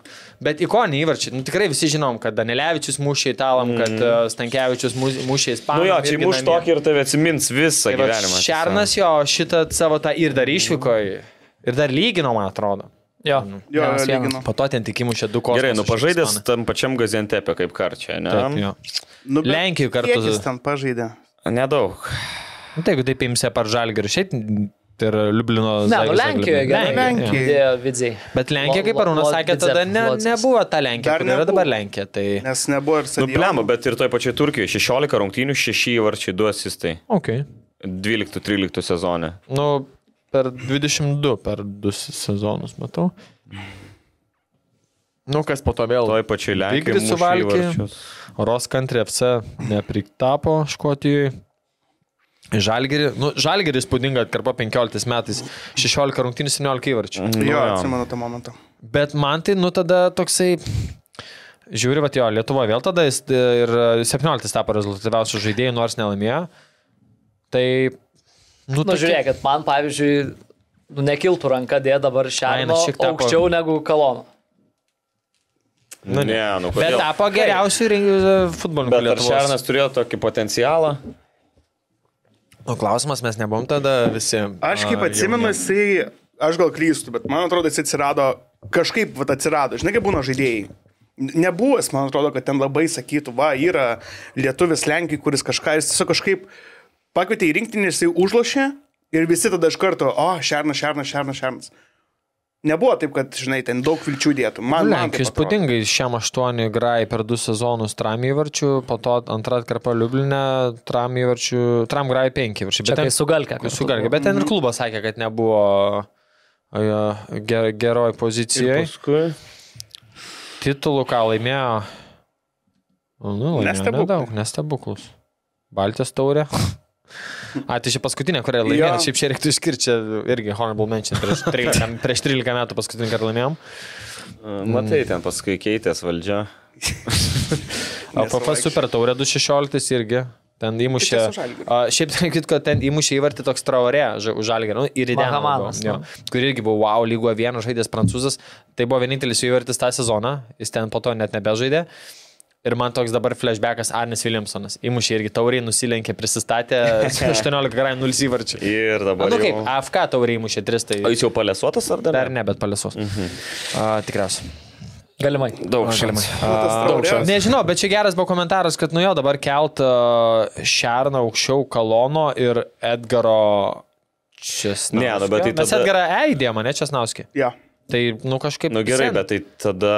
S3: Bet ikoniniai įvarčiai. Nu, tikrai visi žinom, kad Danilevičius mušė italam, mm. kad uh, Stankievičius mu- mušė ispanam.
S4: Nu jo, čia muš tokį ir tave atsimins
S3: tai
S4: visą gyvenimą.
S3: gyvenimą. Šernas jo šitą savo tą ir dar išvykoje. Ir dar lygino, man atrodo.
S5: Jo.
S4: Nu,
S6: Jo,
S3: Vienas vienas.
S6: lygino.
S3: Po to ten tik įmušė du kojas.
S4: Gerai, nu pažaidęs tam pačiam gazientepė kaip karčia, ne?
S6: Nu, bet
S3: Lenkijoj kartu-
S6: kiek Jis ten pažaidė.
S4: Nedaug.
S3: Nu, tai jeigu taip imsi par žalgerį, šiaip tai yra Liublino.
S5: Ne, nu
S3: Zagreb-
S5: Lenkijoje gerai.
S6: Lenkijoj.
S5: Dėjo vidziai.
S3: Bet Lenkija, kaip Arūnas
S5: Lo- lo-
S3: sakė, tada ne,
S5: Lodzis.
S3: nebuvo ta Lenkija,
S6: Dar
S3: kur yra
S6: nebuvo.
S3: dabar Lenkija. Tai...
S6: Nes nebuvo ir
S4: Nu, blemo,
S6: stadiono.
S4: bet ir toj pačioj Turkijoje 16 rungtynių, 6 įvarčiai, 2 asistai.
S3: Okay.
S4: 12-13 sezone.
S3: Nu, per 22, per 2 sezonus matau. Nu, kas po to vėl?
S4: Toj pačioj Lenkijoje.
S3: Vygris
S4: muša
S3: suvalkė.
S4: įvarčius.
S3: Ros Country FC nepriktapo Škotijoje. Žalgerį, nu, žalgerį spūdinga atkarpa 15 metais, 16 rungtynių 17 įvarčių.
S4: Nu,
S6: Jo,
S4: jo.
S6: atsimenu tą momentą.
S3: Bet man tai, nu, tada toksai... Žiūri, va, jo, Lietuva vėl tada jis e, ir e, 17 tapo rezultatyviausių žaidėjų, nors nelaimėjo. Tai... Nu,
S5: Nu,
S3: tokie-
S5: žiūrėkit, man pavyzdžiui, nu, nekiltų ranka dėti dabar šiandien
S3: Ai, nu, šiek tiek po-
S5: aukščiau negu kalono.
S4: Nu, ne, nu,
S3: Bet
S4: kodėl?
S3: tapo geriausių futbolininkų
S4: Bet ar
S3: Lietuvos.
S4: Šernas turėjo tokį potencialą?
S3: O klausimas, mes nebuvom tada visi.
S6: Aš kaip atsimenu, jisai, aš gal klystu, bet man atrodo, jis atsirado, kažkaip vat, atsirado, žinai, kaip būna žaidėjai. Nebuvęs, man atrodo, kad ten labai sakytų, va, yra lietuvis Lenkijai, kuris kažką, jis tiesiog kažkaip pakvietė į rinktinį, jisai užlošė ir visi tada iš karto, o, šernas, šernas, šernas, šernas. Nebuvo taip, kad, žinai, ten daug vilčių dėtų. Man, man
S3: Lenkijai
S6: taip atrodo.
S3: įspūdingai šiam aštuoni grai per du sezonus tram įvarčių, po to antrą atkarpą Liublinę tram įvarčių, tram grai penki įvarčių.
S5: Čia kai sugalkė.
S3: Kai sugalkė, bet
S6: Mhm.
S3: ten ir klubas sakė, kad nebuvo e, ger, geroj pozicijoje.
S4: Paskui.
S3: Titulų ką laimėjo? Nu,
S6: Nestebuklai.
S3: nestebuklus. Daug, nestebuklus. Baltijos taurė. A, tai čia paskutinė, kurią laimėjom.
S6: Jo.
S3: Šiaip čia reiktų išskirti, čia irgi Honorable Mention prieš 13, prieš 13 metų paskutinį kartą laimėjom.
S4: Matai, ten paskui keitės valdžia.
S3: APF Super Taurė 216 irgi. Ten įmušė.
S6: su Žalgiriu.
S3: A, šiaip ten, kitko, ten įmušė įvartį toks traorė už žalgerį. Nu, ir Idena.
S5: Mahamanas,
S3: buvo,
S5: nu.
S3: jo, Kur irgi buvo wow, lygo vienas žaidėjas prancūzas. Tai buvo vienintelis jo įvartis tą sezoną. Jis ten po to net nebežaidė. Ir man toks dabar flashbackas Arnis Williamsonas. Įmušė irgi tauriai, nusilenkė, prisistatė su 18 grai 0 įvarčių.
S4: Ir
S3: Na,
S4: dabar.
S3: nu kaip,
S4: jau-
S3: AFK tauriai įmušė 3,
S4: O
S3: tai
S4: jis jau palesuotas ar dar?
S3: dar ne, bet palėsos. Mhm. Tikriausiai.
S5: Galimai.
S4: Daug šalimai.
S6: Daug šansų.
S3: Nežinau, bet čia geras buvo komentaras, kad nu jo dabar kelt a, Šerną aukščiau Kalono ir Edgaro Česnauskio.
S4: Ne, nu, bet tai
S3: Mes
S4: tada-
S3: Edgarą Eidėmą, ne Česnauskį.
S6: Ja.
S3: Tai, nu kažkaip...
S4: Nu
S3: vis
S4: gerai,
S3: vien
S4: bet tai tada,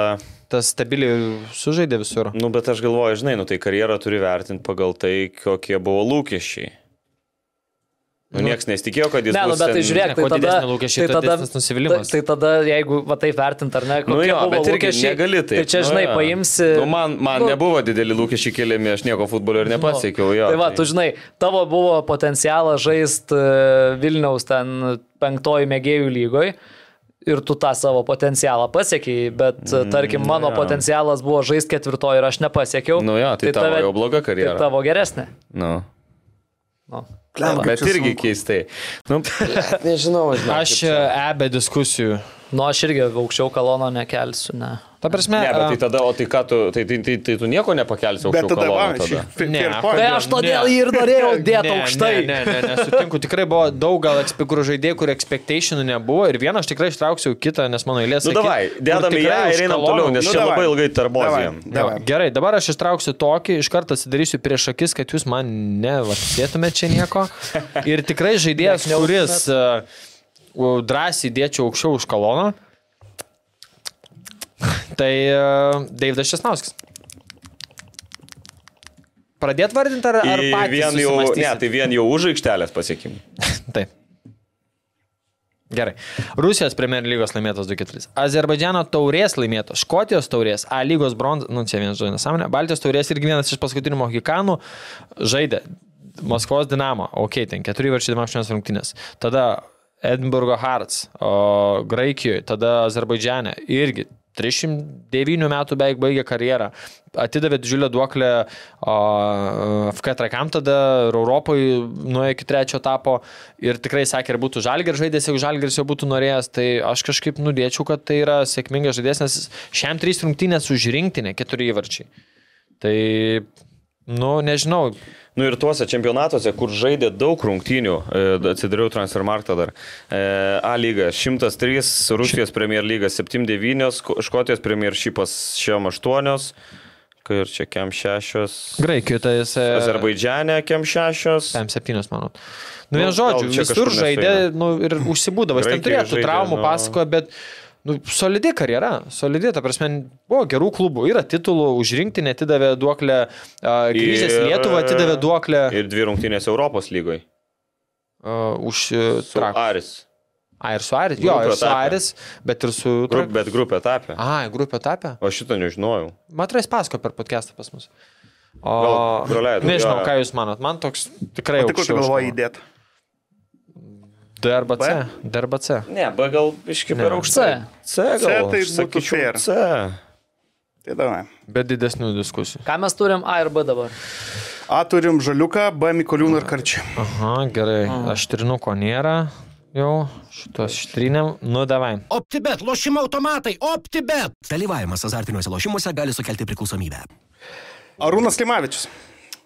S3: Tas stabiliai sužaidė visur.
S4: nu bet aš galvoju, žinai, nu tai karjerą turi vertinti pagal tai, kokie buvo lūkesčiai. Nu, niekas nesitikėjo, kad jis
S5: Ne, nu,
S4: bus
S5: bet tai
S4: ten-
S5: žiūrėk,
S3: ne,
S5: tai
S3: kuo
S5: tada,
S3: didesni lūkesčiai, tuo didesnis nusivylimas.
S5: Tai, tai tada, jeigu va taip vertint ar ne, kokie
S4: Nu jo,
S5: buvo
S4: bet irgi
S5: lūkesčiai,
S4: negali
S5: tai
S4: taip.
S5: čia,
S4: Nu
S5: žinai,
S4: jo.
S5: paimsi...
S4: Nu, man man nu, nebuvo dideli lūkesčiai keliami, aš nieko futbolio ir nepasiekiau. Jo,
S5: tai va, tu žinai, tavo buvo potencialas žaisti Vilniaus ten penktoji mėgėjų lygoj. Ir tu tą savo potencialą pasiekiai, bet, mm, tarkim, mano
S4: jo.
S5: ja. potencialas buvo žaisti ketvirtoji ir aš nepasiekiau.
S4: Nu jo, tai tavo jau bloga karjera.
S5: Tai tavo geresnė.
S4: Nu.
S5: Nu.
S6: Blemba,
S4: Bet
S6: kaip čia
S4: irgi
S6: sunku.
S4: keistai. Nu,
S7: Nežinau, žinau.
S3: Aš ebe diskusijų.
S5: Nu, aš irgi aukščiau kalono nekelsiu, ne.
S3: Ta prasme, uh,
S4: ne, bet
S3: a,
S4: tai tada, o tai ką tu, tai, tai, tai, tai tu nieko nepakelsi
S6: Bet
S4: aukščiau
S6: tada, va,
S4: koloną tada.
S6: šiaip, fair
S3: Ne,
S6: point.
S5: Tai aš todėl jį ir norėjau dėti
S3: Ne,
S5: aukštai.
S3: Ne, ne, ne, nesutinku, tikrai buvo daug gal ekspe- kur žaidėjų, kur expectationų nebuvo ir vieną aš tikrai ištrauksiau kitą, nes mano eilės.
S4: Nu,
S3: sakyt,
S4: davai,
S3: kur
S4: dedam į ją
S3: tikrai už
S4: ir einam
S3: kaloną.
S4: toliau, nes
S6: Nu,
S4: čia
S6: davai.
S4: labai ilgai
S6: Davai,
S4: tarbozijam.
S3: Jo,
S6: davai.
S3: Gerai, dabar aš ištrauksiu tokį, iš karto atsidarysiu prieš akis, kad jūs man nevarsėtumėte čia nieko. Ir tikrai žaidėjas, kuris uh, drąsiai dėčiau aukščiau už koloną, tai uh, Deividas Šesnauskis. Pradėt vardinti ar, ar
S4: Į
S3: patys?
S4: vien jau, ne,
S3: susimąstysit?
S4: tai vien jau už aikštelės pasiekimų.
S3: Taip. Gerai. Rusijos Premier lygos laimėtos 2-4. Azerbaidžiano taurės laimėtos, Škotijos taurės, A lygos bronzos, nu čia vienas žodis nesąmonė, Baltijos taurės irgi vienas iš paskutinių mohikanų žaidė Maskvos Dinamo, ok, ten 4 varčiai 28 rungtynės. Tada Edinburgo Hearts, o Graikijoje, tada Azerbaidžiane irgi 309 metų beveik baigė karjerą. Atidavė didžiulę duoklę o, FK Trakam tada ir Europoje nuėjo iki trečio etapo ir tikrai sakė, ar būtų Žalgeris žaidęs, jeigu Žalgeris jo būtų norėjęs, tai aš kažkaip nudėčiau, kad tai yra sėkmingas žaidėjas, nes šiam trys rungtynės už rinktinę keturi įvarčiai. Tai, nu, nežinau,
S4: Nu ir tuose čempionatuose, kur žaidė daug rungtynių, e, atsidariau Transfermarktą dar. E, A lyga 103, Rusijos Premier lyga 79, Ko- Škotijos Premier šipas 68, kai ir čia kem 6.
S3: Graikijoje tai jis...
S4: e, Azerbaidžiane kem 6.
S3: M7, manau. Nu, vienu
S4: Nu,
S3: žodžiu,
S4: gal čia
S3: visur
S4: kažkur
S3: žaidė
S4: nesueina.
S3: nu, ir užsibūdavo. Jis ten
S4: Graikijoj
S3: turėjo tų
S4: žaidė,
S3: traumų,
S4: nu.
S3: pasakojo, bet nu, solidi karjera, solidi, ta prasme, buvo gerų klubų, yra titulų, užrinkti netidavė duoklę, a, kryžės
S4: Ir-
S3: Lietuvą atidavė duoklę ir...
S4: Ir dvi rungtynės Europos lygoje.
S3: už
S4: Su
S3: traką.
S4: Aris.
S3: A, ir su Aris, jo,
S4: Grupių
S3: ir su
S4: etape.
S3: Aris, bet ir su...
S4: Grup, bet grupė tapė.
S3: A, grupė tapė.
S4: O šito nežinojau.
S3: Matrais pasako per podcastą pas mus. O,
S4: Gal praleidau,
S3: nežinau,
S4: jo.
S3: ką jūs manot, man toks tikrai...
S6: O tai kur tu
S3: aukščiau
S6: galvoji
S3: už-
S6: įdėti?
S3: D arba C.
S6: B?
S3: D arba C.
S4: Ne, B gal iški
S3: Ne.
S4: per aukštai. C gal.
S6: C tai
S4: aš
S6: būtų
S4: sakyčiau
S6: fair.
S4: C.
S6: Tai davai.
S3: Be didesnių diskusijų.
S5: Ką mes turim A ir B dabar?
S6: A turim žaliuką, B Mikoliūną ir karčią.
S3: Aha, gerai. Aš trinu, ko nėra. Jau šitos ištrinėm. Nu, davai.
S1: OptiBet, lošimo automatai, OptiBet.
S2: Dalyvavimas azartiniuose lošimuose gali sukelti priklausomybę.
S6: Arūnas Klimavičius.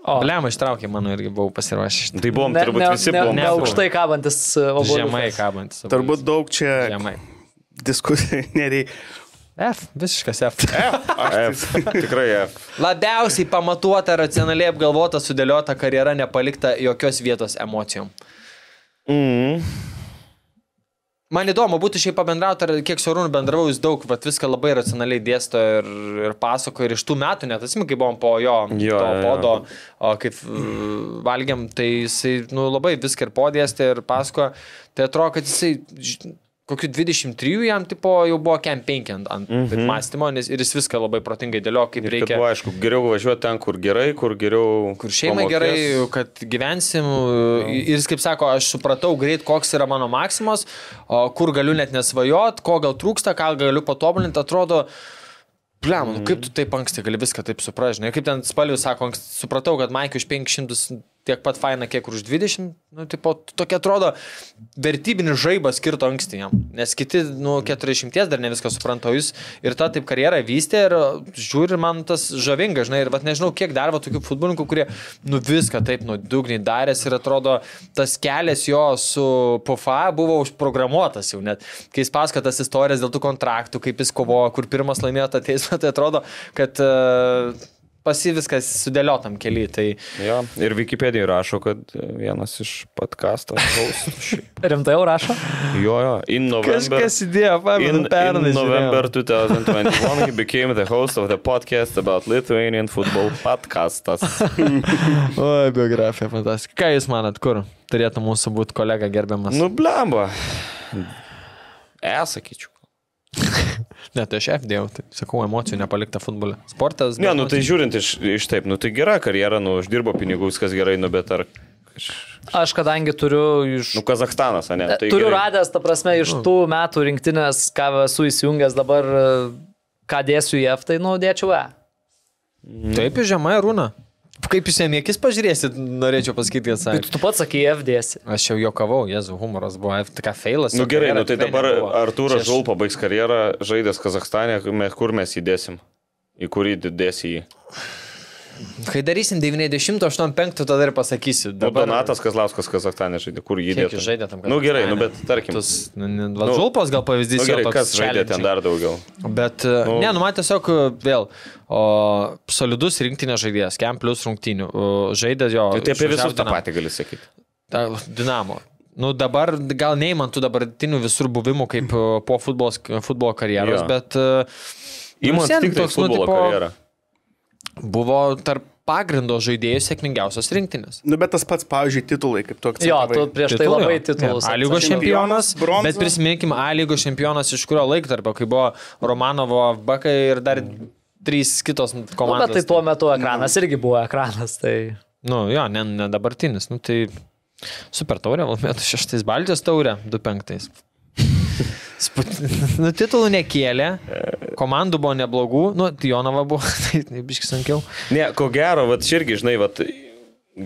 S3: O. Blem, ištraukė mano irgi buvau pasiruošęs.
S4: Tai buvom, turbūt visi
S5: ne,
S4: buvom.
S5: ne aukštai e, kabantis obuolys.
S3: Žemai kabantis. obuolys.
S6: Turbūt daug čia
S3: Žemai.
S6: diskusijų nereikia.
S3: F, visiškas F.
S4: F.
S6: tai-
S4: Tikrai F.
S3: Labiausiai pamatuota, racionaliai apgalvota, sudėliota karjera, nepalikta jokios vietos emocijom.
S4: Mm.
S3: Man įdomu būtų šiaip pabendrauti, ar kiek su Rūnu bendravau, jis daug, bet viską labai racionaliai dėsto ir, ir pasako, ir iš tų metų, net atsimink, kai buvom po jo,
S4: Jo,
S3: jo to
S4: jo, jo.
S3: podo, o kaip mm, valgiam, tai jisai nu, labai viską ir podėstė ir pasako, tai atrodo, kad jisai ž- kokiu 23 jam tipo jau buvo kem 5 ant, ant mm -hmm. mąstymo, nes ir jis viską labai protingai dėlio, kaip
S4: Reikia.
S3: reikia.
S4: Kad buvo aišku, geriau važiuoti ten, kur gerai, kur geriau.
S3: Kur šeimai
S4: pamokės.
S3: gerai, kad gyvensim. Ir jis, kaip sako, aš supratau greit, koks yra mano maksimas, o kur galiu net nesvajot, ko gal trūksta, ką galiu patobulinti, atrodo. Bliam, nu kaip tu taip anksti gali viską taip supražinai. Kaip ten spalvius sako, anksti, supratau, kad Maikiu už 500 tiek pat faina, kiek už 20. Nu, tipo, tokia atrodo vertybinis žaibas skirto anksti jam. Nes kiti, nu, 40 dar ne viską supranta, o jis ir tą taip karjerą vystė ir žiūri, man tas žavinga, žinai, ir vat nežinau, kiek dar va tokių futbolininkų, kurie, nu, viską taip nuodugniai darės ir atrodo, tas kelias jo su PFA buvo užprogramuotas jau net. Kai jis pasakoja tas istorijas dėl tų kontraktų, kaip jis kovojo, kur pirmas laimėjo tą teismą, tai atrodo, kad uh, pasi viskas sudėliotam keliui. Tai
S4: Jo. Ir Wikipedija rašo, kad vienas iš podkastų hostų.
S5: Rimtai jau rašo?
S4: Jo, jo. In November.
S3: įdėjo,
S4: In, in November 2021 he became the host of the podcast about Lithuanian football podcastas.
S3: O, biografija fantastika. Ką Jūs manat, kur turėtų mūsų būti kolega gerbiamas?
S4: nu, blemba. E, sakyčiau.
S3: Ne, tai aš F dėjau, tai sakau, emocijų nepalikta futbole. Sportas.
S4: Ne,
S3: bet
S4: nu tai
S3: emocijų-
S4: žiūrint iš, iš taip, nu tai gera karjera, nu uždirbo pinigų, viskas gerai, nu bet ar...
S5: Aš kadangi turiu iš...
S4: Nu, Kazakstanas, ne?
S5: Tai
S4: Tai
S5: turiu gerai.
S4: gerai.
S5: radęs, ta prasme, iš tų metų rinktinės, ką esu įsijungęs dabar, nu, e, ką dėsiu į F, tai naudėčiau E.
S3: Taip, į žemą rūną. Mhm. kaip jūs jam į akis pažiūrėsit, norėčiau pasakyti, kad
S5: Bet
S3: sakė.
S5: tu pats sakai FDS.
S3: Aš jau jokavau, Jezu, humoras buvo, FTK feilas.
S4: Na nu,
S3: jo
S4: gerai,
S3: karjera
S4: nu, tai
S3: tikrai
S4: dabar
S3: nebuvo. Čia
S4: Artūras
S3: aš-
S4: Žul pabaigs karjerą, žaidęs Kazakstane, me- kur mes įdėsim? Į kurį dėsi jį?
S3: Kai darysim 90-85, tada ir pasakysiu.
S4: Nu, Donatas Kazlauskas Kazakstane žaidė, kur jį
S3: Kiek
S4: dėsi?
S3: jis žaidė tam
S4: Na nu, gerai, nu, bet tarkim.
S3: Tus,
S4: Tas...
S3: nu, nu, va,
S4: Nu,
S3: žulpas gal pavyzdys.
S4: Nu,
S3: jo
S4: gerai,
S3: toks
S4: kas žaidė
S3: challenging.
S4: ten dar daugiau?
S3: Bet, nu, ne, nu man tiesiog vėl, o, solidus rinktinės žaidėjas, Kem plus rungtinių, žaidė jo.
S4: Tai apie
S3: išvažiavo
S4: visus tą
S3: Dinamo.
S4: patį gali sakyti.
S3: Nu, Ta, Dinamo. Nu dabar gal neįmantų dabartinių visur buvimų kaip o, po futbolos, futbolo karjeros,
S4: Jo.
S3: jo. bet... o, nu, vis
S4: Įmonės
S3: vien
S4: tik tai
S3: toks, nu,
S4: futbolo
S3: tipo,
S4: karjerą.
S3: Buvo tarp pagrindo žaidėjų sėkmingiausios rinktinės.
S6: Nu, bet tas pats, pavyzdžiui, titulai, kaip toks.
S5: Jo, tu prieš tai
S3: Titulų,
S5: labai
S3: jo.
S5: titulus.
S3: Jo, A lygos čempionas,
S6: bronza.
S3: bet prisiminkime, A lygos čempionas iš kurio laiktarpio, kai buvo Romanovo, Bakai ir dar trys kitos
S5: Nu,
S3: komandos.
S5: bet tai tuo metu ekranas irgi buvo ekranas. Tai...
S3: Nu, jo, ne, ne dabartinis. Nu, tai super taurė, laimėtų šeštais Baltijos taurė, du penktais. Sput... Nu, titulų nekėlė, komandų buvo neblogų, nu, Jonava buvo, tai biškai sunkiau.
S4: Ne, ko gero, vat čia irgi, žinai, vat,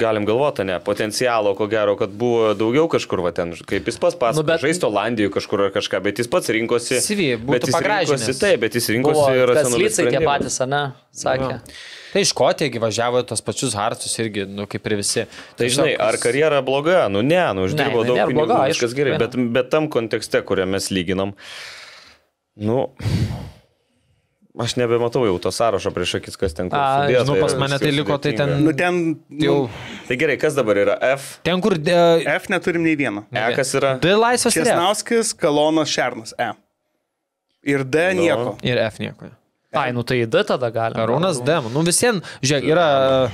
S4: galim galvoti, ne, potencialo, ko gero, kad buvo daugiau kažkur, va ten, kaip jis pats pats,
S5: Nu,
S4: nu,
S5: bet-
S4: bet... žaisti Olandijoje kažkur ar kažką, bet jis pats rinkosi.
S3: CV būtų
S4: bet jis
S3: pagražinęs.
S4: rinkosi- Taip, bet jis rinkosi
S5: Buvo
S4: ir
S5: tas lycai tie patys, ne? Sakė.
S3: Tai iš Škotijagi važiavo tos pačius hartus irgi, nu, kaip ir visi.
S4: Tai žinai, ar karjera bloga, nu ne, nu uždirbo
S5: jinai
S4: daug
S5: nėra
S4: pinigų,
S5: bloga, aišku,
S4: viskas gerai,
S5: viena.
S4: bet, bet tam kontekste, kuriame mes lyginam, nu, aš nebematau jau to sąrašo prieš akis, kas ten kur
S5: Ai,
S4: sudėta.
S3: nu, pas
S4: ir
S3: mane
S4: viskas
S3: tai liko, tai
S4: sudėtinga.
S3: ten-
S6: Nu, ten
S3: Jau,
S6: jau.
S4: Tai gerai, kas dabar yra F,
S3: ten, kur... E,
S6: F neturim nei vieno.
S4: E kas yra?
S3: D laisvas ir F.
S6: Česnauskis, Kalonas, Šernas, E. Ir D
S4: Nu.
S6: nieko.
S3: Ir F nieko.
S5: Ai, nu tai D tada galima.
S3: Arūnas Dem. Nu visiems, žiūrėk, yra,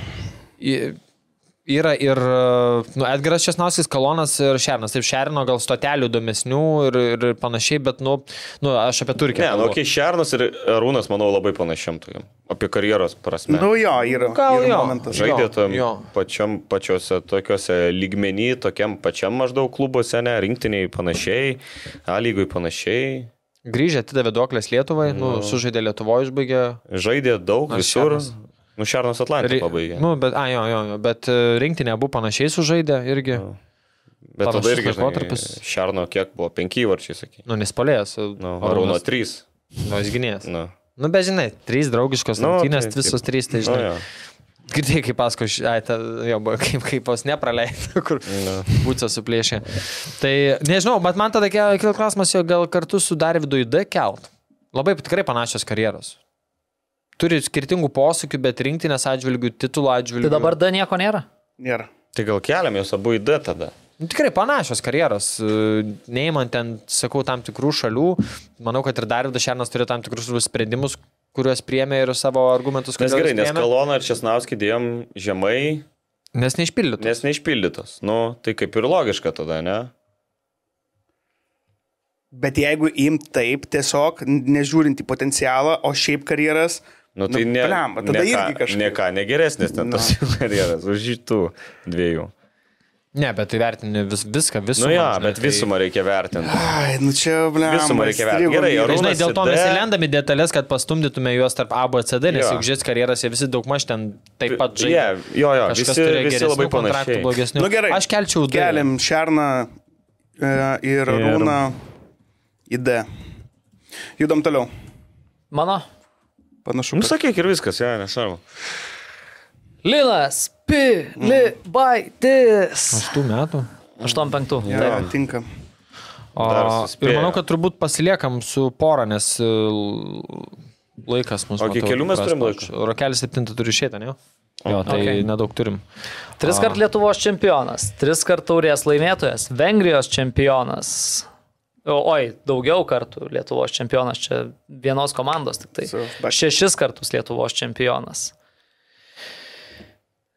S3: i- yra ir nu, Edgaras Česnauskis, Kalonas ir Šernas. Taip, Šerno gal stotelių įdomesnių ir, ir panašiai, bet, nu, nu aš apie Turkiją.
S4: Ne, nu,
S3: kalbu.
S4: okei, Šernas ir Arūnas, manau, labai panašiam tokiam. Apie karjeros prasme.
S6: Nu jo, yra.
S3: Gal
S6: yra
S3: jo.
S6: momentas.
S3: Žai-
S4: Žaidė
S3: jo,
S4: tam
S3: jo.
S4: pačiam, pačiose tokiuose lygmenį, tokiam pačiam maždaug klubuose, ne, rinktiniai panašiai, A lygui panašiai.
S3: Grįžę atidavė duoklės Lietuvai, nu, sužaidė Lietuvoje, išbaigė.
S4: Žaidė daug
S3: Ar
S4: visur.
S3: Šernas?
S4: Nu, Šernas Atlantą
S3: Ri-
S4: pabaigė. Nu,
S3: Nu, bet, a, jo, jo, jo, bet e, rinktinė abu panašiai sužaidė irgi.
S4: Nu. Bet tada
S3: panašus
S4: irgi žinai,
S3: laikotarpis.
S4: Šerno kiek buvo, penki varčiai, sakai.
S3: Nu, nespalėjęs.
S4: Nu, Arūno trys.
S3: Nu, jis gynėjas.
S4: Nu.
S3: Nu, bet žinai, trys draugiškos
S4: Nu,
S3: rungtynės,
S4: taip, taip.
S3: visos trys, tai
S4: Nu,
S3: žinai.
S4: jo.
S3: Girdėjai, kaip paskui, ši- ai, ta, jo, buvo, kaip, kaip vos nepraleido, kur
S4: nu.
S3: būtų suplėšę. Tai nežinau, bet man tada kėl- kilo klausimas, jo gal kartu su Darvidu į D kelt. Labai tikrai panašios karjeros. Turi skirtingų posūkių, bet rinktinės atžvilgių, titulų atžvilgių.
S5: Tai dabar D nieko nėra.
S6: Nėra.
S4: Tai gal keliam jos abu į D tada.
S3: Nu, Tikrai panašios karjeros. E, Neįman ten, sakau, tam tikrų šalių. Manau, kad ir Darvidas Šernas turi tam tikrus sprendimus, kuriuos priemė ir savo argumentus.
S4: Nes
S3: kodėl
S4: gerai,
S3: juos
S4: nes
S3: priėmė.
S4: Kaloną ir Česnauskį dėjom žemai,
S3: Nes neišpildytų.
S4: nes neišpildytos. Nu, tai kaip ir logiška tada, ne?
S6: Bet jeigu imt taip, tiesiog nežiūrint į potencialą, o šiaip karjeras,
S4: Nu tai ne.
S6: Blemba, tada
S4: ne ką-
S6: irgi kažkaip.
S4: Ne ką, negeresnis ten
S3: Nu.
S4: tas jų karjeras už šitų dviejų.
S3: Ne, bet tai vertini vis, viską, visumą.
S4: Nu ja,
S3: žinai,
S4: bet
S3: tai-
S4: visumą reikia vertinti.
S6: ai, nu čia, blem.
S4: Visumą reikia vertint. Gerai,
S3: Tai
S4: Arūnas
S3: Žinai, dėl to
S4: ir D.
S3: mes įlendami detalės, kad pastumdytume juos tarp A, B, C, D, nes
S4: Jo.
S3: juk žiūrės karjeras, jie visi daugmaž ten taip pat žaidžia.
S4: Yeah, jo, jo,
S3: Kažkas
S4: visi,
S3: turėjo
S4: visi
S3: geresnių
S4: labai
S3: kontraktų,
S4: panašiai.
S3: blogesnių.
S6: Nu gerai.
S3: Aš kelčiau du.
S6: Keliam Šerną e, ir Rūną į D. Judam toliau.
S5: Mano.
S6: Panašu.
S4: Nu,
S6: kad-
S4: sakyk ir viskas, ja, nesvarbu.
S5: Linas Pilibaitis.
S3: Aš tų metų.
S5: 85.
S6: Jo,
S5: Taip.
S6: tinka.
S3: O,
S4: Dar
S3: ir
S4: suspėjo.
S3: manau, kad turbūt pasiliekam su porą, nes e, l- laikas mūsų.
S4: O iki kelių mes turim laiko?
S3: Rokelis 7 turi išėti, ne? Jo, tai
S5: Okay.
S3: okay. nedaug turim.
S5: Tris kart Lietuvos čempionas, tris kart taurės laimėtojas, Vengrijos čempionas. O, oi, daugiau kartų Lietuvos čempionas, čia vienos komandos tik tai.
S6: So, but-
S5: Šešis kartus Lietuvos čempionas.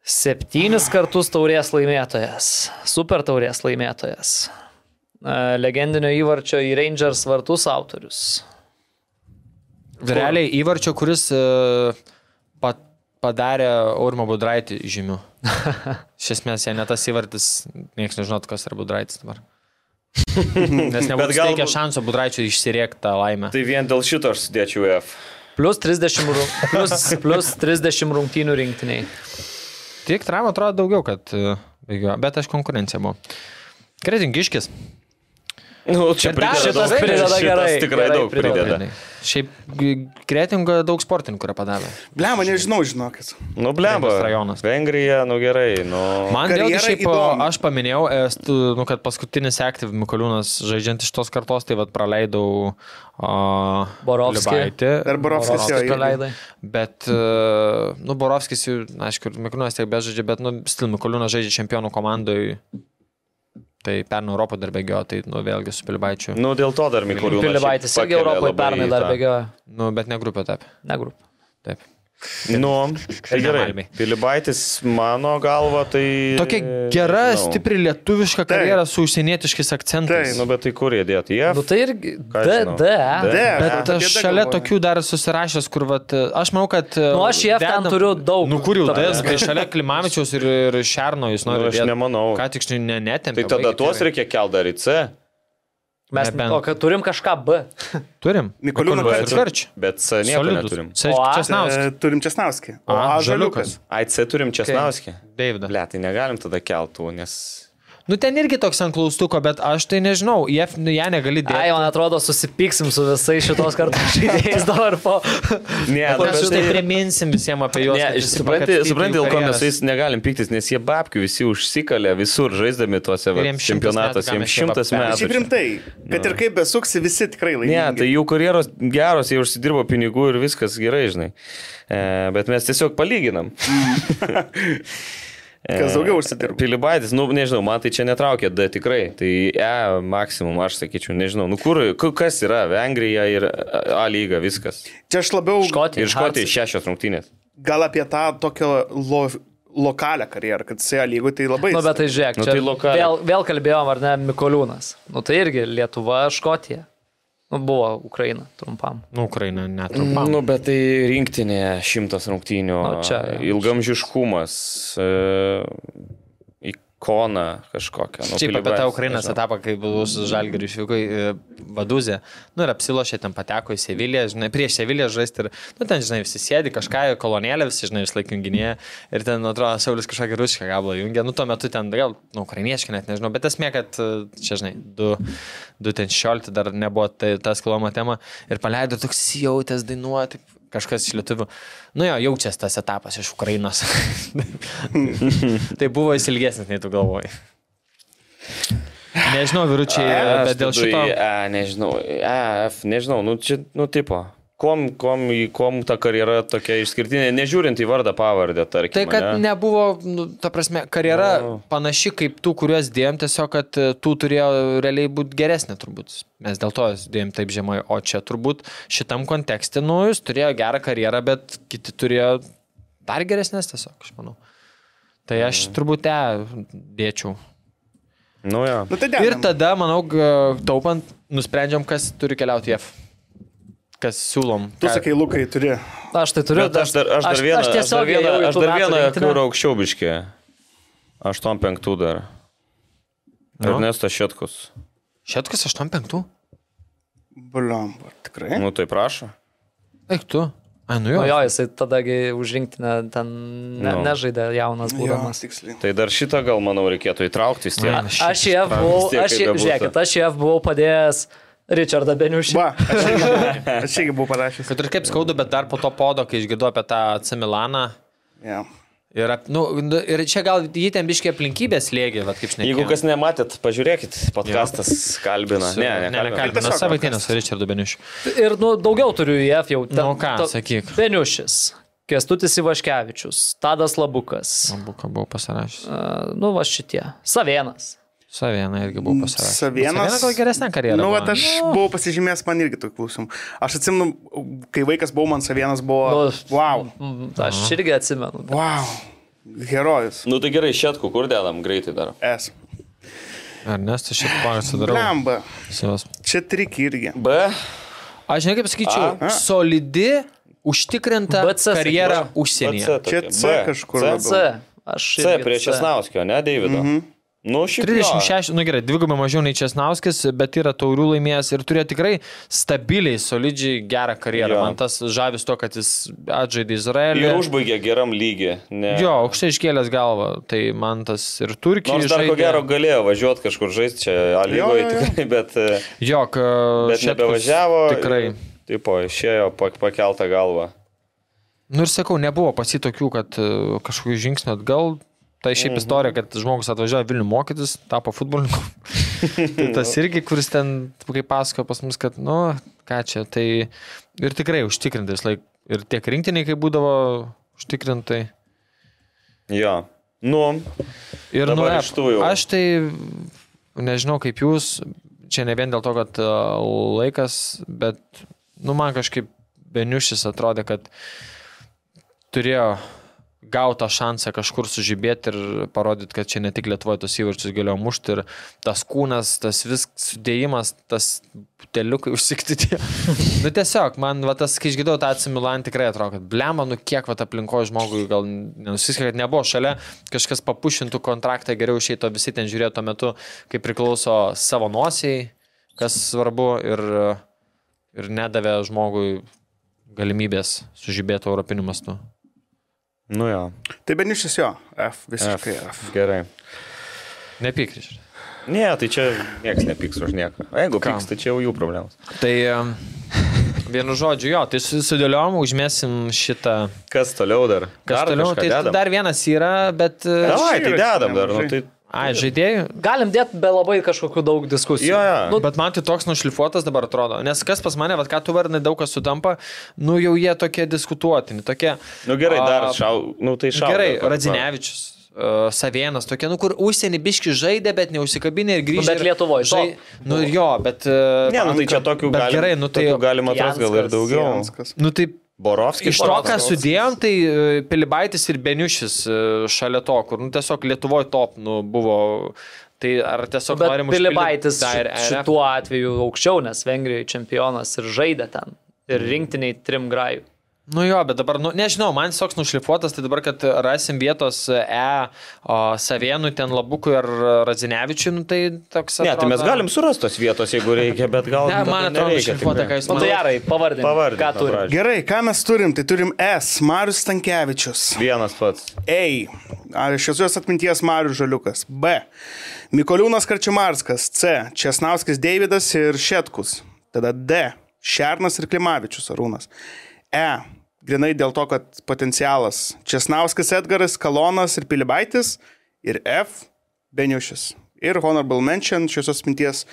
S5: Septynis kartus taurės laimėtojas, super taurės laimėtojas. E, Legendinio įvarčio į Rangers vartus autorius.
S3: Realiai įvarčio, kuris e, pa, padarė Urmo Budraitį žymiu. Iš esmės, jei ne tas įvartis, niekas nežinot, kas yra Budraitis dabar. Nes nebuvo
S4: Bet gal-
S3: galbūt... šansų Budraičiui išsiriekti tą laimę.
S4: Tai vien dėl šito aš sudėčiau F.
S5: Plus 30, rung- plus, plus 30 rungtynių rinktiniai.
S3: Tai, Tik Tram atrodo daugiau, kad e, bėgiojo, bet aš konkurencija buvau. Kretingiškis.
S4: Nu, čia
S3: Ir dar
S4: prideda
S3: šitas
S4: daug,
S3: prideda
S4: šitas
S5: gerai,
S4: tikrai
S5: gerai
S4: daug
S5: prideda.
S4: prideda.
S3: Šiaip g- Kretingoje daug sportininkų yra padarę.
S6: Blema, nežinau, žinokit.
S4: Nu, blemba.
S3: Vengrijos rajonas.
S4: Vengrija, nu gerai, nu.
S3: Man vėlgi
S6: Karjera
S3: šiaip,
S6: įdomi.
S3: įdomu. aš paminėjau, estu, nu, kad paskutinis aktyv Mikoliūnas žaidžiant iš tos kartos, tai vad praleidau uh,
S5: Borovskį.
S6: Dar Borovskis jo. irgi.
S5: Praleidai.
S3: Bet, e, nu, Borovskis, jau, aišku, ir Mikoliūnas tiek bežaidžia, bet, nu, Stil Mikoliūnas žaidžia čempionų komandai. Tai pernai Europą dar bėgiojo, tai, nu, vėlgi su Pilibaičiu.
S4: Nu, dėl to dar Mikoliūnas. šiaip
S5: Pilibaitis irgi
S4: pakelia
S5: Europoje
S4: labai
S5: pernai
S4: į
S5: dar
S4: tą-
S5: bėgiojo.
S3: Nu, bet ne grupė taip.
S5: Ne grupė.
S3: Taip.
S4: Nu, tai
S3: Malmėj.
S4: gerai. Pilibaitis, mano galva,
S6: E,
S4: tai...
S3: Tokia gera,
S4: nežinau.
S3: stipri lietuviška karjera su užsienietiškais
S6: Taip,
S3: akcentais.
S4: Nu, bet tai kur jie dėti? Jie.
S5: Nu tai irgi
S4: Ką
S5: D,
S4: žinau.
S5: D.
S4: D.
S6: Ne,
S3: Bet
S6: apie
S3: aš
S6: bėdą
S3: šalia
S6: galvoju.
S3: tokių dar esu susirašęs, kur, vat, aš manau, kad... e,
S5: Nu, aš JF ten turiu daug.
S3: Nu, kur jau
S5: Ta
S3: tas,
S5: prasme.
S3: kai šalia Klimavičiaus ir, ir Šerno jūs
S4: Nu,
S3: norite.
S4: aš nemanau.
S3: Ką tik ne, netempė.
S4: Tai tada tuos reikia kelti dar į C.
S5: Mes
S3: nebent.
S5: o, kad turim kažką B.
S3: Turim.
S6: Mikoliūną
S3: Mikoliūną
S6: Karčių.
S3: Karčių.
S4: Bet C nieko
S3: Solidus.
S4: neturim.
S3: Čia
S5: O,
S3: Česnauskas.
S6: E, Turim Česnauskį. O
S3: A,
S6: Ąžuoliukas.
S4: Ai, C turim Česnauskį.
S3: Deividas.
S4: Ble, tai negalim tada keltų, nes
S3: Nu ten irgi toks ant klaustuko, bet aš tai nežinau, jie, nu, ją negali dėti.
S5: Ai, man atrodo, susipyksim su visais šitos kartos žaidėjais dabar po...
S4: Ne,
S5: Po
S4: nu, bet
S3: Mes
S5: šitų-
S3: tai
S4: tai-
S3: priminsim visiems apie juos.
S4: Ne,
S3: kad visi
S4: supranti,
S3: pakapstytų
S4: supranti,
S3: jų
S4: dėl ko mes
S3: karjeras.
S4: su jais negalim piktis, nes jie babkių visi užsikalė visur žaisdami tuose va,
S3: Ir jiems šimtas metų,
S4: čempionatuose,
S3: ką
S4: jiems
S3: mes čia
S4: šimtas
S3: babkiam.
S4: metų.
S6: Šiaip rimtai, kad ir kaip besuksi, visi tikrai
S4: Ne,
S6: laimėjo.
S4: tai jų karjeros geros, jie užsidirbo pinigų ir viskas gerai, žinai. E, bet mes tiesiog palyginam.
S3: tai-
S6: Kas daugiau užsidirbo.
S4: Pilibaitis, nu nežinau, man tai čia netraukė D tikrai. Tai E maksimum, aš sakyčiau, nežinau. Nu kur, ku- kas yra Vengrija ir A lyga, viskas.
S6: Čia aš labiau
S5: Škotija.
S4: Ir Škotija šešios rungtynės.
S6: gal apie tą tokią lo, lokalią karjerą, kad SEA lygų tai labai...
S5: Nu, bet tai žiūrėk,
S4: Nu,
S5: čia
S4: tai lokaliai.
S5: vėl, vėl kalbėjom, ar ne, Mikoliūnas. Nu, tai irgi Lietuva, Škotija. Nu, buvo Ukraina trumpam.
S3: Nu, Ukraina
S4: Na,
S3: netrumpam.
S4: nu, bet tai rinktinė šimtas rungtynių.
S5: Nu, čia-
S4: Ilgamžiškumas, e, ikona kažkokia. Nu,
S3: Šiaip apie tą
S4: Pilibaitis,
S3: Ukrainos
S4: nežinau.
S3: etapą, kai buvau su Žalgiriu išvyko į e, Vaduzę, nu ir apsilošė, ten pateko į Seviliją, žinai, prieš Seviliją žaisti ir, nu ten, žinai, visi sėdi kažką, kolonėlė, visi, žinai, vis laik junginėje ir ten, nu, atrodo, Saulis kažkokią rusišką gabalą jungia, nu tuo metu ten, gal, nu, ukrainiečiai net nežinau, bet esmė, kad e, čia, žinai, du, du ten šiolti dar nebuvo tai, tas kilomo tema ir paleido ir toks jautęs dainuoti. Kažkas iš lietuvių. Nu jo, jaučiasi tas etapas iš Ukrainos. tai buvo jis ilgesnis, nei tu galvoji. Nežinau, vyručiai,
S4: E, aš
S3: bet dėl
S4: tada
S3: šito.
S4: į E, nežinau, E, F, nežinau, nu čia, nu, tipo. Kom, kom, į- kom ta karjera tokia išskirtinė, nežiūrint į vardą pavardę, tarkim.
S3: Tai, kad
S4: ane?
S3: nebuvo, nu, ta prasme, karjera no.
S4: Nu.
S3: panaši kaip tų, kuriuos dėjom, tiesiog, kad e, tų turėjo realiai būti geresnė, turbūt. Mes dėl to jas dėjom taip žemai, o čia turbūt šitam kontekste, nu, jis turėjo gerą karjerą, bet kiti turėjo dar geresnės tiesiog, aš manau. Tai aš
S4: Mhm.
S3: turbūt te dėčiau.
S4: Nu, ja.
S6: Nu, tai ne,
S3: Ir tada, manau, g- taupant, nusprendžiam, kas turi keliauti į F. Kas siūlom.
S6: Tu
S3: ką-
S6: sakai, Lukai, turi.
S5: Aš tai turiu.
S4: Bet aš dar, aš dar vieną,
S5: Aš
S4: aš dar
S5: tiesiog
S4: vieną, aš dar vieną,
S5: kur
S4: kur aukščiau biškė. 8-5 dar.
S3: Nu.
S4: Ernestas Šetkus.
S3: Šetkas 8-5.
S6: Bliamba, tikrai.
S4: Nu, tai prašau.
S3: Eik tu. Ai, nu jo.
S5: Nu, jo, jisai tadagi užrinktinę ten ne,
S4: Nu.
S5: nežaidė jaunas būdamas.
S6: Būdamas tiksliai.
S4: Tai dar šitą gal, manau, reikėtų įtraukti vis tiek.
S3: Ai,
S5: Aš jie buvau,
S4: vis tiek
S5: aš
S4: kaip
S5: jie,
S4: bebūtų.
S5: žiūrėkit, aš jie buvau padėjęs Richardą Beniušį.
S6: Va, aš irgi- aš irgi buvau parašęs.
S3: Kad ir kaip skauda, bet dar po to podo, kai išgirdau apie tą Cemilaną.
S6: Yeah.
S3: Ir, ap- nu, nu, ir čia gal jį ten biškiai aplinkybės lėgė, va kaip šnekėjau.
S4: Jeigu kas nematėt, pažiūrėkit, podcastas kalbina.
S3: ne,
S4: Ne, ne, nekalbina.
S3: nekalbina.
S6: tiesiog
S3: Savaitinės su Richardu Beniušiu.
S5: Ir nu, daugiau turiu į F jau.
S3: Nu, ką, sakyk.
S5: Beniušis, Kestutis Ivaškevičius, Tadas Labukas.
S3: Buką buvau pasirašęs.
S5: Uh, nu, va šitie. Savienas.
S3: Savieną irgi buvau pasirašęs.
S6: Savienas-
S3: Savieną gal geresnė karjera.
S6: Nu,
S3: buvo.
S6: bet aš buvau pasižymėjęs, man irgi tokių klausimų. Aš atsimenu, kai vaikas buvau, man savienas buvo...
S5: Nu,
S6: Wow.
S5: Mm, Aš irgi atsimenu.
S6: Wow. Herojus.
S4: Nu tai gerai, šetku, kur dedam greitai dar.
S6: S.
S3: Ar nes tu šiaip pagą sudarau?
S6: Bliamba.
S3: Savas.
S6: Čia trik irgi.
S4: B.
S3: Aš žinai, kaip sakyčiau,
S6: A.
S3: solidi, užtikrinta
S5: BC,
S3: karjera
S5: sakyčiau.
S4: B, C
S3: užsienyje.
S4: tokia.
S6: Čia C
S4: B,
S6: kažkur
S4: C,
S6: labiau.
S5: C. Aš
S4: C
S5: irgi
S6: Mhm.
S4: prie Česnauskio, ne, Davido. Nu, šiaip. jo.
S3: 36, nu gerai, dvigubai mažiau nei Česnauskis, bet yra taurių laimėjęs ir turėjo tikrai stabiliai, solidžiai gerą karjerą.
S4: Jo.
S3: Man tas žavis to, kad jis atžaidė
S4: Ir
S3: Izraelį.
S4: užbaigė geram lygiai. Ne.
S3: Jo, aukštai iškėlęs galvą, tai man tas ir Turkija.
S4: Nors dar ko
S3: žaidė.
S4: gero galėjo važiuoti kažkur žaisti čia, A lygoje
S6: Jo, jo, jo.
S4: tikrai, bet, e,
S3: Jo,
S4: bet
S3: kad
S4: nebevažiavo.
S3: Tikrai.
S4: Taip, išėjo pak- pakeltą galvą.
S3: Nu ir sakau, nebuvo pasitokių, kad e, kažkokių žingsnių atgal. Tai šiaip istorija, kad žmogus atvažiavo į Vilnių mokytis, tapo futbolininku. tai tas irgi, kuris ten, kaip pasakojo pas mus, kad, nu, ką čia, tai ir tikrai užtikrintas laik. Ir tiek rinktiniai, kai būdavo užtikrintai.
S4: Jo. Nu,
S3: Ir
S4: Dabar
S3: nu, e,
S4: iš tų jau.
S3: aš tai nežinau kaip jūs, čia ne vien dėl to, kad e, laikas, bet nu, man kažkaip beniušis atrodė, kad turėjo gautą šansą kažkur sužibėti ir parodyti, kad čia ne tik lietuvoje tos įvarčius galėjo mušti ir tas kūnas, tas vis sudėjimas, tas teliukai užsiktyti. nu tiesiog, man va, tas, kai išgirdau tą atsimilan, tikrai atrodo, kad blema, nu kiek va aplinkoje žmogui gal nenusiskiria, kad nebuvo šalia, kažkas papušintų kontraktą, geriau išeito, visi ten žiūrėjo tuo metu, kaip priklauso savo nosiai, kas svarbu ir, ir nedavė žmogui galimybės sužibėti europiniu mastu.
S4: nu jo.
S6: Tai benišis jo, F, visiškai F. F.
S4: Gerai.
S3: Nepykriš.
S4: Ne, tai čia niekas nepyks už nieką. O Jeigu
S3: Kam?
S4: pyks, tai čia jau jų problemos.
S3: Tai em,
S4: e,
S3: vienu žodžiu, jo, tai su- sudėliom, užmėsim šitą.
S4: Kas toliau dar?
S3: Kas
S4: dar
S3: toliau? Tai
S4: kažką dedam?
S3: dar vienas yra, bet... e,
S4: Davai, tai
S6: Šįryt
S4: dedam dar. Nu,
S6: nemažai.
S4: tai...
S3: Ai, žaidėjų.
S5: Galim dėti be labai kažkokių daug diskusijų.
S4: Jo, jo.
S5: Nu,
S3: Bet man tai toks nušlifuotas dabar atrodo, nes kas pas mane, vad ką tu vardinai, daug kas sutampa, nu jau jie tokie diskutuotini, tokie...
S4: Nu gerai,
S3: a,
S4: dar šau. Nu, tai šau.
S3: Gerai, Radzinevičius, uh, Savienas, tokie, nu kur užsienį biški žaidė, bet neužsikabinė ir grįžo.
S5: Nu, bet
S3: ir-
S5: Lietuvoj,
S3: žai- Nu ir jo, bet... Uh,
S4: Ne, nu tai čia tokių
S3: bet
S4: galima.
S3: Gerai, nu tai...
S4: Galima atrasti gal ir
S5: Janskas,
S4: daugiau.
S6: Janskas.
S3: Nu tai
S4: Borovskis.
S3: Iš to, ką
S4: Borovskis.
S3: sudėjom, tai e, Pilibaitis ir Beniušis e, šalia to, kur nu, tiesiog Lietuvoje top nu, buvo. Tai ar tiesiog
S5: bet
S3: norim
S5: Pilibaitis
S3: dar
S5: ši- šituo atveju aukščiau, nes Vengrijoje čempionas ir žaidė ten. Ir
S3: Mhm.
S5: rinktiniai trim grajų.
S3: Nu jo, bet dabar, nu, nežinau, man toks nušlifuotas, tai dabar, kad rasim vietos E, o, Savienui, ten Labukui ar Razinevičiui, nu, tai toks...
S4: Ne, tai mes
S3: atrodo-
S4: galim surasti tos vietos, jeigu reikia, bet gal...
S3: Ne, man
S4: tada
S3: atrodo,
S4: nereikia, nu,
S3: šlifuota,
S4: tikrai.
S3: ką jūs
S5: Nu, tai
S3: manote.
S5: gerai, pavardink.
S4: Pavardink
S5: Ką
S4: nuo
S5: turi?
S4: pradžių.
S6: Gerai, ką mes turim? Tai turim S, Marius Stankievičius.
S4: Vienas pats.
S6: A. Ar Šviesios atminties Marius Žaliukas. B. Mikoliūnas Karčimarskas. C. Česnauskis Deividas ir Šetkus. Tada D. Šernas ir Klimavičius Arūnas. E. Grinai dėl to, kad potencialas. Česnauskis Edgaras, Kalonas ir Pilibaitis. Ir F. Beniušis. Ir Honorable Mention Šviesios atminties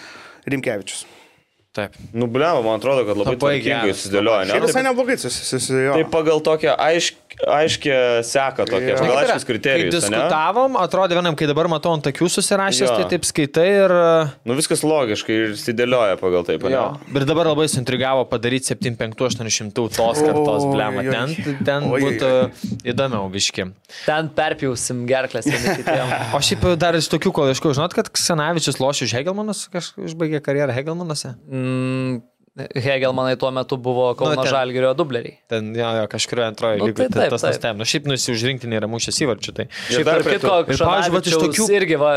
S6: Rimkevičius.
S3: Taip.
S4: Nu, bleva, man atrodo, kad
S3: Labai
S4: labai, labai tvarkingai
S3: geras.
S4: susidėlioja.
S6: Ir
S4: Ne?
S6: visai
S4: Taip,
S6: neblogai susijusi.
S4: taip pagal tokią aišk, aiškę seką, tokią
S6: Jo.
S4: pagal
S3: Kaip yra,
S4: aiškius kriterijus.
S3: Kai
S4: ane?
S3: diskutavom, atrodė vienam, kai dabar matau ant akių susirašęs,
S4: Jo.
S3: tai taip skaitai ir... e,
S4: Nu, viskas logiškai ir sudėlioja pagal tai, pane.
S3: Ir dabar labai suintrigavo padaryti 75-800 tos kartos
S6: Oi,
S3: blemą.
S6: oi,
S3: Ten, ten
S6: oi,
S3: būtų įdomiau viški.
S5: Ten perpjausim gerklės. vieni kitiem.
S3: O šiaip dar iš tokių, kol aišku, žinot, kad Ksenavičius lošė už Hegelmanus, kažkaip užbaigė karjerą Hegelmanuose.
S5: Mm, Hegelmanai tuo metu buvo Kauno
S3: Nu, ten-
S5: Žalgirio dubleriai.
S3: Ten, jo, jo kažkurioje antroje nu,
S5: Nu,
S3: lygoje.
S5: tai
S3: Tai,
S5: taip,
S3: tas
S5: taip.
S3: nustebino. Nu, šiaip nusiužrinkti nėra mūšęs įvarčių. Tai.
S4: Ir
S5: Dar
S4: dar
S5: Tarp
S4: prie
S5: kitko,
S4: to.
S3: Ir pavyzdžiui, vat iš
S5: Kšanavičiaus
S3: tokių-
S5: irgi, va,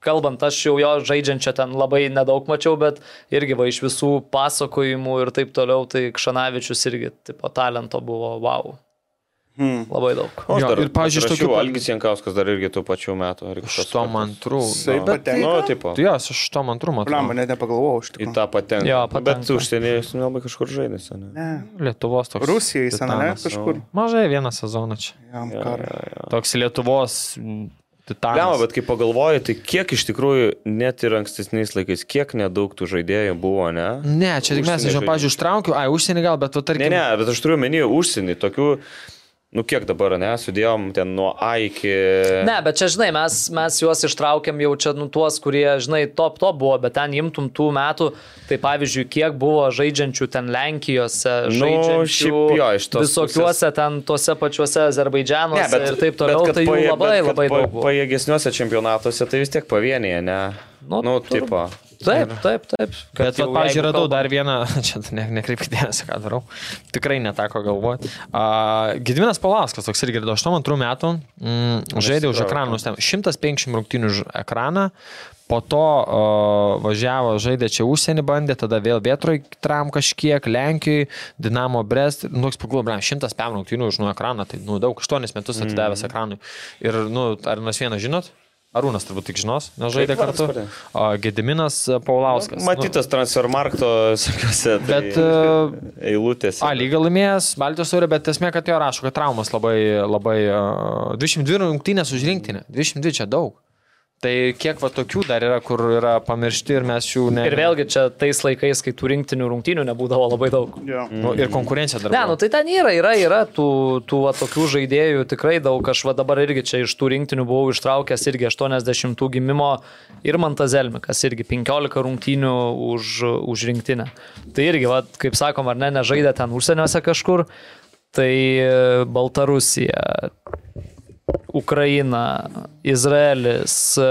S5: kalbant, aš jau jo žaidžiančio ten labai nedaug mačiau, bet irgi va, iš visų pasakojimų ir taip toliau, tai Kšanavičius irgi, tipo, talento buvo, wow. Hmm. Labai daug.
S4: O, aš
S3: Jo,
S4: dar,
S3: ir, pavyzdžiui, iš tokių
S4: rašiau,
S3: pa-
S4: Algis Jankauskas dar irgi tų pačių metų. ar kažkas
S3: Štom
S4: kartais.
S3: antrų.
S6: Jisai
S4: Nu,
S6: patenka.
S4: Nu, tipo,
S3: Tu jos, aš štom antrų
S6: Blam,
S3: matau.
S6: net nepagalvojau iš
S4: į
S6: tikrųjų.
S4: tą patenka.
S5: Jo,
S4: Nu, Bet
S5: patenka.
S4: užsienyje jis nelabai kažkur žaidėsi. Ne?
S3: Lietuvos toks.
S6: Rusijai sename
S3: titanas.
S6: kažkur.
S3: Mažai vieną sezoną čia.
S6: Jam karą.
S3: Toks Lietuvos mm, titanas.
S4: Lema, bet kai pagalvoji, tai kiek iš tikrųjų net ir ankstesniais laikais, kiek nedaug tų žaidėjų buvo, ne?
S3: Ne, čia tik mes,
S4: Užsienio
S3: žinau, pažiūrėjau, užtraukiu, ai, užsienį gal, bet tu tarkim.
S4: Ne, ne, bet aš turiu menį užsienį, tokių, nu kiek dabar, ne, sudėjom ten nuo A iki...
S5: Ne, bet čia, žinai, mes, mes juos ištraukėm jau čia, nu, tuos, kurie, žinai, top top buvo, bet ten imtum tų metų, tai pavyzdžiui, kiek buvo žaidžiančių ten Lenkijose,
S4: Nu,
S5: žaidžiančių
S4: šiaip jo, iš tos
S5: visokiuose ten tuose pačiuose Azerbaidžianuose ir taip toliau,
S4: kad
S5: tai jų
S4: pajė-
S5: labai
S4: bet kad
S5: labai
S4: pa-
S5: daug. buvo.
S4: Pajėgesniuose čempionatuose tai vis tiek pavienyje, ne?
S5: Nu,
S4: Nu, nu
S5: tur-
S4: tipo.
S5: Taip, taip, taip.
S3: Bet, vat,
S5: jau
S3: pavyzdžiui,
S5: jeigu
S3: radau
S5: kalbam-
S3: dar vieną, čia ne, nekreipkite dėmesio, ką darau, tikrai neteko galvoti. Uh, Gidvinas Palauskas, toks irgi girdėjau, 82 metų, mm, žaidė už ekranus, 150 rungtynių už ekraną, po to uh, važiavo, žaidė čia užsienį, bandė, tada vėl vietroj tram kažkiek, Lenkijai, Dinamo Brest, nu, toks pagalvoju, blam, 100 pem rungtynių už nu ekraną, tai, nu, daug, 8 metus atidavęs ekranui. Ir, nu, ar nors vieną žinot? Arūnas turbūt tik žinos, nes žaidė
S4: Kaip vardas Nu,
S3: kartu.
S4: pardavė?
S3: O Gediminas
S5: nu.
S3: Paulauskas. Nu,
S4: Matytas transfermarkto, sakiuose, tai
S3: Bet, e,
S4: eilutės.
S3: A lyga laimėjęs Baltijos turė, bet esmė, kad jo rašo, kad traumas labai, labai... a, 22 rungtynės už rinktinę. 22 čia daug. Tai kiek va tokių dar yra, kur yra pamiršti ir mes jų ne...
S5: Ir vėlgi čia tais laikais, kai tų rinktinių rungtynių nebūdavo labai daug.
S6: Jo.
S3: Nu, ir konkurencija dar.
S5: Ne,
S3: buvo.
S5: nu tai ten yra, yra, yra tų, tų va, tokių žaidėjų tikrai daug. Aš va dabar irgi čia iš tų rinktinių buvau ištraukęs irgi 80 gimimo ir Mantas Elmikas irgi 15 rungtynių už, už rinktinę. Tai irgi, va, kaip sakom, ar ne, nežaidė ten užsieniuose kažkur. Tai e, Baltarusija, Ukraina, Izraelis, e,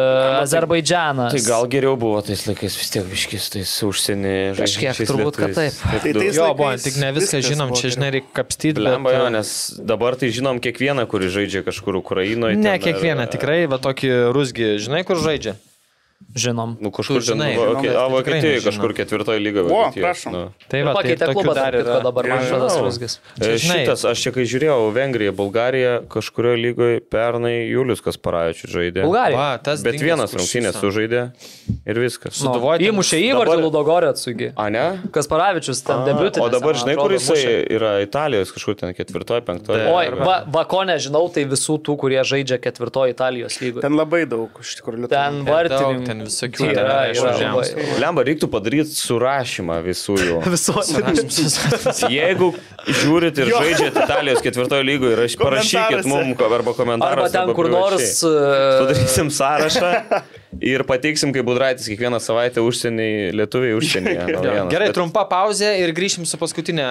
S5: Azerbaidžianas.
S4: Tai gal geriau buvo tais laikais vis tiek viškis, tais užsienį
S5: Kažkiek
S4: žaidžiančiais
S5: turbūt, kad
S4: lietuviais.
S5: taip.
S6: Tai
S4: daug-
S6: tais
S3: Jo,
S6: laikais
S3: buvo, tik ne viską
S6: viskas
S3: žinom,
S6: buvo
S3: čia žinai, reikia kapstyti.
S4: Lemba
S3: bet,
S5: e,
S4: jo,
S3: a,
S4: nes dabar tai žinom kiekvieną, kuris žaidžia kažkur Ukrainoje.
S3: e,
S4: e,
S3: Ne, kiekvieną, tikrai, va tokį rusgi, žinai, kur žaidžia.
S5: Žinom.
S4: Nu, kažkur
S3: Tu žinai,
S4: žinai, žinai,
S3: žinom, bet
S4: okay, a,
S3: tikrai
S4: Vokietijoje
S3: nežinom.
S4: kažkur ketvirtoje lygoje. nu.
S6: Vo,
S4: Vokietijoj,
S6: prašom.
S3: Tai va, tai
S5: nu, Pakeitė klubą,
S3: tokių
S5: dar
S3: dar
S5: ir
S3: yra.
S5: dabar man
S6: Nežinau.
S5: žodas rusgis.
S4: E,
S3: Čia žinai.
S4: Šitas, aš čia kai žiūrėjau, Vengrija, Bulgarija, kažkurioje lygoje pernai Julius Kasparavičius žaidė.
S5: Bulgarija.
S3: Va, tas
S4: Bet
S3: dingęs
S4: vienas
S3: kur
S4: rungtynės
S3: šypsa.
S4: sužaidė ir viskas.
S5: Nu,
S3: Sūduvoj ten-
S5: Įmušė įvartį
S4: dabar-
S5: Ludogorė atsugi.
S4: A, ne?
S5: Kasparavičius ten debiutė.
S4: O dabar žinai, kur jisai yra Italijos, kažkur ten ketvirtoje, penktoje.
S5: Oi, va, va ko nežinau, tai visų tų, kurie žaidžia ketvirtojo Italijos lygoje.
S6: Ten labai daug, iš tikrųjų, lietuvių.
S5: Ten
S3: Daug
S5: vartininkų.
S3: ten visokių
S5: Yra,
S3: dar
S5: yra,
S3: žemės.
S5: labai.
S4: Lemba, reiktų padaryti surašymą visų jų.
S5: Visuotinai.
S4: Jeigu žiūrit ir žaidžiat Italijos ketvirtojo lygoje, raš- parašykit
S6: Komentaruose.
S4: mums arba komentaruose.
S5: Arba ten kur nors.
S4: privačiai. tai
S5: e,
S4: Padarysim sąrašą ir pateiksim, kaip Budraitis kiekvieną savaitę užsienį, lietuviai užsienyje. naujienas.
S3: Gerai,
S4: Bet
S3: trumpa pauzė ir grįšim su paskutinė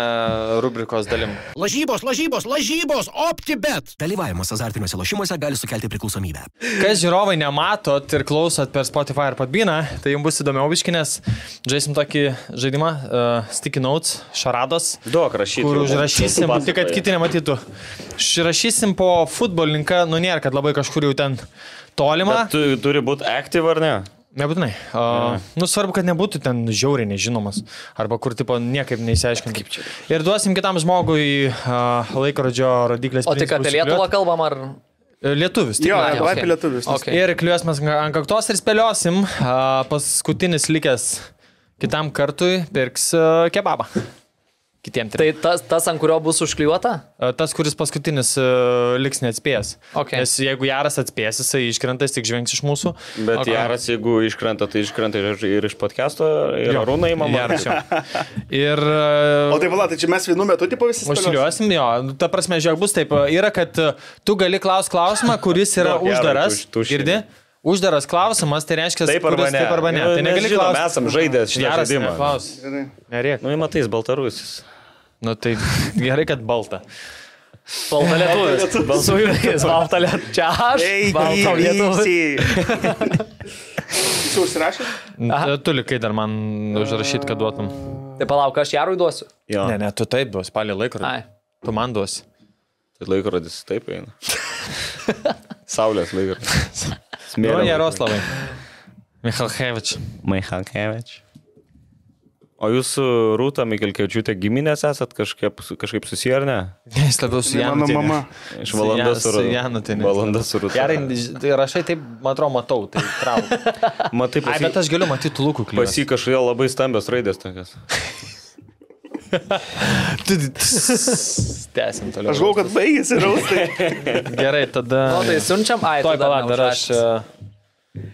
S3: rubrikos dalim.
S1: Lažybos, lažybos, lažybos, OptiBet.
S2: Dalyvavimas azartiniuose lošimuose gali sukelti priklausomybę.
S3: Kas žiūrovai nematot ir klausot per Spotify ir Padbiną, tai jums bus įdomiau biškinės. Žaisim tokį žaidimą, uh, Sticky Notes, Šarados.
S4: Duok rašyti.
S3: Kur užrašysim, tik kad kiti nematytų. Užrašysim po futbolinką, nu nėra, kad labai kažkur jau ten tolima.
S4: Bet tu turi būti aktyv ar ne?
S3: Nebūtinai. Uh, nu, svarbu, kad nebūtų ten žiauriai nežinomas. Arba kur, tipo, niekaip neįsiaiškinti. Kaip čia. Ir duosim kitam žmogui uh, laikrodžio rodiklės.
S5: O tik apie Lietuvą kalbam ar...
S3: Lietuvis. tik
S6: Jo,
S3: Lietuvą.
S6: dabar
S5: okei.
S6: apie lietuvius. nes-
S5: Okei.
S3: Ir kliuos mes ant kaktos ir spėliosim. A, Paskutinis likęs kitam kartui pirks a, kebabą. Kitiem
S5: Tai
S3: trim.
S5: tas, tas, ant kurio bus užklijuota?
S3: A, Tas, kuris paskutinis a, liks neatspėjęs.
S5: Okei.
S3: Nes jeigu Jaras atspės, jisai iškrenta, jis tik žvengs iš mūsų.
S4: Bet
S3: Okei.
S4: okay. Jaras, jeigu iškrenta, tai iškrenta ir, ir iš podcast'o, ir
S3: Jo.
S4: Arūna įmama.
S3: Jaras jo. Ir... a,
S6: O tai valat, tai čia mes vienu metu tipo visi spėliosim?
S3: Užsiliuosim, jo, ta prasme, žiūrėk, bus taip, yra, kad e, tu gali klaus klausimą, kuris yra
S4: Nu, gerai,
S3: uždaras.
S4: tuš- tušinį.
S3: Girdi? Uždaras klausimas, tai reiškia,
S4: Taip arba
S3: kuris
S4: ne.
S3: taip arba ne.
S4: Nu,
S3: Tai
S4: nes
S3: negali
S4: žinom,
S3: klausti.
S4: mes esam žaidę šitą
S3: Geras
S4: žaidimą.
S3: neklaus. Nerėk.
S4: Nu, įmatais, baltarusis.
S3: Nu tai gerai, kad balta.
S5: Balta lietuvis. Su jais, balta lietuvis. Čia aš.
S6: Ei,
S5: Balta lietuvis.
S6: gyvysi! Jūs užsirašėte?
S3: Aha. Tu likai dar man užrašyti, kad duotum.
S5: Tai palauk, aš Jarui duosiu.
S4: Jo.
S3: Ne, ne, tu taip duos, palį laikrodį.
S5: Ai.
S3: Tu man duos.
S4: Tai laikrodis taip eina. Saulės laikrodis.
S3: Nu,
S4: Smėlio.
S3: Jaroslavai. Michalkevič.
S4: Maichalkevič. O jūs su Rūta Mikelkevičiūtė giminės esat kažkaip, kažkaip susiję ar ne?
S3: Ne, jis labiau su
S6: Tai mano
S3: Janu.
S6: mama.
S4: Iš valandos
S3: Su
S4: su Rūta.
S3: Janutiene.
S4: Valandos su Rūta.
S3: Gerai, tai rašai taip, man atrodo, matau, tai trauk.
S4: Matai,
S3: Ai, bet
S4: pasi,
S3: aš galiu matyti lūkų kliūtį.
S4: pasi kažkodėl labai stambios raidės tokios.
S3: Tęsim toliau.
S6: Aš galvoju, kad baigėsi tai raustai.
S3: Gerai, tada.
S5: O tai siunčiam, ai,
S3: Tuoj
S5: tada
S3: palauk, dar aš.
S5: neužrašęs.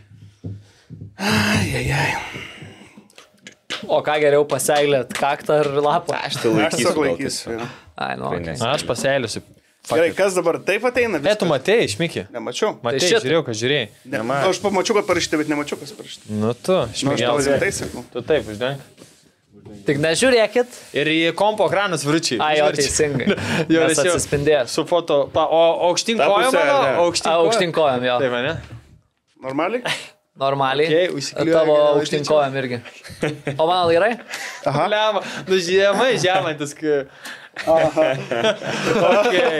S5: O ką geriau paseilėt, kaktą ar lapą? Aš tai
S6: Aš tiesiog laikysiu. jo.
S5: Ai, nu.
S4: ne.
S5: Okay.
S3: a, Aš pasėliusiu.
S6: Gerai, kas dabar taip ateina?
S3: E, tu matėjai, išmyki.
S6: Nemačiau.
S3: Matei,
S5: šit-
S3: žiūrėjau, kad žiūrėjai.
S6: Ne, nu, aš pamačiau, kad parašyta, bet nemačiau, kas parašyta.
S3: Nu tu,
S6: Nu, aš tau
S3: išmyki.
S6: rimtai sakau.
S3: Tu taip, žinai.
S5: Tik nežiūrėkit.
S3: Ir į kompo ekranus virčiai.
S5: Ai, jo, teisingai.
S3: Jo,
S5: Nes
S3: nes jau
S5: atsispindės.
S3: Su foto. Pa, o aukštin
S4: Ta
S3: kojom,
S4: pusė,
S3: mano?
S4: ne.
S3: Aukštin
S5: Aukštinkojam jo.
S3: Taip, ne?
S6: Normaliai?
S5: Normaliai.
S3: Tai Okei, užsiklijuoju
S5: Tavo
S3: geriau,
S5: aukštinkojam irgi. O man lairai?
S6: Aha.
S3: Lemą, nu žiemai žemantis. Kai... okay.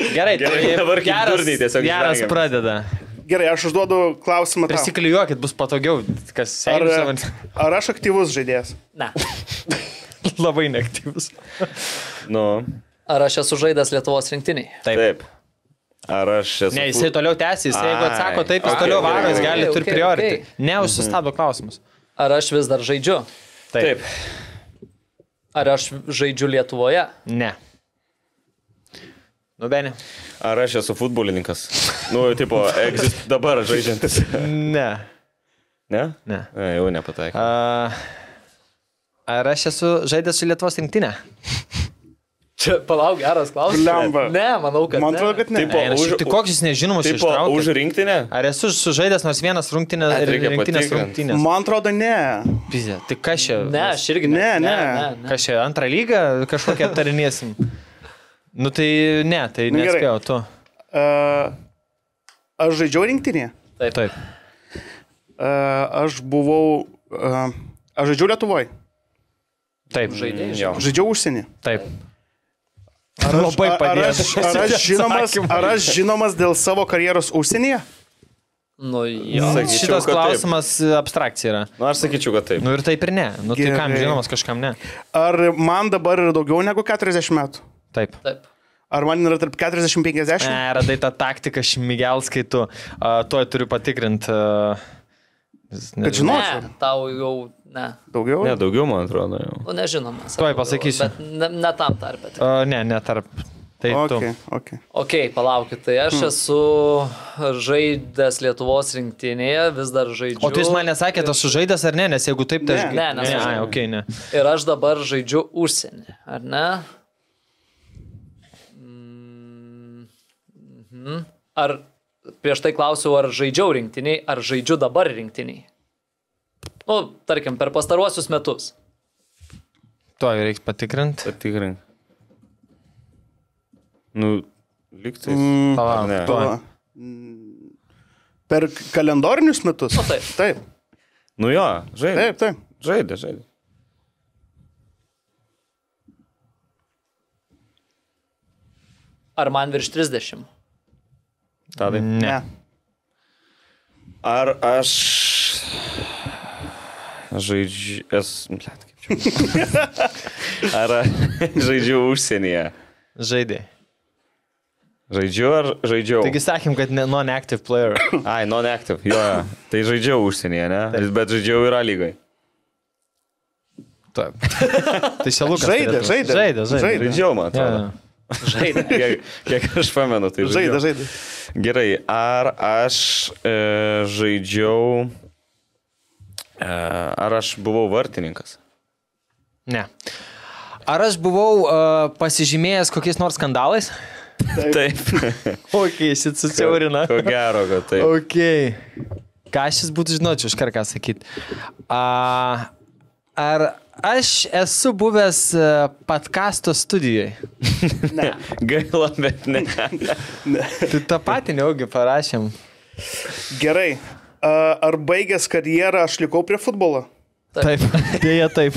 S3: Gerai,
S4: Gerai,
S3: tai
S4: dabar kaip
S3: geras,
S4: durniai tiesiog
S3: geras
S4: žvengiam.
S3: pradeda.
S6: Gerai, aš užduodu klausimą. tau.
S3: Prisiklijuokit, bus patogiau, kas
S6: Ar,
S3: seniai savo
S6: ar aš aktyvus žaidėjas?
S5: Ne.
S3: labai neaktyvus.
S4: Nu,
S5: Ar aš esu žaidęs Lietuvos rinktiniai?
S3: Taip.
S4: taip. Ar aš esu...
S3: Ne, jisai toliau tęsys, jeigu
S4: Ai,
S3: atsako taip, jis
S4: okei,
S3: toliau
S4: gerai,
S3: varo, jis
S4: gerai,
S3: gali
S5: gerai,
S3: turi Mhm.
S5: okei,
S3: prioritį. Neužsistabdo klausimus.
S5: Ar aš vis dar žaidžiu?
S4: Taip.
S5: Ar aš žaidžiu Lietuvoje?
S3: Ne. Nu, Beni.
S4: Ar aš esu futbolininkas? Nu, tipo, egzist dabar žaidžiantis.
S3: Ne.
S4: Ne?
S3: Ne.
S4: ne jau nepataikė.
S3: A, ar aš esu žaidęs su Lietuvos rinktinė?
S5: Čia, palauk, geras klausimas.
S6: Blemba.
S5: Ne, manau, kad.
S6: Man atrodo,
S5: ne.
S6: kad ne.
S4: Tipo,
S3: Ir aš-
S4: už-
S3: Tai koks jis nežinomas iš
S4: Tipo, už
S3: to?
S4: rinktinę?
S3: Ar esu sužaidęs nors vienas rungtynės,
S4: Ai, reikia
S3: rinktinės
S4: patikrint.
S3: rungtynės?
S6: Man atrodo, ne.
S3: Pizė, tai kas čia?
S5: Ne, aš irgi ne.
S6: Ne, ne.
S5: ne, ne.
S3: Kas čia, antrą lygą kažkokią aptarinėsim? Nu tai ne, tai
S6: Nu, gerai.
S3: nespėjau tu.
S6: Uh, aš žaidžiau rinktinėje.
S3: Taip.
S6: Uh, aš buvau. Uh, aš žaidžiau Lietuvoje.
S3: Taip,
S5: Žaidėjai.
S4: Jo.
S6: Žaidžiau užsienį.
S3: taip.
S6: Ar aš,
S3: Labai
S6: ar, ar, aš,
S3: padėjo.
S6: ar, aš žinomas, ar aš žinomas dėl savo karjeros užsienyje?
S5: Nu, jo.
S4: Sakyčiau,
S3: Šitas
S4: kad taip.
S3: klausimas taip. abstrakcija yra.
S4: Nu, aš sakyčiau, kad taip.
S3: Nu ir taip ir ne. Nu tai kam
S6: Gerai.
S3: žinomas, kažkam ne.
S6: Ar man dabar yra daugiau negu 40 metų?
S3: Taip.
S5: Taip.
S6: Ar man yra tarp 40-50?
S3: Ne, radai tą taktiką šmigels, kai tu uh, tuoj turiu patikrinti. Uh,
S6: Kad žinau.
S5: Ne,
S6: Žinočiau.
S5: tau jau ne.
S3: Nu.
S6: Daugiau?
S4: Ne, daugiau, man atrodo, jau.
S5: Nu, nežinomas.
S3: Tuoj pasakysiu.
S5: Bet ne, ne tam tarpe. tik.
S3: Uh, ne, ne tarp. Tai okay.
S6: Okay,
S3: tu.
S6: okay.
S5: Ok, palaukit, tai
S3: Hmm.
S5: aš esu žaidęs Lietuvos rinktinėje, vis dar žaidžiu.
S3: O tu jis man nesakė, tas sužaidęs ar ne, nes jeigu taip, tai aš...
S6: Ne,
S5: ne,
S3: ne, ai,
S5: nesužaidęs.
S3: okay, ne.
S5: Ir aš dabar žaidžiu užsienį, ar ne? Mm, mhm. Ar prieš tai klausiau, ar žaidžiau rinktiniai, ar žaidžiu dabar rinktiniai? Nu, tarkim, per pastaruosius metus.
S3: Tuoj reiks patikrinti.
S4: Patikrink. Nu, liktai.
S3: Palauk,
S4: ne?
S3: tuoj.
S6: Va. Per kalendorinius metus?
S5: Nu, taip.
S6: Taip,
S4: Nu jo, žaidė.
S6: taip, taip.
S4: Žaidė, žaidė.
S5: Ar man virš 30?
S4: Tadai.
S6: Ne.
S4: Ar aš žaidžiu... Esu... blet, kaip čia- Ar aš žaidžiu užsienyje?
S3: Žaidėjai.
S4: Žaidžiu ar žaidžiau?
S3: Taigi sakėm, kad ne, non-active player.
S4: Ai, non-active. Jo, jo. tai žaidžiau užsienyje, ne? Taip. Bet žaidžiau yra lygai.
S3: Taip. tai čia Lukas.
S6: Žaidė,
S3: turėtų- Žaidė,
S6: žaidė.
S3: žaidė.
S6: Žaidė.
S4: Žaidžiau,
S3: Ja,
S4: man atrodo.
S3: ja.
S5: Žaidžiu.
S4: Kiek, kiek aš pamenu, tai žaidžiau.
S6: Žaidė, žaidė.
S4: Gerai, ar aš e, žaidžiau. E, ar aš buvau vartininkas?
S3: Ne. Ar aš buvau uh, pasižymėjęs kokiais nors skandalais?
S4: Taip.
S3: Ok, šit susiaurina.
S4: Ko gero, kad taip.
S3: Ok. Ką aš jis būtų žinočiau, iš karto ką sakyti. Uh, ar aš esu buvęs uh, podkasto studijoje?
S4: Gaila, bet ne.
S3: Tai tą patį neaugi parašėm.
S6: Gerai. A, Ar baigęs karjerą aš likau prie futbolo?
S3: Taip, dėja taip.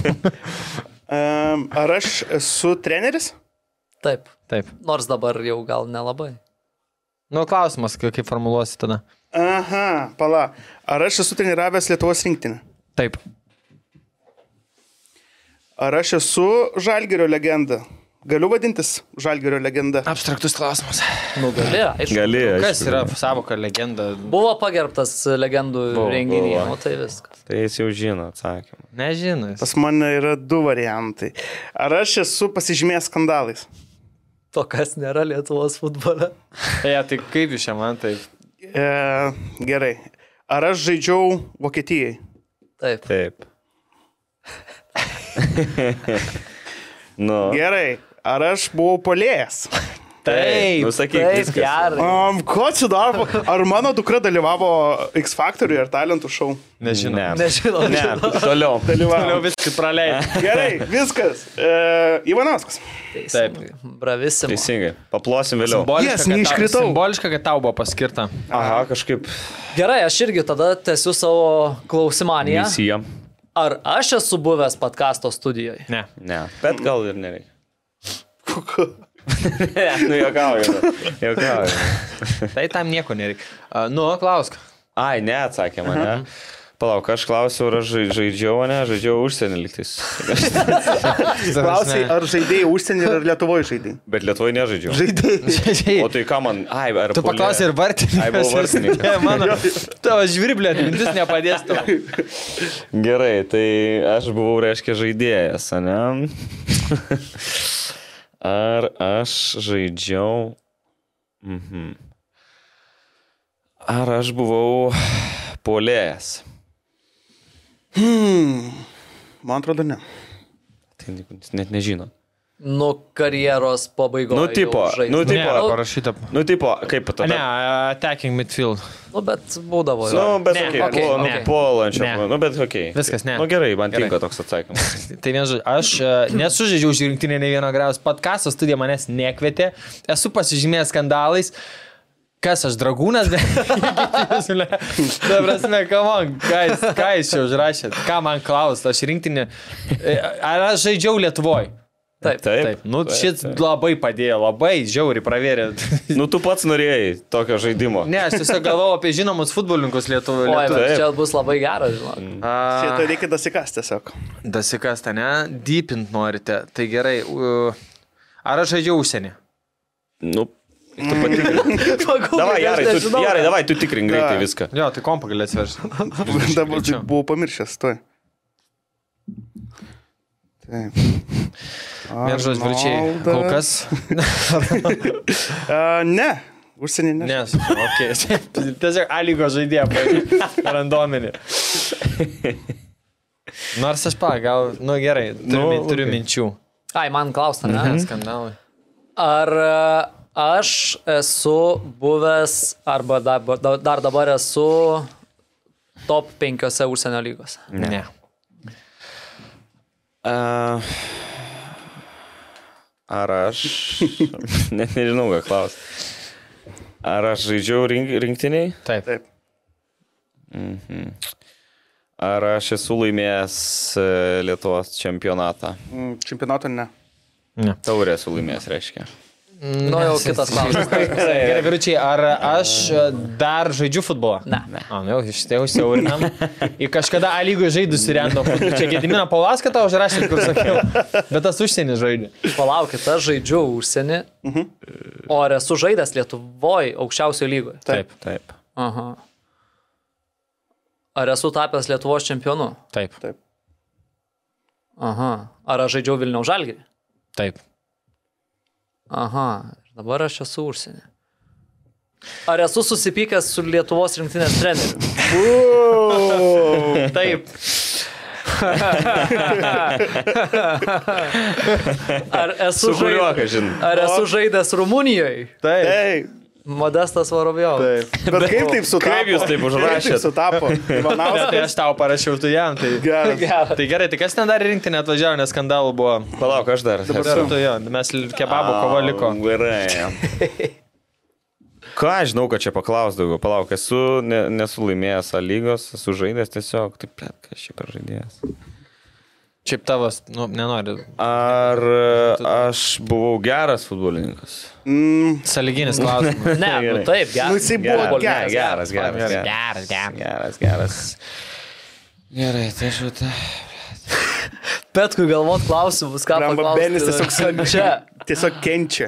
S6: Em, Ar aš esu treneris?
S5: Taip.
S3: Taip.
S5: Nors dabar jau gal nelabai.
S3: Nu, klausimas, kai- kaip formuluosi tada.
S6: Aha, pala. Ar aš esu treniravęs Lietuvos rinktinę?
S3: Taip.
S6: Ar aš esu Žalgerio legenda? Galiu vadintis Žalgerio legenda.
S3: Abstraktus klausimas.
S5: Nugalė, Nu, aišku.
S4: Gali.
S3: Nu, Kas
S4: aišku.
S3: yra savoka legenda?
S5: Buvo pagerbtas legendų
S4: Buvo,
S5: renginyje,
S4: buvo.
S5: o tai viskas.
S4: Tai jis jau žino atsakymą.
S3: Nežinai.
S6: Pas mane yra du variantai. Ar aš esu pasižymėjęs skandalais?
S5: To, kas nėra Lietuvos futbole.
S3: Ja, tai kaip jūs čia man taip?
S6: E, gerai. Ar aš žaidžiau Vokietijai?
S5: Taip.
S4: Taip. nu, Nu,
S6: Gerai. Ar aš buvau polėjas?
S3: Taip,
S4: nusakyk
S5: taip,
S4: Nu, viskas.
S5: gerai.
S6: Um, ko čia dar? Ar mano dukra dalyvavo X Factory ar talentų šou?
S4: Nežinau.
S5: Nežinau,
S4: Ne,
S5: nežinau.
S4: toliau.
S6: Dalyvavo.
S3: Viskas praleidai.
S6: Gerai, viskas. E, Ivanauskas.
S3: Taip.
S5: Bravisim.
S4: Teisingai. Paplosim vėliau.
S3: Simboliška,
S6: Yes,
S3: kad tau-
S6: neiškritau.
S3: Simboliška, kad tau buvo paskirta.
S4: Aha, kažkaip.
S5: Gerai, aš irgi tada tęsiu savo klausimaniją.
S4: Misija.
S5: Ar aš esu buvęs podkasto studijoje?
S3: Ne.
S4: Ne. Bet gal ir nereikia. ne, nu jokauju. Jokauju.
S3: Tai tam nieko nereikia. A, Nu, klausk.
S4: Ai, ne, atsakė mane. Palauk, aš klausiau, ar aš žai- žaidžiau, o ne, žaidžiau užsienį liktis.
S6: Klausiai, ar žaidėjai užsienį ar Lietuvoje žaidėjai?
S4: Bet Lietuvoje nežaidžiau.
S6: Žaidėjai.
S4: O tai ką man? Ai, ar...
S3: Tu
S4: puolė-
S3: paklausai ir vartininkas.
S4: Ai, buvau vartininkas.
S3: Ne, mano. Tavo žvirblė atmintis nepadės tau.
S4: Gerai, tai aš buvau, reiškia, žaidėjas, ne? Ar aš žaidžiau. Mhm. Ar aš buvau polėjas?
S6: Man atrodo, ne.
S4: Tai net nežino.
S5: Nu, karjeros pabaigoje.
S4: Nu, tipo,
S5: jau žaist.
S4: nu, tipo,
S3: Ne,
S4: Nu,
S3: parašyta.
S4: Nu, tipo, kaip tada?
S3: Ne, attacking midfield.
S5: nu, bet būdavo.
S4: Nu,
S5: jau.
S4: bet
S3: Ne,
S4: okei,
S3: okei,
S4: okay,
S3: ne.
S4: okay, puolančio.
S3: Ne.
S4: Okay. Nu, bet okei. Okay.
S3: Viskas, ne.
S4: Nu, gerai, man
S3: Gerai.
S4: tinka toks atsakymas.
S3: Tai vienas žodžiu, aš e, nesužaidžiau už rinktinę ne vieno graus podcast'o, studija manęs nekvietė, esu pasižymėjęs skandalais. Kas aš, dragūnas? Dabar prasme, kam man, ką jūs čia užrašėt, ką man klausot, aš rinktinė. e, Ar aš žaidžiau Lietuvoje?
S5: Taip,
S4: Taip.
S3: Taip, nu šis labai padėjo, labai žiauriai pravėrė.
S4: Nu, tu pats norėjai tokio žaidimo.
S3: Ne, aš tiesiog galvojau apie žinomus futbolininkus
S5: Oi,
S3: Lietuvoje.
S5: bet
S4: Taip.
S5: čia bus labai geras, žinok.
S6: Čia to reikia dasikasti tiesiog.
S3: Dasikas ten, ne? Deepint norite. Tai gerai. u, Ar aš žaidžiau užsienį?
S4: Nu, tu patikrinai.
S3: Nu,
S4: Davai, gerai, tu, gerai, davai, tu tikrink greitai
S6: Da.
S4: viską.
S3: Jo, tai kompą gali atsiversti.
S6: Dabar
S3: greičiau.
S6: buvau pamiršęs, tuoj. Taip.
S3: Vienžas virčiai.
S6: Arnoldas.
S3: Kol kas.
S6: A, ne, užsienį ne.
S3: Nes. Okay. Tiesiog Aligo žaidėja, pavyzdžiui. Randominį. Nors aš pa, gal, nu gerai, turiu,
S4: Nu,
S3: nu, turiu
S4: okei.
S3: okay. minčių.
S5: Ai, man klausta,
S4: Mhm.
S5: ne?
S3: Skandalai.
S5: Ar e, aš esu buvęs, arba dabar, da- dar dabar esu top 5 užsienio lygos.
S3: Ne. ne.
S4: A, ar aš. Net nežinau, ką klaus. Ar aš žaidžiau rink, rinktiniai?
S3: Taip.
S6: Taip.
S4: Ar aš esu laimėjęs e, Lietuvos čempionatą?
S6: Mm, Čempionato ne.
S4: Taurę esu laimėjęs, reiškia. Mm.
S5: Nu, jau kitas klausimas.
S3: Gerai, vyručiai, ar aš dar žaidžiu futbolą?
S5: Ne.
S3: O, nu, iš tėvų siaurinam. Į kažkada A lygoje žaidusi rendo futbolą. Čia Gedimina Palaską tau užrašė, kur sakiau. Bet tas užsienį žaidžia.
S5: Palaukit, aš žaidžiu užsienį, o ar esu žaidęs Lietuvoje aukščiausio lygoje?
S4: Taip, taip.
S5: Aha. Ar esu tapęs Lietuvos čempionu?
S3: Taip,
S6: Taip.
S5: Aha. Ar aš žaidžiau Vilniaus žalgį?
S3: taip.
S5: Aha. ir Dabar aš esu užsienį. Ar esu susipykęs su Lietuvos rinktinės treneriu?
S3: Taip.
S5: Ar
S4: Su
S5: esu,
S4: kuriuo,
S5: žaid...
S4: ką žinai?
S5: Ar esu žaidęs Rumunijoje?
S3: Taip.
S6: Ei,
S5: Modestas Varovjovas.
S6: taip. Bet kaip taip sutapo?
S4: Kaip jūs taip užrašėt?
S6: Kaip sutapo.
S3: Tai
S6: Ivanauskas.
S3: aš tau parašiau, tu jam. Tai,
S6: Geras.
S3: tai gerai, tai kas ten dar rinkti neatvažiavo, nes skandalų buvo.
S4: Palauk, aš dar. esu.
S3: Kartu jo, mes l- kebabų kova liko.
S4: Au, Gerai. Ką aš žinau, kad čia paklaus daugiau. Palauk, esu ne, nesu laimėjęs A lygos, esu žaidęs tiesiog, taip, ble, kas čia per žaidėjas.
S3: Šiaip tavas, nu, nenori.
S4: Ar e, aš buvau geras futbolininkas?
S3: Saliginis klausimas.
S5: Ne, nu
S4: Gerai.
S5: taip,
S6: Nu, jisai
S5: geras.
S6: buvo
S4: geras,
S6: geras.
S4: geras, geras, geras.
S3: Geras, geras.
S4: Geras, geras. Gerai, tai aš jau tą.
S5: Petkui galvot klausimus, ką man
S6: Ramba Benis tiesiog
S5: čia.
S6: kančia. Tiesiog kenčia.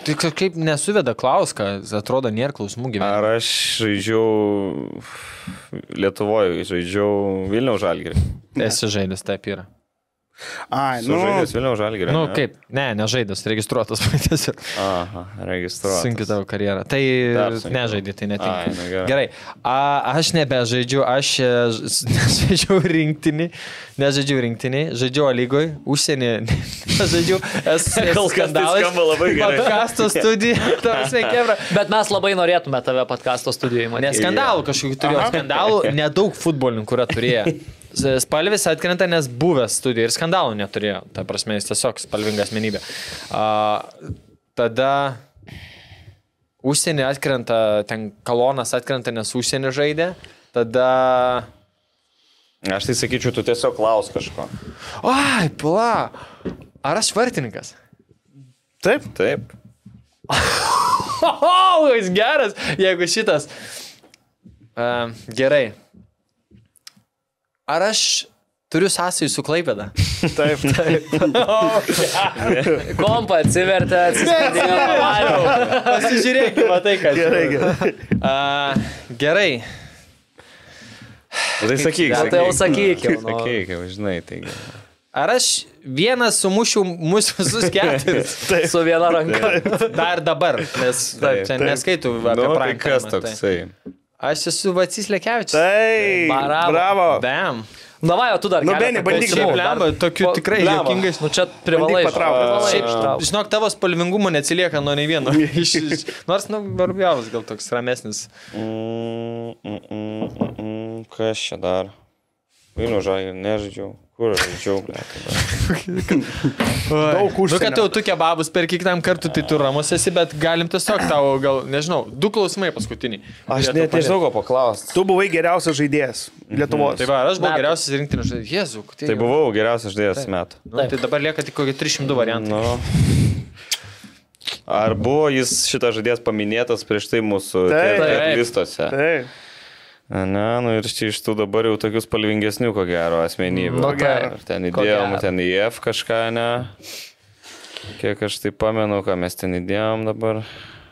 S3: Tai kažkaip nesuveda klauską, atrodo, nėra klausimų gyvenime.
S4: Ar aš žaidžiau Lietuvoje, žaidžiau Vilniaus žalgirį?
S3: Esi žaidęs, taip yra.
S6: Ai, nu,
S4: Sužaidęs Vilniaus Žalgirį.
S3: Na, nu, kaip? Ne, nežaidęs, registruotas praeitėsiu.
S4: Aha, registruotas.
S3: Sunki tavo karjera. Tai
S4: Dar sunkiau.
S3: nežaidė, tai netinka.
S4: Ai, nu gerai.
S3: Gerai. A, aš nebežaidžiu, aš e, ž- nežaidžiau rinktinį, nežaidžiau rinktinį, žaidžiau lygoj, užsienį, nežaidžiau. Esu
S4: Kol kas tai skamba labai gerai.
S3: Podkasto studija, tavęs nekebra.
S5: Bet mes labai norėtume tave podkasto studijoje,
S3: Ne,
S5: manęs.
S3: skandalų kažkokių turėjo. Skandalų nedaug futbolininkų yra turėję. Z- Spalvis atkrenta, nes buvęs studijų ir skandalų neturėjo. Ta prasme, jis tiesiog spalvinga asmenybė. A, tada užsienį atkrenta, ten kalonas atkrenta, nes užsienį žaidė. Tada...
S4: Aš tai sakyčiau, tu tiesiog klaus kažko.
S3: Ai, pala. Ar aš vartininkas?
S4: Taip. Taip.
S3: O, jis geras, jeigu šitas. Uh, gerai. Ar aš turiu sąsajų su Klaipėda?
S6: taip, taip.
S5: Kompa atsivertė, atsivertė.
S3: Pasižiūrėkime tai, ką aš.
S6: Gerai, gerai.
S3: Uh, gerai.
S4: Tai sakyk.
S5: Na, tai jau sakyk jau, nu.
S4: Sakyk, jau, žinai, taigi.
S3: Ar aš vienas sumušiu mūsų visus keturis?
S5: Su viena ranka.
S3: Dar dabar, nes dar,
S4: Taip,
S3: čia
S4: taip.
S3: neskaitų apie
S4: Nu, tai
S3: prankamą,
S4: kas
S3: tai.
S4: toksai?
S3: Aš esu Vacys Lekevičius.
S6: Tai,
S5: Bravo.
S6: bravo.
S3: Bam.
S5: Na, va, o tu dar.
S6: Nu,
S5: keletą
S6: Beni, bandyk
S5: klausimų.
S6: šiaip,
S5: Dar-
S3: blemba, tokių
S5: po-
S3: tikrai
S5: blemba.
S3: juokingais-
S5: Nu, čia privalai.
S6: Bandyk patraukt.
S5: privalai
S4: Šiaip-
S5: ištraukt.
S3: Žinok, tavo spalvingumo neatsilieka nuo nei vieno. Iš, iš, nors, nu, Barbiavas gal toks ramesnis.
S4: Mm, mm, mm, mm, mm, Kas čia dar? Vilnių Žalgirį nežaidžiau. Kur aš žaidžiau? ble, tai tada?
S6: Daug
S3: Nu,
S6: užsienio.
S3: kad jau tu kebabus per kiekvienam kartu, tai tu ramus esi, bet galim tiesiog tavo, gal, nežinau, du klausimai paskutiniai.
S4: Aš
S3: Turėtų
S4: net
S3: padėt.
S4: nežinau, ko paklausti.
S6: Tu buvai geriausias žaidėjas Lietuvos.
S3: Tai va, aš buvau
S5: Metų.
S3: geriausias rinktinis žaidėjas. Jezu, tai,
S4: Tai buvau geriausias žaidėjas metų.
S3: Nu, tai dabar lieka tik kokie 300 variantai.
S4: Nu. Ar buvo jis šitas žaidėjas paminėtas prieš tai mūsų
S6: Taip.
S5: Taip.
S4: listose?
S6: Taip.
S4: Na, nu ir čia iš tų dabar jau tokius spalvingesnių, ko gero, asmenybių.
S5: Nu, taip.
S4: Ir ten
S5: Ko
S4: įdėjom,
S5: gero.
S4: ten į F kažką, ne? Kiek aš tai pamenu, ką mes ten įdėjom dabar.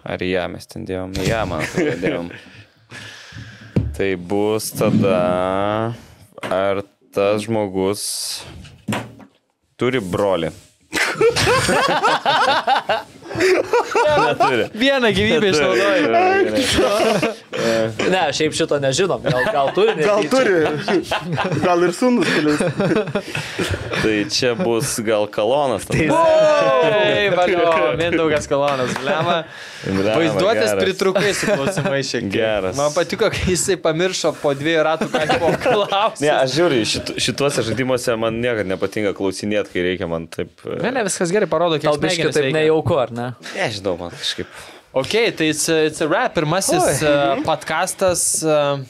S4: Ar į ją mes ten įdėjom? Į ją, man atrodo, įdėjom. tai bus tada, ar tas žmogus turi brolį. Neturi.
S3: Vieną gyvybę išnaudoju.
S5: Ne, šiaip šito nežinom. Gal, gal turi.
S6: Gal
S5: netyčia.
S6: turi. Gal ir sunus kelius.
S4: Tai čia bus gal kalonas.
S5: Tai
S4: tada.
S3: Taip, valio, Mindaugas Kalonas, lema.
S4: Blemba,
S3: Vaizduotės
S4: geras.
S3: pritrukai su klausimai šiek tiek.
S4: Geras.
S3: Man patiko, kai jisai pamiršo po dviejų ratų, ką jis buvo
S4: Ne,
S3: klausęs.
S4: aš žiūriu, šitu, šituose žaidimuose man niekada nepatinka klausinėti, kai reikia man taip... e,
S3: Ne, ne, viskas gerai parodo, kiek
S5: Tau biškai taip
S3: nejau.
S5: nejauku, ar ne?
S4: Nežinau, man kažkaip.
S3: Ok, tai it's a- it's a rap, pirmasis uh, podcastas. Uh,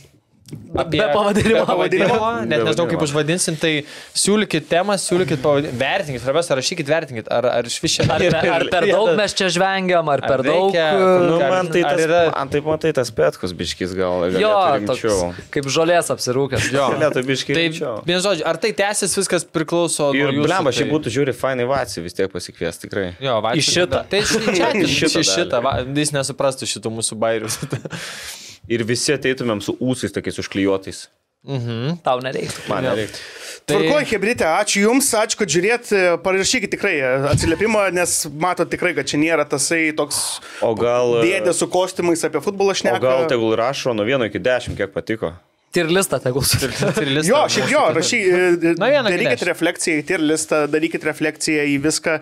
S3: Apie
S5: Be pavadinimo.
S3: Be pavadinimo.
S4: Be
S3: Net nežinau, kaip
S4: pavadinimo.
S3: užvadinsim, tai siūlykit temą, siūlykit pavadinimą. Vertinkit, svarbiausia, rašykit, vertinkit, ar, ar iš viso.
S5: Ar, per- ar per daug mes čia žvengiam, ar per daug.
S3: reikia-
S5: e,
S4: Nu,
S3: Ar-
S4: man tai
S3: ar
S4: tas, yra...
S3: yra-
S4: man taip, man tai tas petkus biškis gal.
S5: Jo,
S4: rimčiau.
S5: toks, kaip žolės apsirūkęs. Jo.
S4: Galėtų biškį
S3: Tai,
S4: rimčiau.
S3: vien žodžiu, ar tai tęsis, viskas priklauso nuo
S4: Ir
S3: jūsų,
S4: blemba, šiaip
S3: tai-
S4: būtų žiūri, fainai vaci vis tiek pasikvies, tikrai.
S3: Jo, vaikščiot
S5: Į šitą.
S3: tada. Tai šitą. Tai
S4: Į šitą
S3: šitą. šitą
S4: dalį.
S3: va, jis nesuprastų šitų mūsų bairių.
S4: Ir visi ateitumėm su ūsais tokiais užklijuotais.
S5: Tau nereikia.
S4: Man nereikia.
S6: Tvarkoj, Hebrite, ačiū Jums, ačiū, kad žiūrėt, parašykit tikrai e, atsiliepimą, nes matot tikrai, kad čia nėra tasai toks
S4: O
S3: E.
S4: gal... e,
S6: dėdė su kostiumais apie futbolą
S4: O
S6: šneka.
S4: gal tegul rašo nuo 1 iki 10, kiek patiko.
S5: Tirlista tegul sutikti.
S3: Trilis.
S6: Jo, šiaip jo, rašykit,
S3: Na, vieną
S6: darykit
S3: gilesnį.
S6: refleksiją į tier listą, darykit refleksiją į viską,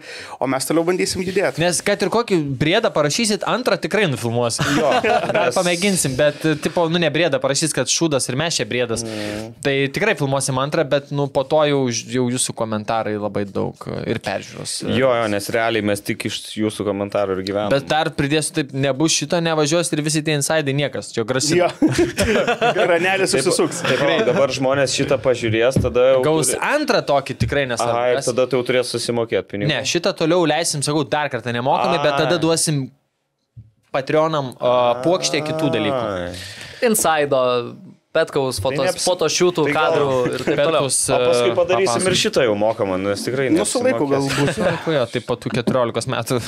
S6: o mes toliau bandysim judėti.
S3: Nes kad ir kokį briedą parašysit, antrą tikrai nufilmuosim. Jo, dar pamėginsim, bet, tipo, nu ne briedą parašysit, kad šūdas ir mes čia briedas. Mm. Tai tikrai filmuosim antrą, bet, nu, po to jau, jau jūsų komentarai labai daug e, ir peržiūros.
S4: Jo, jo, nes realiai mes tik iš jūsų komentarų ir gyvename.
S3: Bet dar pridėsiu, taip, nebus šito, nevažiuos ir visi tie insidai niekas, čia grasina.
S6: Jo. Granelis susisuks.
S4: Tikrai, dabar žmonės šitą pažiūrės, tada jau...
S3: Gaus
S4: turi-
S3: antrą tokį tikrai
S4: Aha,
S3: nesąmonę.
S4: ir tada tu jau turės susimokėti pinigų.
S3: Ne, šitą toliau leisim, sakau, dar kartą nemokamai, bet tada
S4: Ai.
S3: duosim Patreonam uh, puokštė kitų dalykų.
S4: Ai.
S5: Insido Petkaus
S4: Tai
S5: fotos,
S4: neaps-
S5: fotošiūtų
S4: tai gal-
S5: kadrų ir taip toliau.
S4: O paskui
S3: e,
S4: padarysim ir šitą jau mokamą, nes tikrai
S6: Nu, su laiku
S4: neapsimokės.
S6: galbūt.
S3: Jo, taip pat tų 14 metų.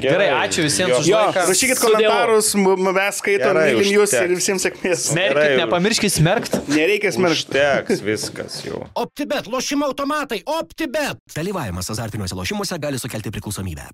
S3: Gerai, ačiū visiems
S4: Jo.
S3: už
S6: Jo,
S3: laiką.
S6: rašykit
S5: Sudievu.
S6: komentarus, m- m- mes skaitom,
S4: Gerai,
S6: mylim jūs
S4: užteks.
S6: ir visiems sėkmės.
S3: Smerkit,
S4: Gerai.
S3: nepamirškit smerkti.
S6: Nereikia smerkti.
S4: Užteks viskas jau.
S1: OptiBet, lošimo automatai, OptiBet.
S2: Dalyvavimas azartiniuose lošimuose gali sukelti priklausomybę.